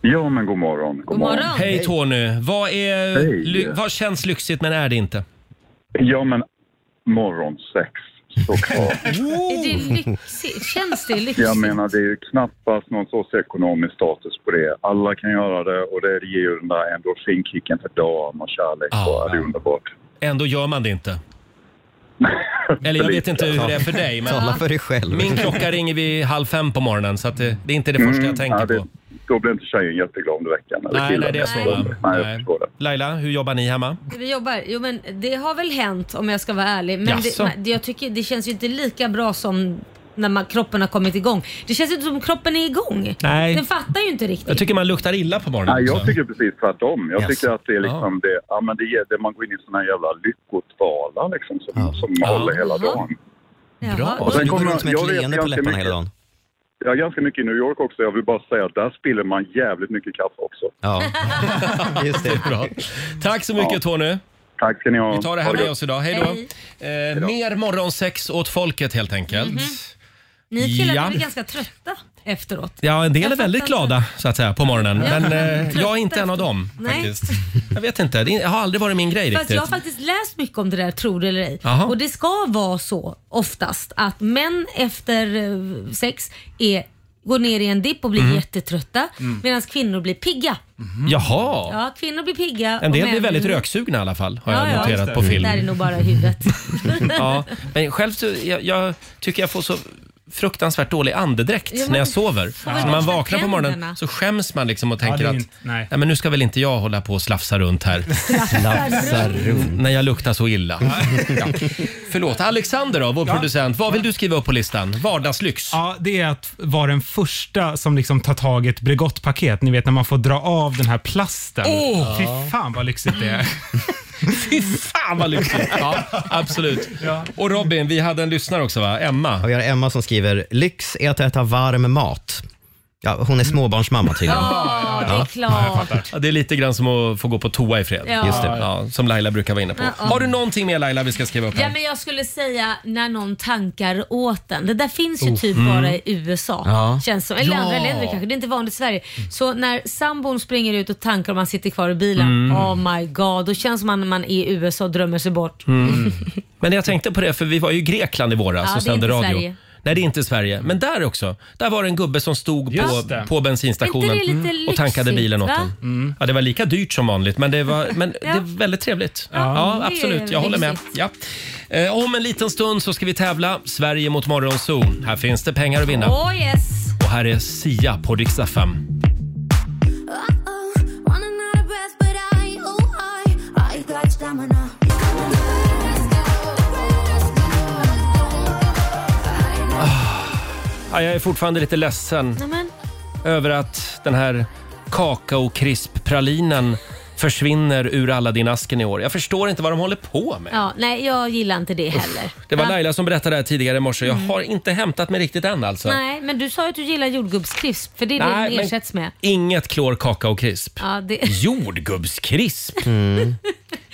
Speaker 15: Ja, men god morgon. God,
Speaker 1: Hej Tony! Vad, är,
Speaker 15: Hej.
Speaker 1: ly, vad känns lyxigt men är det inte?
Speaker 15: Ja, men morgonsex såklart.
Speaker 2: Är det lyxigt? Känns det lyxigt?
Speaker 15: Jag menar, det är ju knappast någon socioekonomisk status på det. Alla kan göra det och det ger ju den där endorfinkicken för dagen och kärlek.
Speaker 1: Ah.
Speaker 15: och det är underbart.
Speaker 1: Ändå gör man det inte. Eller jag vet inte hur det är för dig. Men
Speaker 15: Tala för dig själv.
Speaker 1: Min klocka ringer vid halv fem på morgonen så att det, det är inte det första jag tänker
Speaker 15: Mm, ja, det,
Speaker 1: på.
Speaker 15: Då blir inte tjejen jätteglad under veckan. eller
Speaker 1: Nej,
Speaker 15: killen.
Speaker 1: nej, det är så, va?
Speaker 15: Nej,
Speaker 1: Nej.
Speaker 15: jag förstår det.
Speaker 1: Laila, hur jobbar ni hemma?
Speaker 2: Vi jobbar. Jo men det har väl hänt om jag ska vara ärlig. Men det,
Speaker 1: Jaså?
Speaker 2: nej, det, jag tycker, det känns ju inte lika bra som när man, kroppen har kommit igång. Det känns inte som kroppen är igång.
Speaker 1: Nej.
Speaker 2: Den fattar ju inte riktigt.
Speaker 1: Jag tycker man luktar illa på morgonen.
Speaker 15: Nej, jag
Speaker 1: också.
Speaker 15: tycker precis tvärtom. Jag
Speaker 1: Yes.
Speaker 15: tycker att det är liksom det, ja, men det, är- det, man går in i sådana jävla lyckotvalar liksom som, som håller hela dagen.
Speaker 3: Bra.
Speaker 15: Och
Speaker 3: Och så
Speaker 15: sen
Speaker 3: du går
Speaker 15: kommer-
Speaker 3: runt med
Speaker 15: jag
Speaker 3: ett
Speaker 15: vet
Speaker 3: leende på
Speaker 15: ganska
Speaker 3: läpparna
Speaker 15: mycket.
Speaker 3: hela dagen.
Speaker 15: Jag är ganska mycket i New York också. Jag vill bara säga att där spiller man jävligt mycket kaffe också.
Speaker 3: Ja, just det.
Speaker 1: Bra. Tack så mycket
Speaker 15: Ja.
Speaker 1: Tony.
Speaker 15: Tack ska ni ha.
Speaker 1: Vi tar det här
Speaker 15: Ha
Speaker 1: med
Speaker 15: gött.
Speaker 1: oss idag. Hej då. Eh, mer morgonsex åt folket helt enkelt.
Speaker 2: Mhm. Ni killar
Speaker 1: Ja.
Speaker 2: är väl ganska trötta efteråt?
Speaker 1: Ja, en del är väldigt glada så att säga på morgonen.
Speaker 2: Ja.
Speaker 1: Men eh, jag är inte en av dem
Speaker 2: Nej.
Speaker 1: faktiskt. Jag vet inte, det har aldrig varit min grej
Speaker 2: Fast jag har
Speaker 1: riktigt.
Speaker 2: faktiskt läst mycket om det där, tror det eller ej.
Speaker 1: Jaha.
Speaker 2: Och det ska vara så oftast att män efter eh, sex är, går ner i en dipp och blir
Speaker 1: Mm.
Speaker 2: jättetrötta
Speaker 1: Mm.
Speaker 2: medan kvinnor blir pigga.
Speaker 1: Jaha!
Speaker 2: Ja, kvinnor blir pigga.
Speaker 1: En
Speaker 2: och
Speaker 1: del
Speaker 2: män
Speaker 1: blir väldigt röksugna i alla fall har
Speaker 2: Ja,
Speaker 1: jag
Speaker 2: ja.
Speaker 1: noterat på film.
Speaker 2: Det där är nog bara i huvudet.
Speaker 1: Ja, men själv så, jag, jag tycker jag får så fruktansvärt dålig andedräkt
Speaker 2: Ja, men-
Speaker 1: när jag sover. Så
Speaker 2: Får väl
Speaker 1: när man
Speaker 2: borsta
Speaker 1: vaknar på morgonen
Speaker 2: tänderna.
Speaker 1: så skäms man liksom och tänker
Speaker 4: det är
Speaker 1: att
Speaker 4: inte- nej.
Speaker 1: nej, men nu ska väl inte jag hålla på och slafsa runt här.
Speaker 4: Slafsa
Speaker 1: runt. När jag luktar så illa. ja. Förlåt, Alexander då, vår producent. Vad vill du skriva upp på listan? Vardagslyx?
Speaker 4: Ja, det är att vara den första som liksom tar tag i ett Bregottpaket. Ni vet när man får dra av den här plasten.
Speaker 1: Åh!
Speaker 4: Fy fan vad lyxigt det är.
Speaker 1: Fy fan vad lyxigt! Ja, absolut. Och Robin, vi hade en lyssnare också va? Emma?
Speaker 3: Och vi har Emma som skriver, lyx är att äta varm mat. Ja, hon är småbarnsmamma tydligen.
Speaker 2: Ja, det är klart.
Speaker 1: Ja, det är lite grann som att få gå på toa i fred.
Speaker 2: Ja. Just det.
Speaker 1: Ja, som Laila brukar vara inne på.
Speaker 2: Ja, ja.
Speaker 1: Har du någonting mer Laila vi ska skriva upp här?
Speaker 2: Ja, men jag skulle säga när någon tankar åt en. Det där finns ju
Speaker 1: Oh.
Speaker 2: typ
Speaker 1: Mm.
Speaker 2: bara i USA.
Speaker 1: Ja.
Speaker 2: Känns som, eller
Speaker 1: Ja.
Speaker 2: andra länder kanske. Det är inte vanligt i Sverige. Så när sambon springer ut och tankar och man sitter kvar i bilen.
Speaker 1: Mm.
Speaker 2: Oh my god. Då känns man när man är i USA och drömmer sig bort.
Speaker 1: Mm. Men jag tänkte på det, för vi var ju i Grekland i våras
Speaker 2: Ja,
Speaker 1: och
Speaker 2: det är
Speaker 1: sände
Speaker 2: inte
Speaker 1: radio.
Speaker 2: Sverige.
Speaker 1: Nej, det är inte Sverige. Men där också. Där var det en gubbe som stod på,
Speaker 2: Just det.
Speaker 1: på bensinstationen Mm.
Speaker 2: Inte det lite
Speaker 1: och tankade
Speaker 2: lyxigt,
Speaker 1: bilen åt
Speaker 2: va?
Speaker 1: en. Ja, det var lika dyrt som vanligt, men det var, men
Speaker 2: Ja.
Speaker 1: det var väldigt trevligt. Ja,
Speaker 2: Ja. Det är
Speaker 1: absolut. Jag håller med. Ja. Eh, om en liten stund så ska vi tävla Sverige mot Morgonzoo. Här finns det pengar att vinna.
Speaker 2: Oh yes.
Speaker 1: Och här är Sia på riksdag 5.
Speaker 6: Running out of breath, but I, oh, I, I got stamina.
Speaker 1: Ja, jag är fortfarande lite ledsen
Speaker 2: Nämen.
Speaker 1: över att den här kakaokrisppralinen försvinner ur alla din asken i år. Jag förstår inte vad de håller på med.
Speaker 2: Ja, nej, jag gillar inte det heller.
Speaker 1: Det var Laila som berättade det här tidigare i morse. Jag har inte hämtat mig riktigt än alltså.
Speaker 2: Mm. Nej, men du sa ju att du gillar jordgubbskrisp för det är det
Speaker 1: Nej,
Speaker 2: den
Speaker 1: men-
Speaker 2: ersätts med.
Speaker 1: Inget klor, kakaokrisp.
Speaker 2: Ja, det...
Speaker 1: Jordgubbskrisp?
Speaker 3: Mm.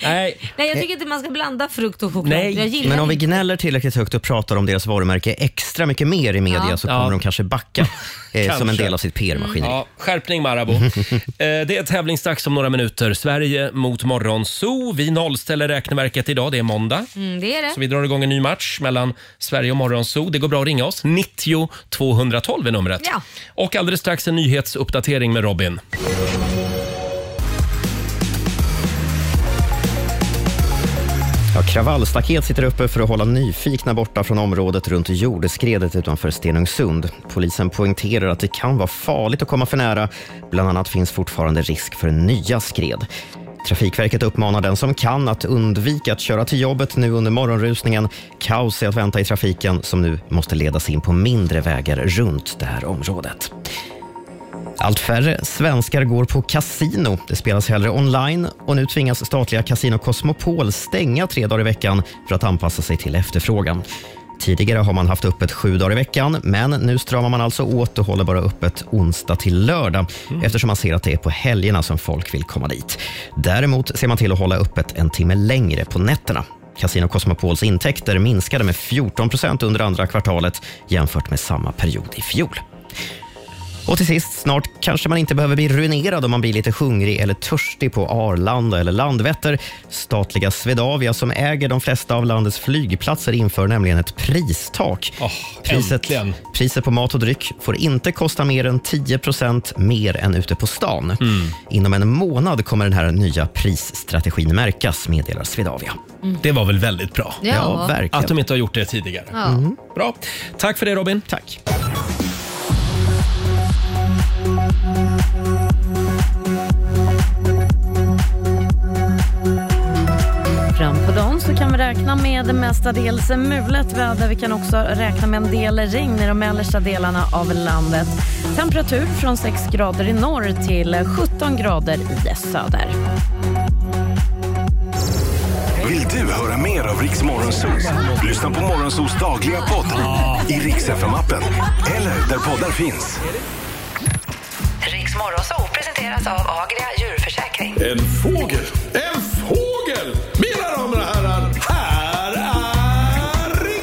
Speaker 1: Nej.
Speaker 2: Nej, jag tycker inte man ska blanda frukt och choklad. Jag
Speaker 3: Nej,
Speaker 2: gillar
Speaker 3: men om vi
Speaker 2: inte.
Speaker 3: gnäller tillräckligt högt och pratar om deras varumärke extra mycket mer i media
Speaker 2: Ja. Mm.
Speaker 3: så kommer
Speaker 2: Ja.
Speaker 3: de kanske backa eh, som en
Speaker 1: Kanske. Mm.
Speaker 3: del av sitt PR-maskineri.
Speaker 1: Ja, skärpning Marabou. eh, det är tävlingsdags om några minuter. Sverige mot Morgonzoo. Vi nollställer räkneverket idag. Det är måndag.
Speaker 2: Mm, det är det.
Speaker 1: Så vi drar igång en ny match mellan Sverige och Morgonzoo. Det går bra att ringa oss. 90 212 är numret.
Speaker 2: Ja.
Speaker 1: Och alldeles strax en nyhetsuppdatering med Robin.
Speaker 3: Ja, kravallstaket sitter uppe för att hålla nyfikna borta från området runt jordskredet utanför Stenungsund. Polisen poängterar att det kan vara farligt att komma för nära. Bland annat finns fortfarande risk för nya skred. Trafikverket uppmanar den som kan att undvika att köra till jobbet nu under morgonrusningen. Kaos är att vänta i trafiken som nu måste ledas in på mindre vägar runt det här området. Allt färre svenskar går på kasino. Det spelas hellre online och nu tvingas statliga Casino Cosmopol stänga tre dagar i veckan för att anpassa sig till efterfrågan. Tidigare har man haft öppet sju dagar i veckan, men nu stramar man alltså åt och håller bara öppet onsdag till lördag eftersom man ser att det är på helgerna som folk vill komma dit. Däremot ser man till att hålla öppet en timme längre på nätterna. Casino Cosmopols intäkter minskade med 14 procent under andra kvartalet jämfört med samma period i fjol. Och till sist, snart kanske man inte behöver bli ruinerad om man blir lite hungrig eller törstig på Arlanda eller Landvetter. Statliga Swedavia som äger de flesta av landets flygplatser inför nämligen ett pristak. priset, priset på mat och dryck får inte kosta mer än 10 mer än ute på stan.
Speaker 1: Mm.
Speaker 3: Inom en månad kommer den här nya prisstrategin märkas, meddelar Swedavia.
Speaker 2: Mm.
Speaker 1: Det var väl väldigt bra?
Speaker 2: Ja. Ja, verkligen.
Speaker 1: Att de inte har gjort det tidigare.
Speaker 2: Ja.
Speaker 1: Mhm. Bra. Tack för det Robin. Tack.
Speaker 18: Fram på dagen så kan vi räkna med mestadels mulet väder. Vi kan också räkna med en del regn i de mellersta delarna av landet. Temperatur från 6 grader i norr till 17 grader i söder.
Speaker 19: Vill du höra mer av Riks Morgonzoos? Lyssna på Morgonzoos dagliga podd i Riks FM-appen eller där poddar finns.
Speaker 20: Riks Morgonzoo presenteras av Agria djurförsäkring.
Speaker 19: En fågel, en fågel! Mina damer och herrar, här är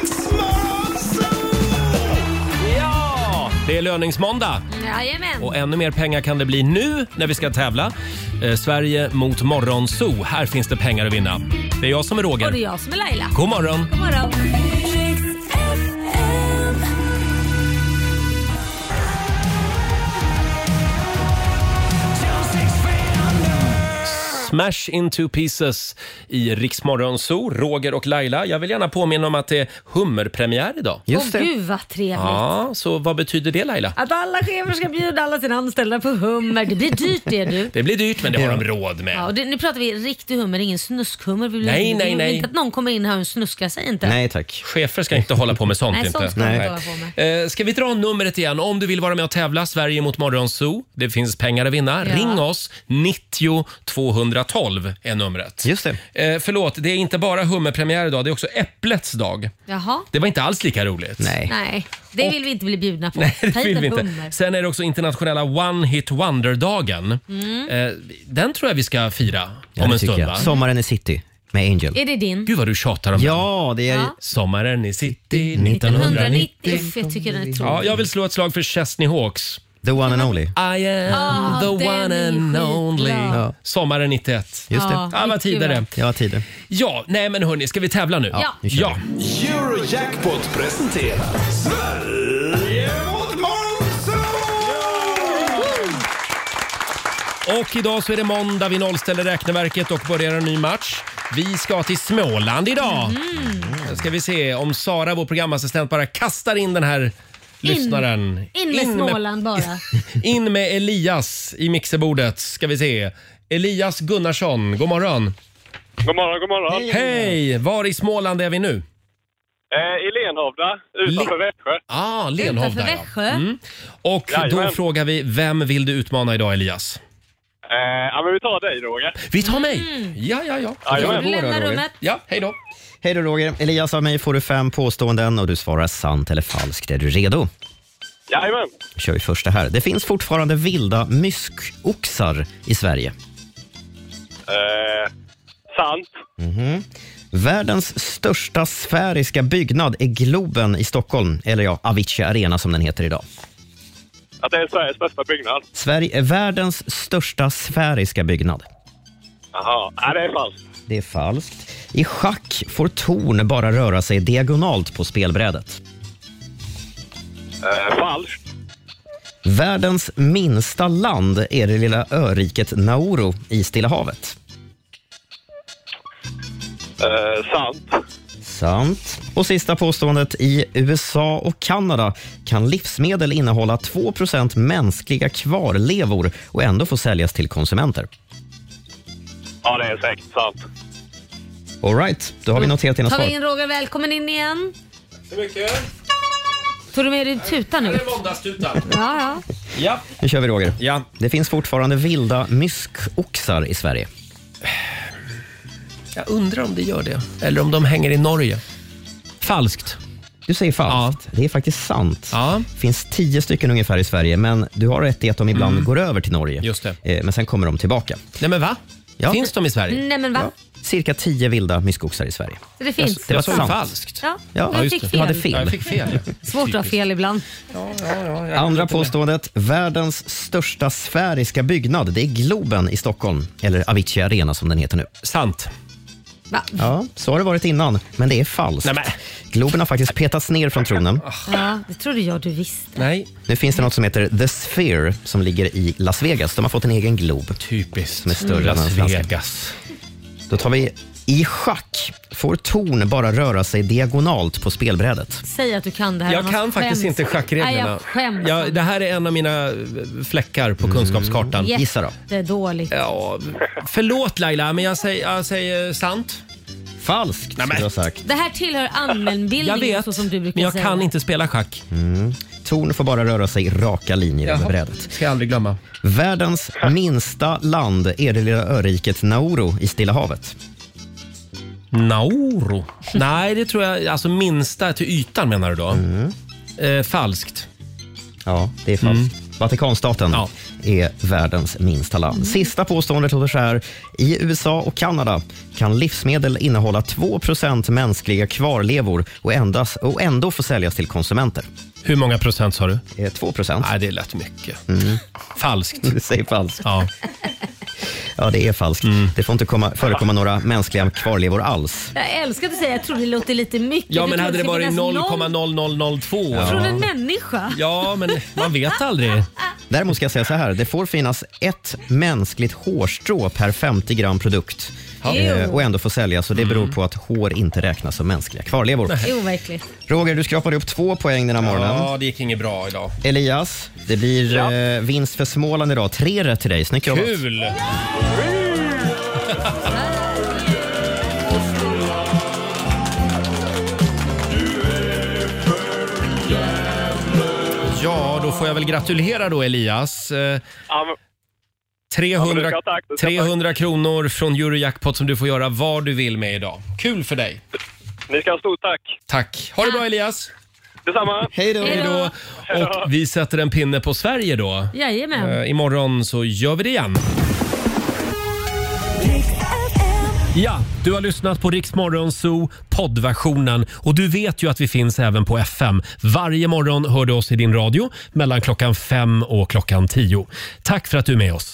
Speaker 1: Ja! Det är löningsmåndag.
Speaker 2: Jajamän.
Speaker 1: Och ännu mer pengar kan det bli nu när vi ska tävla. Eh, Sverige mot Morgonzoo. Här finns det pengar att vinna. Det är jag som är
Speaker 2: Och det är
Speaker 1: Roger.
Speaker 2: jag som är Laila.
Speaker 1: God morgon!
Speaker 2: God morgon.
Speaker 1: Smash into pieces i Rix Morgonzoo. Roger och Laila. Jag vill gärna påminna om att det är hummerpremiär idag.
Speaker 2: Åh gud vad trevligt.
Speaker 1: Ja, så vad betyder det Laila?
Speaker 2: Att alla chefer ska bjuda alla sina anställda på hummer. Det blir dyrt det du.
Speaker 1: Det blir dyrt men det har de råd med.
Speaker 2: Ja, och det, nu pratar vi riktig hummer, ingen snuskhummer. Vi vill
Speaker 1: Nej,
Speaker 2: inte, vi
Speaker 1: nej,
Speaker 2: vill
Speaker 1: nej.
Speaker 2: inte att någon kommer in här och snuskar sig inte.
Speaker 3: tack.
Speaker 1: Chefer ska inte hålla på med sånt.
Speaker 2: Nej,
Speaker 1: inte.
Speaker 2: sånt ska man inte hålla på med.
Speaker 1: Eh, Ska vi dra numret igen? Om du vill vara med och tävla, Sverige mot Morgonzoo. Det finns pengar att vinna.
Speaker 2: Ja.
Speaker 1: Ring oss! 90 212 är numret.
Speaker 3: Just
Speaker 1: det. Förlåt, det är inte bara hummerpremiär idag, det är också äpplets dag.
Speaker 2: Jaha.
Speaker 1: Det var inte alls lika roligt.
Speaker 2: Nej, det vill vi inte bli bjudna på.
Speaker 1: Nej,
Speaker 2: Ta
Speaker 1: det
Speaker 2: hit
Speaker 1: vill
Speaker 2: en
Speaker 1: vi inte.
Speaker 2: hummer.
Speaker 1: Sen är det också internationella One Hit Wonder-dagen.
Speaker 2: Mm.
Speaker 1: Eh, Den tror jag vi ska fira
Speaker 3: Ja,
Speaker 1: om
Speaker 3: det tycker
Speaker 1: en stund.
Speaker 3: jag.
Speaker 1: Va?
Speaker 3: Sommaren i city med Angel.
Speaker 2: Är det din?
Speaker 1: Gud vad du tjatar om
Speaker 3: Ja, det är
Speaker 2: Ja.
Speaker 1: Sommaren i city
Speaker 2: 190.
Speaker 1: 1990.
Speaker 2: Uff, jag tycker den är tråkig.
Speaker 1: Ja, jag vill slå ett slag för Chesney Hawks.
Speaker 3: The one and only.
Speaker 1: I am
Speaker 2: Ah,
Speaker 1: the
Speaker 2: den
Speaker 1: one
Speaker 2: är
Speaker 1: and
Speaker 2: skitbra.
Speaker 1: only.
Speaker 2: Ja.
Speaker 1: Sommaren 91.
Speaker 3: Just det.
Speaker 1: Ja, vad tider det.
Speaker 3: Ja, tider.
Speaker 1: Ja, nej men hörni, ska vi tävla nu?
Speaker 3: Ja. Nu kör
Speaker 1: ja.
Speaker 19: Eurojackpot presenterar Sverige mot Morgonzoo!
Speaker 1: Och idag så är det måndag, vi nollställer räkneverket och börjar en ny match. Vi ska till Småland idag.
Speaker 2: Mm. Mhm.
Speaker 1: Nu ska vi se om Sara, vår programassistent, bara kastar in den här lyssnaren.
Speaker 2: In med Småland bara.
Speaker 1: in med Elias i mixerbordet, ska vi se. Elias Gunnarsson, god morgon.
Speaker 21: God morgon, god morgon.
Speaker 1: Hej! Var i Småland är vi nu?
Speaker 21: Eh, I Lenhovda, utanför Växjö.
Speaker 1: Ah, Lenhovda
Speaker 21: Utanför Växjö.
Speaker 1: Mm. Och då
Speaker 21: Jajamän.
Speaker 1: frågar vi, vem vill du utmana idag Elias?
Speaker 21: Eh, ja, men vi tar dig, Roger.
Speaker 1: Vi tar mig!
Speaker 2: Mm.
Speaker 1: Ja, ja, ja.
Speaker 3: Jajamän. Du lämnar rummet.
Speaker 1: Ja, hej då.
Speaker 3: Hej då Roger. Elias av mig får du fem påståenden och du svarar sant eller falskt. Är du redo?
Speaker 21: Jajamän.
Speaker 3: Då kör vi första här. Det finns fortfarande vilda myskoxar i Sverige.
Speaker 21: Eh, sant.
Speaker 3: Mhm. Världens största sfäriska byggnad är Globen i Stockholm, eller ja, Avicii Arena som den heter idag.
Speaker 21: Att det är Sveriges bästa byggnad.
Speaker 3: Sverige är världens största sfäriska byggnad.
Speaker 21: Jaha. Nej, det är falskt.
Speaker 3: Det är falskt. I schack får torn bara röra sig diagonalt på spelbrädet.
Speaker 21: Eh, falskt.
Speaker 3: Världens minsta land är det lilla öriket Nauru i Stilla havet.
Speaker 21: Eh, sant.
Speaker 3: Sant. Och sista påståendet. I USA och Kanada kan livsmedel innehålla 2 mänskliga kvarlevor och ändå få säljas till konsumenter.
Speaker 21: Ja, det är säkert sant.
Speaker 3: All right, då har vi noterat dina
Speaker 2: Mm. Tar
Speaker 3: svar.
Speaker 2: vi in Roger, välkommen in igen.
Speaker 1: Så mycket.
Speaker 2: Tog du med dig tutan ut?
Speaker 1: måndagstutan.
Speaker 2: Ja, ja.
Speaker 1: Ja.
Speaker 3: Nu kör vi Roger.
Speaker 1: Ja.
Speaker 3: Det finns fortfarande vilda myskoxar i Sverige.
Speaker 1: Jag undrar om det gör det. Eller om de hänger i Norge. Falskt.
Speaker 3: Du säger falskt. Det är faktiskt sant. Det finns tio stycken ungefär i Sverige, men du har rätt i att de ibland
Speaker 1: Mm.
Speaker 3: går över till Norge.
Speaker 1: Just det.
Speaker 3: Eh, Men sen kommer de tillbaka.
Speaker 1: Nej men va? Finns de i Sverige?
Speaker 2: Nej men va?
Speaker 3: Cirka tio vilda myskoxar i Sverige.
Speaker 2: Så det finns.
Speaker 3: Jag- det var Jag sa ju sant.
Speaker 1: falskt.
Speaker 2: Ja,
Speaker 3: Ja,
Speaker 2: jag
Speaker 3: just
Speaker 2: fick
Speaker 3: det.
Speaker 2: fel.
Speaker 3: Du hade fel. Ja, jag fick fel,
Speaker 2: Svårt att ha fel ibland.
Speaker 3: Andra påståendet. Världens största sfäriska byggnad. Det är Globen i Stockholm, eller Avicii Arena som den heter nu.
Speaker 1: Sant.
Speaker 2: Va?
Speaker 3: Ja, så har det varit innan, men det är falskt.
Speaker 2: Nej, men-
Speaker 3: Globen har faktiskt petats ner från tronen.
Speaker 2: Ja, det trodde jag du visste.
Speaker 1: Nej.
Speaker 3: Nu finns det något som heter The Sphere som ligger i Las Vegas. De har fått en egen glob.
Speaker 1: Typiskt.
Speaker 3: Som är större
Speaker 1: Las
Speaker 3: än den svenska.
Speaker 1: Vegas.
Speaker 3: Då tar vi i schack. Får torn bara röra sig diagonalt på spelbrädet?
Speaker 2: Säg att du kan det här.
Speaker 1: Jag
Speaker 2: annars
Speaker 1: kan faktiskt
Speaker 2: skäms.
Speaker 1: inte
Speaker 2: Nej,
Speaker 1: schackreglerna.
Speaker 2: jag skäms. Mm.
Speaker 1: Ja, det här är en av mina eh, fläckar på kunskapskartan.
Speaker 2: Jättedåligt.
Speaker 1: Ja, förlåt Laila, men jag säger, jag säger sant.
Speaker 3: Falskt
Speaker 1: Nej, men.
Speaker 3: skulle jag ha sagt.
Speaker 2: Det här tillhör
Speaker 1: Jag
Speaker 2: allmänbildningen
Speaker 1: vet,
Speaker 2: så som du brukar
Speaker 1: men jag
Speaker 2: säga.
Speaker 1: kan inte spela schack.
Speaker 3: Mm. Torn får bara röra sig i raka linjer
Speaker 1: Jaha.
Speaker 3: över brädet.
Speaker 1: Ska jag aldrig glömma.
Speaker 3: Världens minsta land är det lilla öriket Nauru i Stilla havet.
Speaker 1: Nauru? Nej, det tror jag, alltså minsta till ytan menar du då?
Speaker 3: Mm.
Speaker 1: Eh, falskt.
Speaker 3: Ja, det är falskt. Mm. Vatikanstaten är världens minsta
Speaker 1: Mm.
Speaker 3: land. Sista påståendet låter så här. I USA och Kanada kan livsmedel innehålla 2 mänskliga kvarlevor och, endast, och ändå få säljas till konsumenter.
Speaker 1: Hur många procent sa
Speaker 3: du? 2 procent.
Speaker 1: Nej, det lät mycket.
Speaker 3: Mm.
Speaker 1: Falskt.
Speaker 3: Du säger falskt.
Speaker 1: Ja. Mm.
Speaker 3: ja, det är falskt. Det får inte komma, förekomma några mänskliga kvarlevor alls.
Speaker 2: Jag älskar att säga jag tror det låter lite mycket.
Speaker 1: Ja,
Speaker 2: Du
Speaker 1: men
Speaker 2: tror
Speaker 1: hade det
Speaker 2: ska
Speaker 1: varit
Speaker 2: finnas noll
Speaker 1: 0,0002?
Speaker 2: Från en människa?
Speaker 1: Ja, men man vet aldrig.
Speaker 3: Däremot ska jag säga så här, det får finnas ett mänskligt hårstrå per 50 gram produkt.
Speaker 2: Ja.
Speaker 3: Eh,
Speaker 2: Ew.
Speaker 3: och ändå får säljas och det beror
Speaker 1: Mm.
Speaker 3: på att hår inte räknas som mänskliga kvarlevor.
Speaker 2: Overkligt.
Speaker 3: Roger, du skrapade upp två poäng den här morgonen.
Speaker 1: Ja, det gick inget bra idag.
Speaker 3: Elias, det blir eh, vinst för Småland idag. Tre rätt till dig. Snyggt jobbat.
Speaker 1: Kul! Ja, då får jag väl gratulera då Elias. Eh,
Speaker 21: Ja, men, Ja, men
Speaker 1: 300,
Speaker 21: du ska ha tack, du ska ha tack.
Speaker 1: 300 kronor från Eurojackpot som du får göra vad du vill med idag. Kul för dig!
Speaker 21: ni ska ha stort tack.
Speaker 1: Tack! Ha det bra Elias!
Speaker 21: Detsamma.
Speaker 3: Hej
Speaker 1: Hej då! Och vi sätter en pinne på Sverige då.
Speaker 2: Jajamän.
Speaker 1: Eh, imorgon så gör vi det igen. Ja, du har lyssnat på Rix Morgon Zoo poddversionen och du vet ju att vi finns även på FM. Varje morgon hör du oss i din radio mellan klockan fem och klockan tio. Tack för att du är med oss.